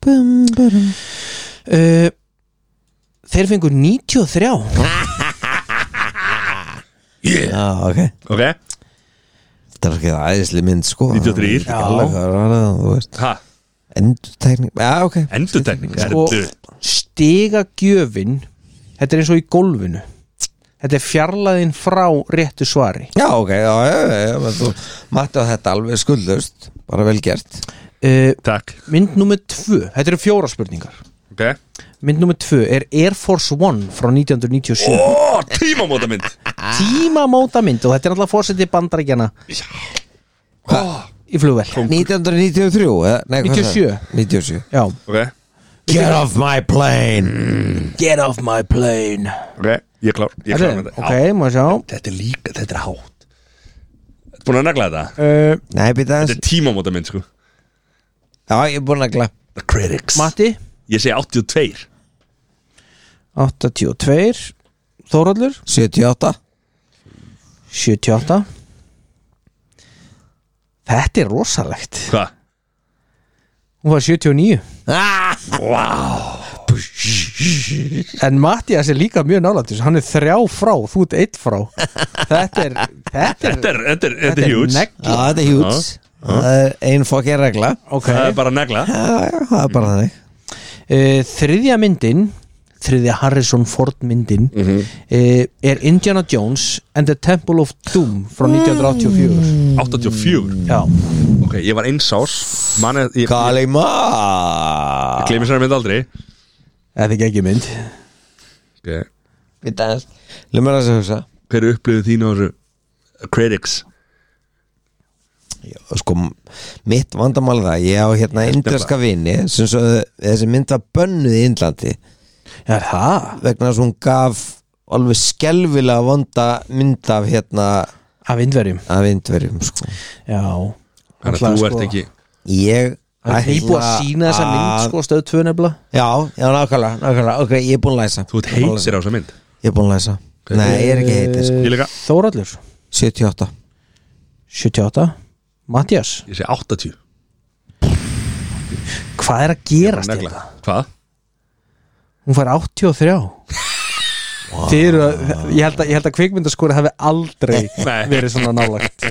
S1: 90 uh, Þeir fengur 93
S3: Yeah
S2: Já, ok
S3: Ok
S2: Þetta er ekki það æðisli mynd sko
S3: 93.
S2: Það er ekki alveg hvað var það, þú veist
S3: Ha Sko-
S2: Endurtekning, já, ok
S3: Endurtekning
S1: og stiga gjöfin þetta er eins og í golfinu þetta er fjarlæðin frá réttu svari
S2: Já, ok, já, já, já, já menn Þú matti á þetta alveg skuldlaust Bara vel gert
S1: uh,
S3: Takk
S1: mynd nummer 2, þetta eru fjóra spurningar
S3: Ok
S1: mynd nummer 2 er Air Force One frá 1997 oh.
S3: Ó, tímamóta mynd
S1: tímamóta mynd og þetta er alltaf fórsetið bandarækjana í flugvel
S2: 1993, eða, nei, hvað er
S1: 97.
S2: það? 97
S1: Já.
S3: Ok
S2: Get off my plane
S1: Get off my plane
S3: Ok Ég er klár Ég er klár með
S1: Herðu,
S3: þetta
S1: Ok, maður sjá
S3: Þetta er líka, þetta er hátt Þetta er búin að negla þetta
S1: uh,
S2: Nei, býta
S3: Þetta
S2: þess
S3: er tímamóta mynd sko
S2: Já, ég er búin að gla
S3: The Critics
S1: Matti,
S3: Ég segi 82
S1: 82 Þóraldur
S2: 78
S1: 78 Þetta er rosalegt
S3: Hvað?
S1: Hún var 79 En Mattias er líka mjög nálættis Hann er þrjá frá, þú ert eitt frá Þetta er Þetta er,
S3: Þetta er, þetta er, þetta er huge
S1: negg
S2: Já, þetta er hjúts Það er ein fokkin regla
S1: Ok.
S3: Það er bara að negla
S2: Já, já, það er bara þannig
S1: Eh, Þriðja myndin þriðja Harrison Ford myndin eh, er Indiana Jones and the Temple of Doom frá 1984
S3: 84
S1: já,
S3: Ok, ég var eins ás Manni, ég, ég,
S2: Kalima
S3: ég gleymi sér að mynd aldrei
S1: þetta er ekki mynd
S3: okay.
S2: Leðum við að hugsa
S3: Hver er upplifið þín á þessu Critics
S2: sko, mitt vandamál er það ég á hérna indreska vini sem svo þessi mynd var bönnuð í Indlandi
S1: já, það,
S2: vegna þess að hún gaf alveg skelvilega vonda mynd af hérna
S1: af indverjum
S2: af indverjum sko.
S1: já,
S3: Þannig að
S1: Náttúrulega,
S3: þú
S1: sko,
S3: ert ekki
S2: ég
S1: það er nýbúið að sína þessa mynd
S2: að-
S1: sko stöð 2 nefnilega
S2: já, já, nákvæmlega, nákvæmlega ok, ég er búin að læsa
S3: Þú ert heitir á þessu mynd
S2: ég er búin að læsa nei, ég er ekki heitir sko.
S3: Ég líka.
S1: Þóraldur,
S2: 78
S1: 78 Mattias,
S3: Ég segi 80
S1: hvað er að gerast
S3: Negla.
S1: þetta?
S3: Hvað?
S1: Hún fær 83 Þið eru að, ég held að, ég held að kvikmyndaskori hafi aldrei
S3: Nei.
S1: verið svona nálagt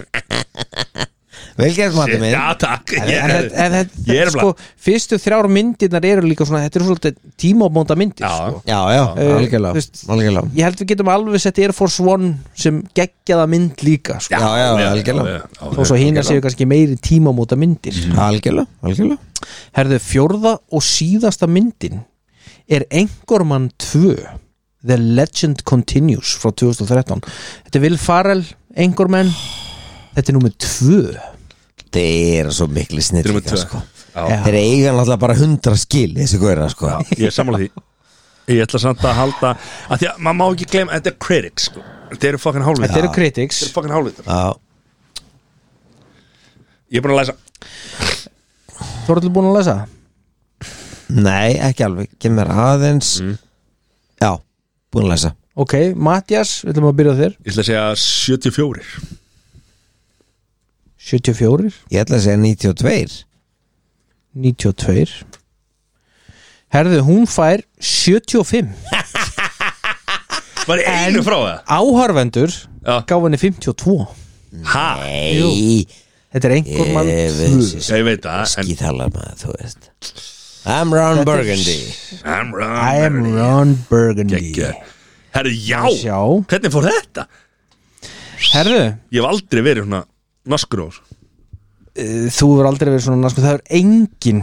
S2: velgerð mati minn
S3: Já, takk
S1: En, en, en, en, en
S3: Ég er
S1: sko,
S3: bara-
S1: fyrstu þrjár myndirnar eru líka svona þetta eru svolítið tímabónda myndir
S3: Já.
S1: sko.
S2: já, já,
S1: Eh, þú
S2: algjörlega
S1: veist-
S2: algjörlega
S1: Ég held við getum alveg sett Air Force One sem geggjaða mynd líka sko.
S2: já, já, algjörlega
S1: Þó svo hína séu kannski meiri tímamóta myndir
S3: Mhm.
S2: algjörlega, algjörlega
S1: Herðu, fjórða og síðasta myndin er Engormann 2 The Legend Continues frá 2013 Þetta er Will Farrell, Engormann Þetta er númer 2
S2: þeir eru svo miklu snill
S3: Þrjum og tvö
S2: sko.
S3: Já.
S2: þeir eiga náttúrulega bara hundra skil þessi góra sko.
S3: Ég er sammála því Ég ætla samt að halda að Því að maður má ekki gleyma Þetta er critics sko. Þetta eru fucking hálfvitar
S1: Þetta eru critics
S3: Þetta eru fucking hálfvitar
S2: Já.
S3: Ég er búin að læsa
S1: Þú eru allir búin að lesa?
S2: nei, ekki alveg, kemur aðeins
S3: Mm.
S2: já, búin að læsa
S1: Ok, Mattias, við ætlum að byrja á þér
S3: Ég ætla að segja 74
S1: 74,
S2: ég ætla að segja 92
S1: 92 Herðu, hún fær 75
S3: Var ég einu frá það?
S1: Áharfendur
S3: Já.
S1: gaf henni 52
S3: Ha?
S2: nei,
S1: Þetta er Engormann 2
S3: Ég veit það en
S2: skítalar maður, þú veist I'm Ron Burgundy
S3: I'm
S1: I am
S3: wrong
S1: Ron Burgundy
S3: Gekkja Herru, já
S1: Sjá.
S3: Hvernig fór þetta?
S1: Herðu,
S3: Ég hef aldrei verið svona Naskur ás
S1: Eh, þú hefur aldrei verið svona naskur það er enginn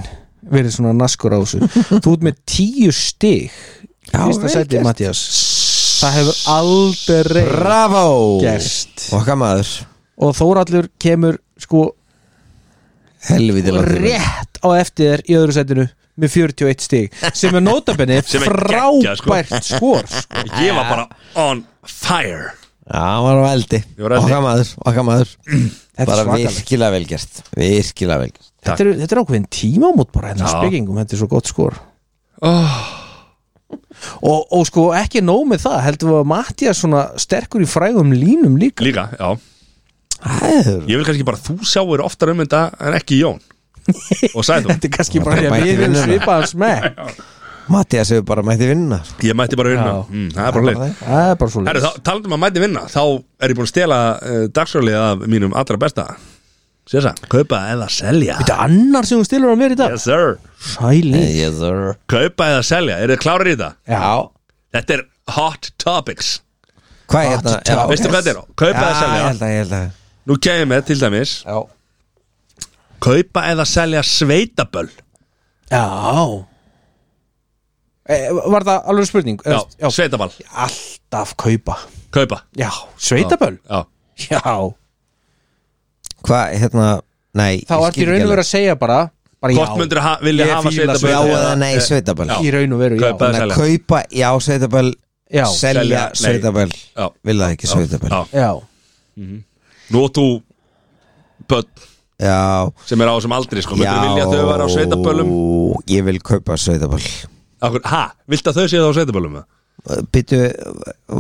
S1: verið svona naskur á þessu þú ert með tíu stig í
S2: Já,
S1: fyrsta
S2: vel
S1: sæti
S2: gert.
S1: Mattias það hefur aldrei
S2: bravo
S1: gerst
S2: okkar maður,
S1: og Þórallur kemur sko
S2: helviti langt í mig.
S1: rétt á eftir þér í öðru sætinu með 41 stig sem er notabenni
S3: Sem er geggjað, sko.
S1: frábært skor sko.
S3: Ég var bara on fire
S2: já, hann var á eldi
S3: Ég var á eldi.
S2: okkar maður, okkar maður
S1: þetta er
S2: bara
S1: svakalegt
S2: virkilega velgerst virkilega velgerst
S1: þetta er, þetta er ákveðin tímamót bara hérna
S3: Já. Oh.
S1: spekingum, þetta er svo gott skor og, og sko ekki nóg með það heldur við að Mattias svona sterkur í frægum línum líka
S3: Líka, já
S2: Æður.
S3: Ég vil kannski bara að þú sjáir oftar um þetta En ekki Jón Og sagði þú
S1: þetta er kannski
S2: Já,
S1: bara því að
S2: bara bæti
S1: við erum
S2: vinnuna.
S1: svipaðan smekk
S2: Mattias hefur bara mætti vinna sko.
S3: Ég mætti bara vinna
S1: Já.
S3: mm, Það er bara leið
S1: það er bara svo
S3: Herru, þá talandum að mæti vinna Þá er ég búin að stela uh, dagsfjörlið af mínum allra besta Sér það, kaupa eða selja
S1: þetta er annar sem hún stilur á mér í dag
S3: Yes sir
S1: sæli
S2: yes sir
S3: Kaupa eða selja, eru þið klárir í þetta?
S2: Já
S3: Þetta er hot topics
S2: Hvað er hérna? Já,
S1: top.
S2: ok.
S3: Veistu hvað þetta er? Kaupa eða
S2: Já, ég
S3: selja
S2: held að, ég held að
S3: Nú kemur með til dæmis
S2: Já
S3: Kaupa eða selja sveitaböll
S1: já e, var það alveg spurning
S3: Já,
S1: já.
S3: sveitaball
S1: alltaf kaupa
S3: Kaupa
S1: já, sveitaböll
S3: Já
S1: já,
S2: Hvað, hérna Nei
S1: þá
S2: ég
S1: ert í
S2: skil
S1: raun
S2: ekki
S1: og veru að segja bara, bara
S3: Hvort
S1: já
S3: myndur ha vilja
S1: Ég
S3: hafa
S1: fíla
S3: sveitaböll
S1: sveitaböll.
S2: alveg. Já
S3: eða-
S2: eða nei,
S3: eh,
S2: sveitaböll
S3: Já.
S1: í raun og veru, já,
S3: Kaupa eða
S2: Þannig að
S3: selja.
S2: Kaupa, já, sveitaböll
S1: já,
S2: Selja,
S3: Selja, nei.
S2: sveitaböll
S3: Já.
S2: Vilja ekki sveitaböll
S3: Já.
S1: já.
S3: Nú átt þú Böll
S2: Já
S3: sem er á þessum aldri sko Myndur
S2: Já.
S3: vilja að þau vera á sveitaböllum
S2: Ég vil kaupa sveitaböll
S3: Akkur, Ha, viltu að þau séu þá á sveitaböllum? eða?
S2: Byttu,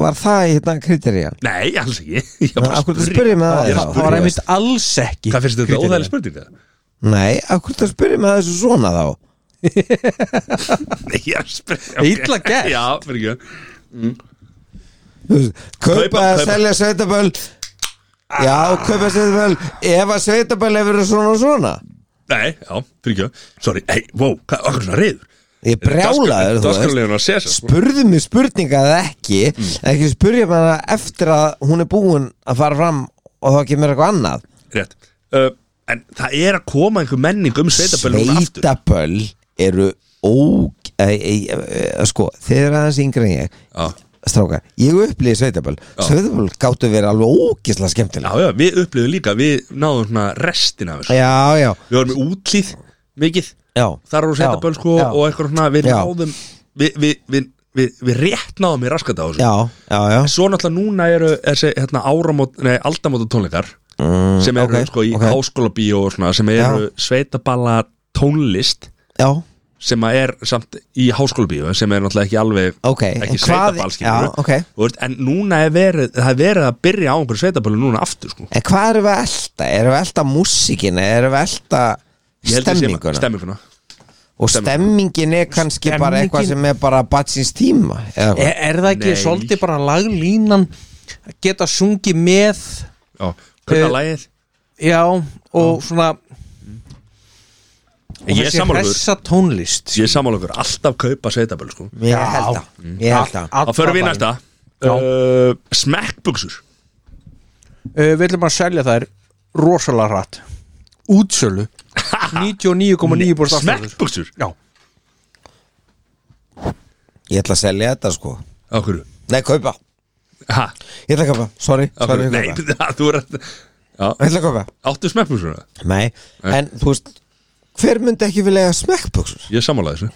S2: var það hérna kriterían?
S3: Nei, alls ekki Ég bara
S2: Akkur þú
S3: spurði.
S2: spurði með
S3: Ég er
S2: það þá?
S3: að
S1: það var
S3: spurði.
S1: einmitt alls ekki
S3: Hvað finnst þetta
S1: Kriterían.
S3: óþægileg spurning? eða?
S2: Nei, akkur þú spurði með þessu svona þá?
S3: Nei, ég er að spurði okay.
S1: Illa gert.
S3: Já, fyrir ekki
S2: Þú veist,
S3: Kaupa-
S2: kaupa að
S3: kaupa.
S2: selja sveitaböll já, kaupa sveitaböll ef að sveitaböll hefur verið svona og svona
S3: Nei, já, fyrir ekki Sorry, hei, wow, hvað, akkur svona reyður
S2: Ég brjálaður, þú veist
S3: Daskarlegin að sé sér
S2: spurðu mig spurninga eða ekki
S3: Mm.
S2: ekki spurja mig hana eftir að hún er búin að fara fram og þá kemur eitthvað annað
S3: Rétt uh, En það er að koma einhver menning um sveitaböllum aftur
S2: Sveitaböll eru óg e, e, e, e, sko, þeir eru aðeins yngri en ég
S3: Já,
S2: strákar, ég upplýði sveitaböll sveitaböll gáttu verið alveg ógislega
S3: já,
S2: skemmtilega
S3: já, við upplifum líka Við náðum svona restina af þessu
S2: já, já,
S3: Við vorum í útlýð mikið
S2: já
S3: Þar voru sveitaböll sko
S2: Já.
S3: og eitthvað svona Við
S2: Já.
S3: náðum Við, við, við, við, við rétt náðum í raskat á þessu
S2: já, já, já,
S3: Svo náttúrulega núna eru þessi hérna, áramót, nei, aldamóta tónleikar
S2: Mm,
S3: sem eru
S2: ok,
S3: sko í
S2: ok.
S3: okay. háskóla bíó og svona sem eru sveitaballa tónlist
S2: já.
S3: sem að er samt í háskólabíu sem er náttúrulega ekki alveg
S2: ok
S3: ekki
S2: En hvað- já,
S3: sveitaballskilur
S2: ok
S3: en núna er verið, það er verið að byrja á einhverju sveitabölu núna aftur sko
S2: en hvað erum við að elta? erum við að elta músíkina? erum við að elta
S3: Ég held við séum að-
S2: stemminguna?
S3: stemminguna.
S2: og stemmingin er kannski bara eitthvað
S1: Stemmingin- Eh,
S2: sem er bara batsins tíma eða hvað
S1: er, er það ekki
S3: Nei.
S1: svolítið bara laglínan að geta sungið með
S3: Já,
S1: Eh,
S3: hvernig að lagið
S1: já og svona og
S3: Ég er
S1: þessi
S3: sammála ykkur.
S1: hressa tónlist
S3: ég samála okkur, alltaf kaupa sveitabölu sko
S2: ég held það
S1: Mm.
S2: ég held það
S3: þá förum við í næsta
S1: Já.
S3: uh, smekkbuxur
S1: uh, við ætlum að selja þær rosalega hratt útsölu 99,9% afsláttur.
S3: smekkbuxur
S1: já,
S2: ég ætla að selja þetta sko
S3: á hverju
S2: nei, kaupa
S3: ha,
S2: ég ætla að kaupa sorry
S3: á hverju,
S2: sorry ég
S3: nei,
S2: kaupa
S3: þú er að já,
S2: ég ætla að kaupa
S3: áttu smekkbuxur
S2: nei
S3: Eh.
S2: en þú veist hver myndi ekki vilja eiga smekkbuxur
S3: ég samála þessu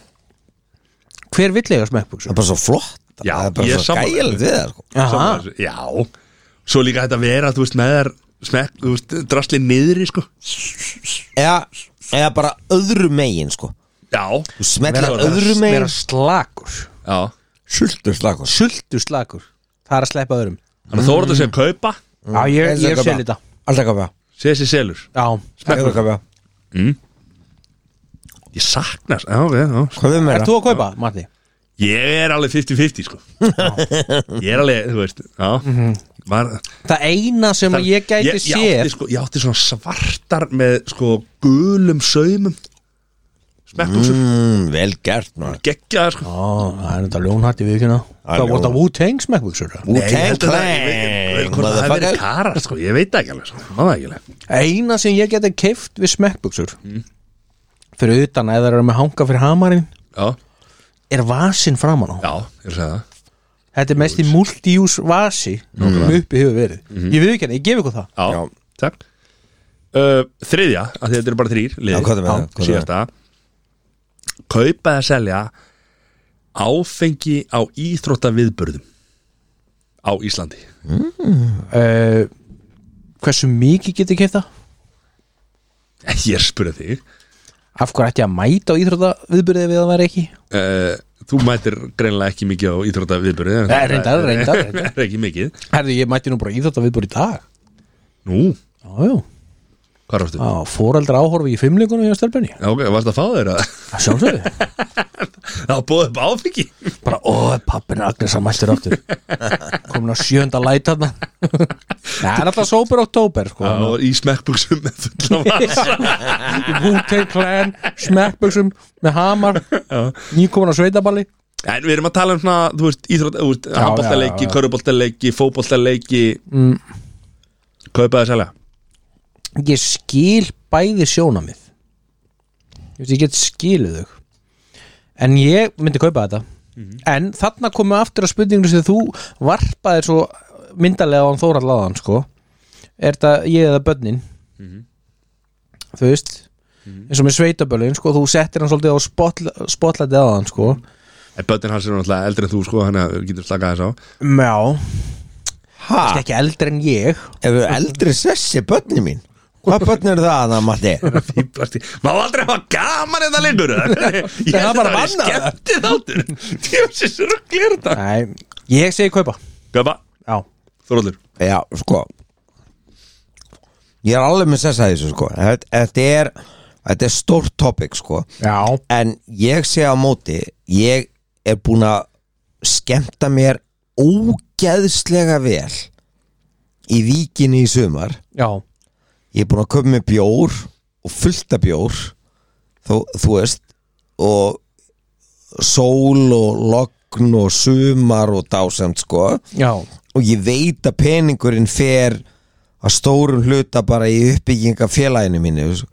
S1: hver vill eiga
S2: það
S1: smekkbuksum?
S2: er bara svo flott
S3: Já,
S2: það er
S3: ég
S2: bara
S3: er
S2: svo
S3: sammála.
S2: gæl við það sko
S1: Aha.
S3: Sammála þessu. já, svo líka þetta vera þú veist með þær smekk, þú veist, drasli niðri sko
S2: eða eða bara öðru megin sko
S3: já,
S2: þú smetla
S3: Meira-
S2: öðru
S1: meira
S2: megin
S1: slakur
S3: já
S2: sultur slagur
S1: sultu slakur, það er að sleppa öðrum
S3: Þannig að Þóraður sé að kaupa
S1: já, ég, ég, ég sel þetta
S2: alltaf kaupa
S3: sé þessi selur
S1: já,
S2: alltaf kaupa
S3: Ég sakna þess- já, ok, já.
S2: kaupa meira
S1: ert þú að kaupa, Matti?
S3: Ég er alveg 50-50 sko Ég er alveg, þú veist Já, var,
S1: það eina sem Mhm. ég gæti
S3: ég, ég,
S1: séð
S3: átti, sko, ég átti svona svartar með sko gulum saumum Smekkum svo
S2: mm, vel gert maður
S3: geggjaðar sko
S1: Ó, það er þetta ljónhætti við ekki ná
S2: er
S1: Það voru
S2: ljón.
S1: þetta Wu-Tang smekkbuksur
S3: Nei, ég held að það-
S2: Wu-Tang
S3: ég veit ekki- ég veit
S2: Clan,
S3: hvort það hefur
S2: motherfucker.
S3: verið karar sko Ég veit það ekki alveg sko Það var það ekki alveg
S1: Eina sem ég geti keift við smekkbuksur Fyrir utan að það eru með hanga fyrir hamarinn
S3: Já,
S1: Er vasinn framan á
S3: já, ég er að segja það
S1: Þetta er mest í multi-use vasi Sem uppi hefur verið Ég við ekki hann, ég gef ykkur það
S3: Já,
S2: Já.
S3: takk uh, Þriðja, af því að þetta eru bara þrýr
S2: Já, hvað er með það? Hvað er
S3: Síðasta Kaupa eða selja áfengi á íþrótta viðbörðum á Íslandi
S1: uh, Hversu mikið geti keift það?
S3: Ég er að spura þig
S1: Af hverju ætti ég að mæta á íþróta viðbyrðið við að vera ekki?
S3: uh, Þú mætir greinlega ekki mikið á íþrótta viðbörði
S1: Nei, reyndar, reyndar, reyndar.
S3: Er ekki mikið
S1: Herðu, ég mætti nú bara íþróta viðbyrð í dag
S3: Nú,
S1: Já, já,
S3: hvað rástu?
S2: Ah.
S1: já foreldra áhorfi í fimmleikunum hjá stelpunni
S3: Já, ok, varst að fá þér að
S1: Sjálfsögðu
S3: það bóði upp áfengi
S1: bara, ó, pappin Agnes að mættur aftur komin á sjönda læt hann það er alltaf sópur oktober sko.
S3: Já, í smekkbuxum með fulla vasa
S1: Wu-Tang Clan, smekkbuxum með hamar, nýkomin á sveitaballi
S3: En við erum að tala um svona, þú veist, íþrótt, þú veist, handbóltaleiki,
S1: já, já.
S3: körubóltaleiki, fótbóltaleiki mm. Kaupa það selja
S1: ég skil bæði sjónamið ég, veist, ég get skiluð þau en ég myndi kaupa þetta en þarna komum við aftur að spurninginu sem þú varpaðir svo myndarlega á hann Þóra laðan sko er þetta ég eða bönnin þú veist eins og með sveitabölin sko þú settir hann svolítið á spotlætið á hann sko
S3: En börnin hans er náttúrulega eldri en þú, sko, þannig að við getum slakað þess á
S1: já,
S2: ha
S1: ekki eldri en ég
S2: eru eldri sessi börni mín hvað börn eru það það Matti
S3: Fýblast í, má aldrei hafa gaman en það lengur eða? Ég
S1: Það er
S3: held að
S1: bara
S3: það er
S1: bannað.
S3: skemmtið áttur Tjómsins ruggli er þetta
S1: Nei, ég segi kaupa
S3: Kaupa,
S1: já,
S3: Þorvaldur
S2: já sko ég er alveg með sessa í þessu sko þetta þetta er þetta er stórt topic sko
S1: já,
S2: en ég sé á móti ég er búin að skemmta mér ógeðslega vel í víkinni í sumar
S1: já
S2: ég er búin að köpa með bjór og fullta bjór þó, þú veist og sól og logn og sumar og dásamt sko
S1: já,
S2: og ég veit að peningurinn fer að stórum hluta bara í uppbygginga félaginu mínu sko.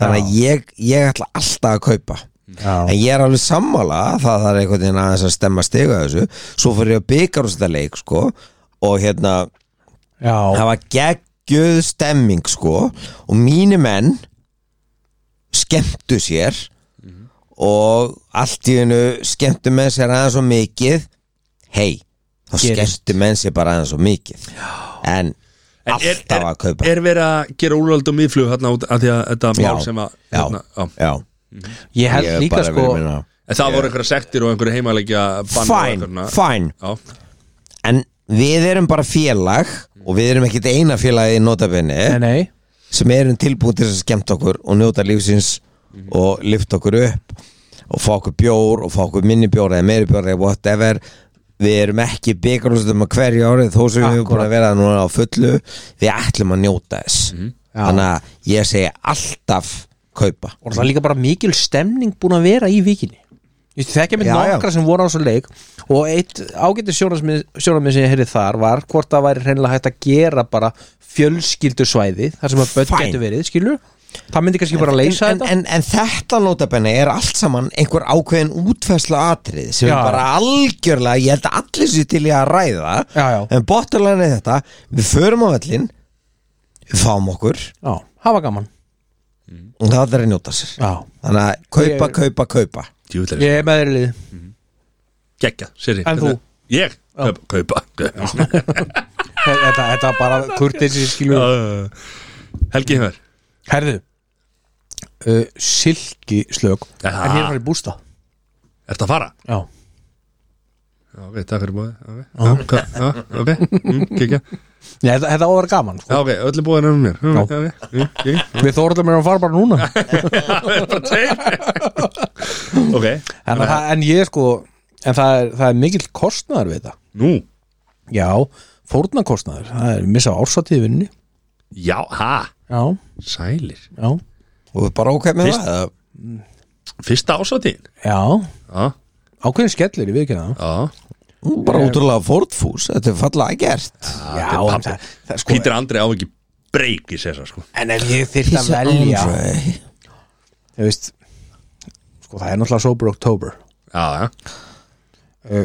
S2: þannig að ég, ég ætla alltaf að kaupa en
S1: já,
S2: ég er alveg sammála að það þarf einhvern veginn aðeins að stemma stiga þessu svo fór ég að byggar úr þetta leik sko og hérna
S1: já.
S2: það var geggjöð stemming sko og mínu menn skemmtu sér og allt í hennu skemmtu menn sér aðeins og mikið hei, þá
S1: Gerist.
S2: skemmtu menn sér bara aðeins og mikið en,
S3: En er-
S2: alltaf að kaupa
S3: Er verið að gera úrvald og miðflug hérna út af því að þetta
S2: Já.
S3: mál sem að
S2: Já.
S3: hérna, já.
S2: já,
S1: ég held
S2: hef
S1: líka
S2: bara
S1: sko
S2: verið að meina-
S3: En það voru einhverja sektir og einhverja heimalegja bann og
S2: fine,
S3: einhverna-
S2: fine
S3: Já,
S2: en við erum bara félag og við erum ekkit eina félagi í notabenni
S1: nei, nei,
S2: sem erum tilbúin til þess að skemmta okkur og njóta lífsins og lyfta okkur upp og fá okkur bjór og fá okkur minni bjór eða meiri bjór eða whatever við erum ekki byggarústum að hverju árið þó sem við erum búin að vera núna á fullu við ætlum að njóta þess
S1: Já.
S2: þannig að ég segi alltaf kaupa
S1: og það er líka bara mikil stemning búin að vera í vikinni Þú veist, þekkja mitt
S2: Já, já.
S1: nokkra sem voru á þessu leik og eitt ágættu sjónarmið sem ég heyrði þar var hvort það væri hreinlega hægt að gera bara fjölskyldusvæði þar sem að börn
S2: Fine.
S1: getur verið, skilur það myndi kannski bara leysa
S2: en,
S1: þetta
S2: en, en þetta notabenni er allt saman einhver ákveðin útfærsla atrið sem
S1: Já.
S2: er bara algjörlega ég held að allir sér til í að ræða
S1: Já, já.
S2: en bottomline er þetta við förum á vellin við fáum okkur
S1: já, hafa gaman
S2: og það allir að njóta sér
S1: já.
S2: þannig að kaupa, kaupa, kaupa
S3: djúvillar
S1: ég er með þeirri lið
S3: Gekka, sér
S1: En þú?
S3: Ég, kaupa, kaupa.
S1: þetta, þetta er bara kurtið sem skilur
S3: Já. Helgi hefur
S1: herðu uh, silki slög
S3: Aha.
S1: en ég er farið bústa
S3: Ertu að fara?
S1: já,
S3: Já, ok, takk fyrir bóði Ok, já, hva- já, ok, mm, kikja
S1: Nei, þetta, þetta á að vera gaman sko.
S3: Já, ok, öllu bóðin er um mér Mm,
S1: Já.
S3: Ok, mm, ok.
S1: við þóruðum erum að fara bara núna
S3: Það er bara tveir Ok,
S1: en, það, en ég sko en það er, það er mikill kostnaður við þetta
S3: nú
S1: já, fórnarkostnaður það er missa ársatíð vinni
S3: Já, ha,
S1: já,
S3: sælir
S1: já,
S2: og við bara ok með
S3: Fyrst-
S2: það
S3: Fyrsta ásatíðin
S1: já
S3: Já,
S1: ákveðin skellir í vikina
S3: já
S2: Ú, bara ótrúlega fórtfús, þetta er fallega gert
S1: já,
S3: þetta er
S1: en
S3: pabbi.
S1: það, það sko
S3: Pítur Andri á ekki breyk í sér sko
S1: en ef ég þyrst að velja
S2: Andre.
S1: þú veist sko það er náttúrulega sober oktober
S3: Já, já,
S1: uh,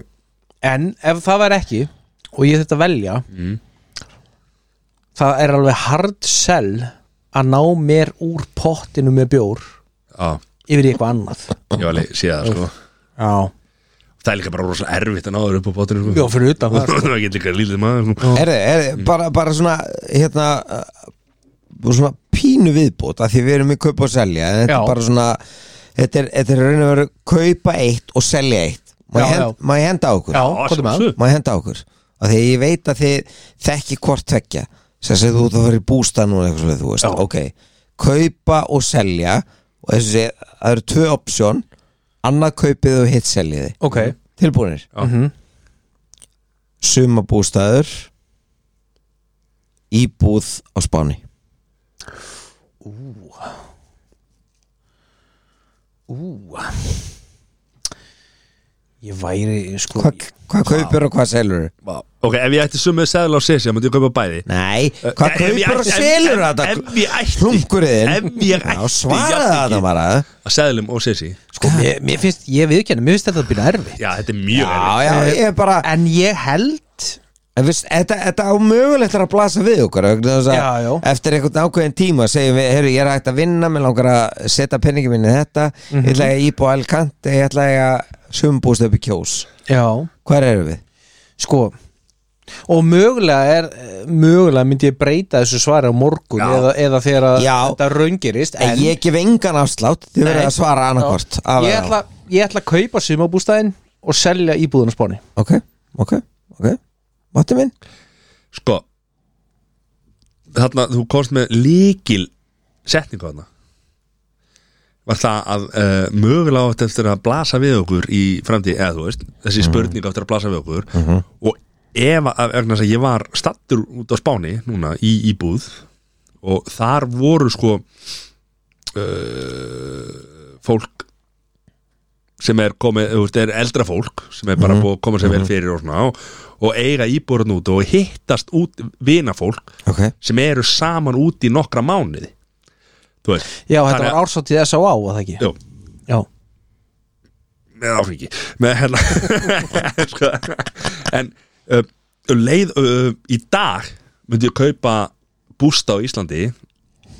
S1: en ef það væri ekki og ég þetta velja það er alveg hard sell að ná mér úr pottinu með bjór
S3: já
S1: yfir í eitthvað annað
S3: Ég var alveg síðan sko
S1: já,
S3: Það er líka bara rosalega erfitt að náður upp á bóttinu sko
S1: já fyrir utan það sko.
S3: Það er ekki líka lítið maður sko.
S2: er,
S1: Mm.
S2: er, bara, bara svona hérna uh, svona pínu viðbót að því við erum í kaupa og selja en þetta
S1: Já.
S2: er bara svona þetta er, þetta er raun og veru kaupa eitt og selja eitt má
S1: Já,
S2: ég hend-
S1: já.
S2: má ég henda á okkur
S1: Já,
S3: Já,
S1: komdu með
S3: sjálfsögðu.
S2: má ég henda á okkur að því að ég veit að þið þekki hvort tvekja sem segir þú út að fara í bústa núna eitthvað svona þú veist,
S1: Já.
S2: ok kaupa og selja og þessu sé, það eru tvö option annað kaupið og hitt seljiði
S1: Ok.
S2: tilbúinir
S3: Já. Mhm.
S2: sumabústaður íbúð á Spáni
S1: Ú Ég væri sko
S2: hvað hva kaupir og hvað selur
S3: Vá. Ok, ef ég ætti sumið seðla á sessi, myndi ég kaupa bæði
S2: nei, hvað
S3: Eh, Ef ég
S2: kaupir og
S3: ætti- ef-
S2: selur
S3: ef-
S2: þetta
S3: Ef ég ætti Ef
S2: hlungurinn
S3: ég
S2: já,
S3: ætti
S2: svaraði
S3: jafningi.
S2: þetta bara
S3: að seðlum og sessi
S1: Sko, mér, mér finnst, ég viðkjana, mér finnst þetta að byrja erfitt
S3: Já, þetta er mjög
S2: já, já, ég er bara
S1: En ég held
S2: En viðst, þetta, þetta á mögulegt er að blasa við okkur vegna þess að
S1: Já, já.
S2: Eftir einhvern ákveðin tíma segjum við, heyrðu, ég er hægt að vinna Mér langar að setja penningi minni í þetta Ég
S3: Mhm.
S2: ætla að íbúa elkant Ég ætla að sumbúst upp í kjós
S1: Já
S2: Hvar eru við?
S1: Sko Og mögulega er Mögulega myndi ég breyta þessu svari á morgun
S3: Já.
S1: eða, eða þegar að
S2: Já.
S1: þetta raungirist
S2: En, ég gef engan afslátt Þið
S1: Nei.
S2: verður að svara annarkvort
S1: ég, ætla, ég ætla að kaupa sumabústæðin og selja íbúðun á spáni
S2: Ok, ok, ok Máttu minn?
S3: Sko Þarna, þú komst með líkil setningu þarna Var það að uh, mögulega átt eftir að blasa við okkur í framtíð, eða þú veist, þessi spurning áttir að blasa við okkur og ef að, vegna þess að ég var stattur út á Spáni núna í íbúð og þar eh, voru sko uh, fólk sem er, komið, þú veist, er eldra fólk sem er bara búið að koma sér vel fyrir og, svona, og, og eiga íbúrun út og hittast út vinafólk
S2: ok
S3: sem eru saman út í nokkra mánuði þú veist
S1: Já, þetta
S3: Þannig
S1: var ársátið S.A.A. að það ekki
S3: Jú,
S1: Já,
S3: með áfengi með hérna sko, en uh, leið uh, í dag myndi ég kaupa bústa á Íslandi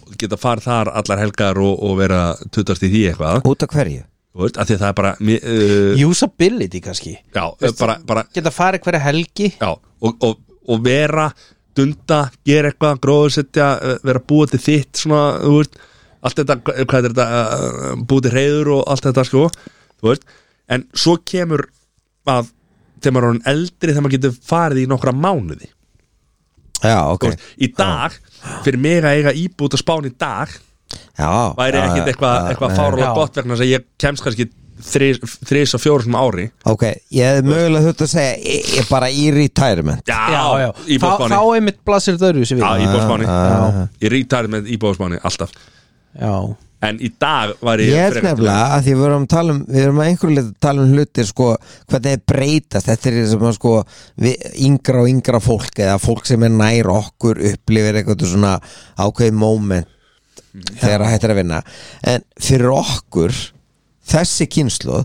S3: og geta farið þar allar helgar og, og vera tutast í því eitthvað
S2: út af hverju
S3: þú veist, af því að það er bara mér, uh,
S1: Usability kannski
S3: já, bara, bara
S1: Geta farið hverja helgi
S3: já, og, og, og vera dunda, gera eitthvað, gróðsetja vera búið til þitt svona, þú veist, allt þetta, hvað er þetta eh, búið til reyður og allt þetta sko, þú veist, en svo kemur að þegar maður er orðinn eldri þegar maður getur farið í nokkra mánuði
S2: já ok
S3: þú veist, í dag, fyrir mig að eiga íbúið á spán í dag,
S2: já
S3: væri
S2: já,
S3: ekkit eitthvað
S2: já,
S3: eitthva
S2: já.
S3: fárlega
S1: Já.
S3: gott vegna þess að ég kemst kannski þrís, þrís og fjórum ári
S2: ok ég hefði mögulega þurft að segja ég, ég bara í retirement
S3: já,
S1: Þá,
S3: íbúið á
S1: þá
S3: spáni
S1: einmitt blasir þetta öðru sem
S3: já,
S1: við
S3: íbúið á spáni,
S2: Já.
S3: ég rítar með íbúið á spáni alltaf
S1: Já,
S3: En í dag var ég
S2: ég held nefnilega að því við erum að tala um við erum að einhverju leita að tala um hlutir sko hvernig þeir breytast þetta er sem að sko við, yngra og yngra fólk eða fólk sem er nær okkur upplifir eitthvað svona ákveðið moment þegar það hættir að vinna en fyrir okkur þessi kynslu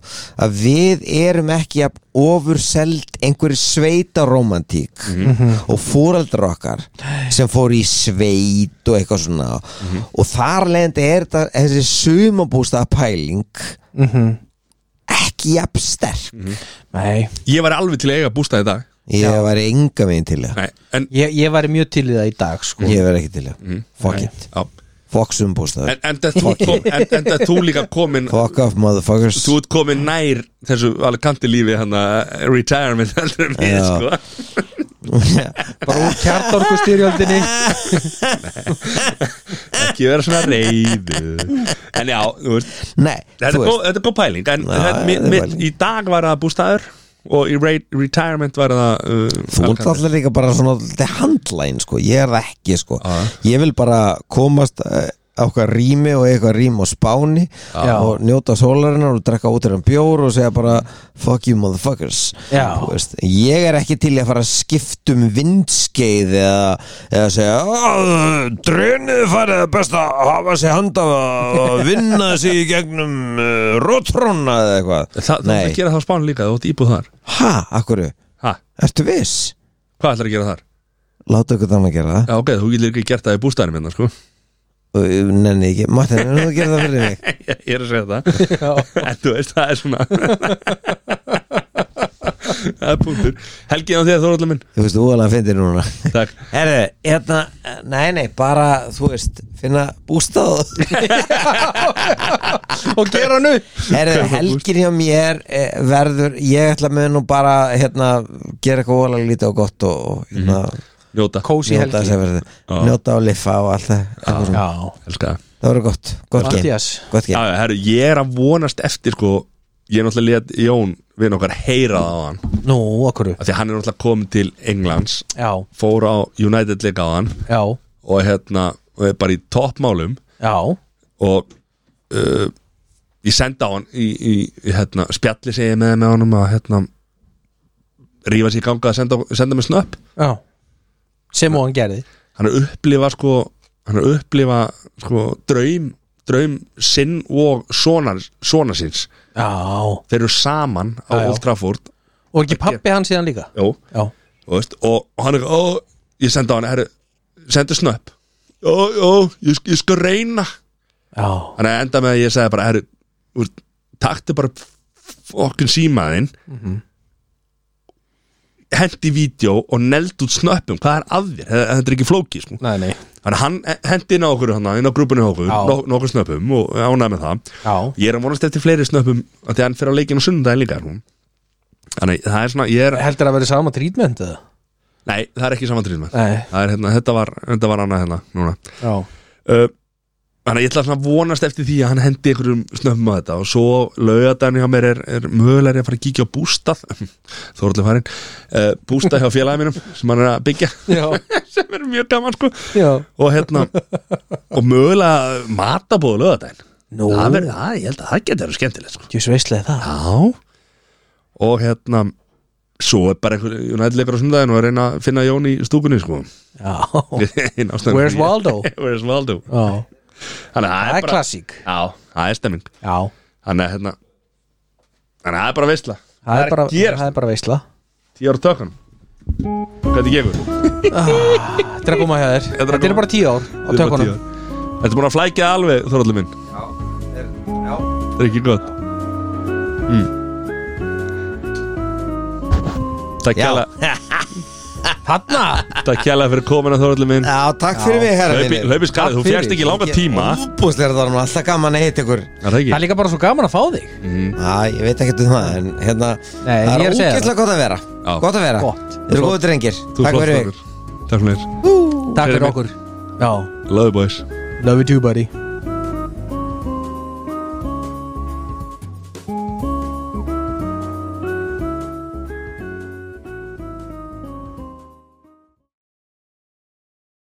S2: að við erum ekki að ofurseld einhverju sveitaromantík og fóreldrar okkar sem fóru í sveit og eitthvað svona og þar leðandi er þetta þessi sumabústað pæling ekki jafn sterk
S1: Mhm. nei
S3: Ég var alveg til að eiga bústað í dag
S2: ég var enga megin til það
S3: Nei, en,
S1: Ég, ég væri mjög til í það í dag sko
S2: ég var ekki til það fuck it,
S3: á,
S2: fuck sumabústað
S3: en, en, það þú, kom, en, en það þú líka komin
S2: fuck off motherfuckers
S3: Þú ert komin nær þessu alveg kanti lífi hann retirement heldur en við
S2: Já.
S3: sko
S1: Bara úr kjartorku styrjöldinni
S3: ekki vera svona reyðu En já, þú veist
S2: nei,
S3: Þetta er góð-
S2: þú veist,
S3: þetta er góð pæling En
S2: Já,
S3: þetta,
S2: þetta er
S3: mi, mi,
S2: pæling.
S3: í dag var það bústaður og í re retirement var það uh,
S2: þú ert
S3: alcantara.
S2: alltaf líka bara svona alltaf handlæn sko, ég er það ekki sko
S3: Já.
S2: ég vil bara komast eh, á eitthvað rými og eiga eitthvað rými á spáni
S1: Já.
S2: og njóta sólarinnar og drekka út um bjór og segja bara fuck you motherfuckers
S1: Já.
S2: Þú veist, ég er ekki til í að fara að skipta um vindskeið eða, eða segja "Ó, drunið farið er best að hafa sér handa og vinna sér í gegnum uh, rótróna eða eitthvað
S3: Það, það er að
S2: nei,
S3: gera það á spánu líka, þú ert íbúð þar
S2: ha, akkur
S3: ha,
S2: ertu viss?
S3: Hvað ætlar að gera þar?
S2: Láta ykkur þannig að gera það
S3: Já, ok, þú getur ekki gert það í bústaðinu minna sko
S2: og nenni ekki, Martin, er þú að gera það fyrir mig?
S3: Ég er að segja það En þú veist, það er svona Það er punktur Helgi á þér, Þóraldur minn
S2: Þú veist, úvalega fyndir núna
S3: Takk
S2: Herðu, hérna, nei, nei, bara, þú veist, finna bústáð
S1: Og gera hann upp
S2: Herðu, helgin hjá mér eh, verður, ég ætla með nú bara, hérna, gera eitthvað úvalega lítið og gott og, og hérna,
S3: Njóta
S1: Kósi
S2: njóta
S1: helgi
S2: þess að verði,
S3: Já.
S2: njóta og liffa og allt það, eitthvað svona.
S1: Já,
S3: Elska það.
S2: það verður gott, gott gen,
S1: Mattias
S2: gott
S3: Já,
S2: gen
S3: já, herru, ég er að vonast eftir sko Ég er náttúrulega let Jón Við okkar heyra það á hann Af
S1: Nú, okkur
S3: Því að hann er náttúrulega komin til Englands
S1: Já,
S3: Fór á United leika á hann
S1: já,
S3: Og hérna, og er bara í toppmálum
S1: já
S3: Og uh, Ég senda á hann í, í, í hérna, spjalli segi ég með með honum að hérna rífa sér í ganga að senda, senda með snöpp
S1: Já Sem og hann gerði
S3: hann er að upplifa sko hann er að upplifa sko draum draum sinn og sonar, sonar síns,
S1: Já
S3: þeir eru saman á
S1: Já, já.
S3: Old Trafford
S1: Og ekki pappi hann síðan líka
S3: Jó,
S1: Já,
S3: og, veist, og, og hann er ó, ég sendi á hann, herru, sendi snöpp jó, jó, ég, sk- ég skal reyna
S1: já,
S3: hann er að enda með að ég segja bara herru, úr, taktu bara okkur símaðinn mm -hmm. hendi vídeo og neld út snöppum, hvað er að þér Þetta- þetta er ekki flókið sko
S1: nei, nei
S3: Þannig að hann hendi inn á okkur hann, inn á grúpunni hjá okkur,
S1: Já.
S3: nok nokkur snöppum og ánæði með það.
S1: Já,
S3: Ég er að vonast eftir fleiri snöppum af því að hann fer á leikinu sunnudaginn líka hún. Þannig að það er svona, ég er,
S1: heldur að vera sama trítmynd eða?
S3: nei, það er ekki saman trýn með.
S1: Nei,
S3: Það er hérna, þetta var, þetta var annað hérna, núna.
S1: já,
S3: Uh, Þannig að ég ætla svona að vonast eftir því að hann hendi einhverjum snöppum á þetta og svo laugadaginn hjá mér er, er mögulegri að fara að kíkja á bústað, þórlega farin, uh, bústað hjá félagið mínum sem hann er að byggja,
S1: já,
S3: sem er mjög gaman sko.
S1: já
S3: og hérna og mögulega matabóðu lögadaginn
S1: Nú,
S3: það verður, það, ég held að það getur skemmtilegt sko.
S1: djús veistlega það
S3: Já Og hérna Svo er bara einhver, United leikur á sundaginn og er að reyna að finna Jón í stúkunni sko
S1: Já,
S3: Ein ástæðan
S1: Where's
S3: fyrir ég-
S1: Waldo?
S3: Where's Waldo
S1: já
S3: Þannig að
S1: Það er
S3: bara-
S1: klassík
S3: Já, það er stemming
S1: Já,
S3: Þannig að hérna Þannig að það er bara veistla
S1: það er bara,
S3: að gerast
S1: það er bara veistla
S3: Tíu ára tökkan Hvernig gengur?
S1: Þetta er að koma hjá þér
S3: er að
S1: Þetta er
S3: koma.
S1: bara tíu ár á
S3: Þetta er bara tíu
S1: tökunum
S3: ár. Ertu búin að flækja það alveg, Þorallur minn? Það er ekki gott mm. Takk
S2: Já.
S3: kjæla
S1: Þarna
S3: Takk kjæla fyrir komin að Þorallur minn
S2: Já, takk fyrir mig, herra
S3: Hlaupi
S2: mínir.
S3: hlaupi í skarið,
S1: Takk
S3: þú fjast
S1: fyrir.
S3: ekki langa
S2: Ég-
S3: tíma
S2: Óbúslega er það nú alltaf gaman að hitta ykkur
S3: Er
S1: Það
S3: Það
S1: er
S3: ekki
S1: líka bara svo gaman að fá þig
S2: Já, ég veit ekkert um það En hérna,
S1: Nei,
S2: það
S1: ég er
S2: er
S1: að segja
S2: ógeðslega gott að vera
S3: Já.
S2: Gott að vera
S1: Gott.
S2: Þið eru góðu drengir
S3: Þú
S2: Takk fyrir mig
S3: flottur Takk fyrir
S1: Takk
S3: Fyrir
S1: fyrir
S3: mig.
S1: okkur Já,
S3: Love you boys
S1: love you too buddy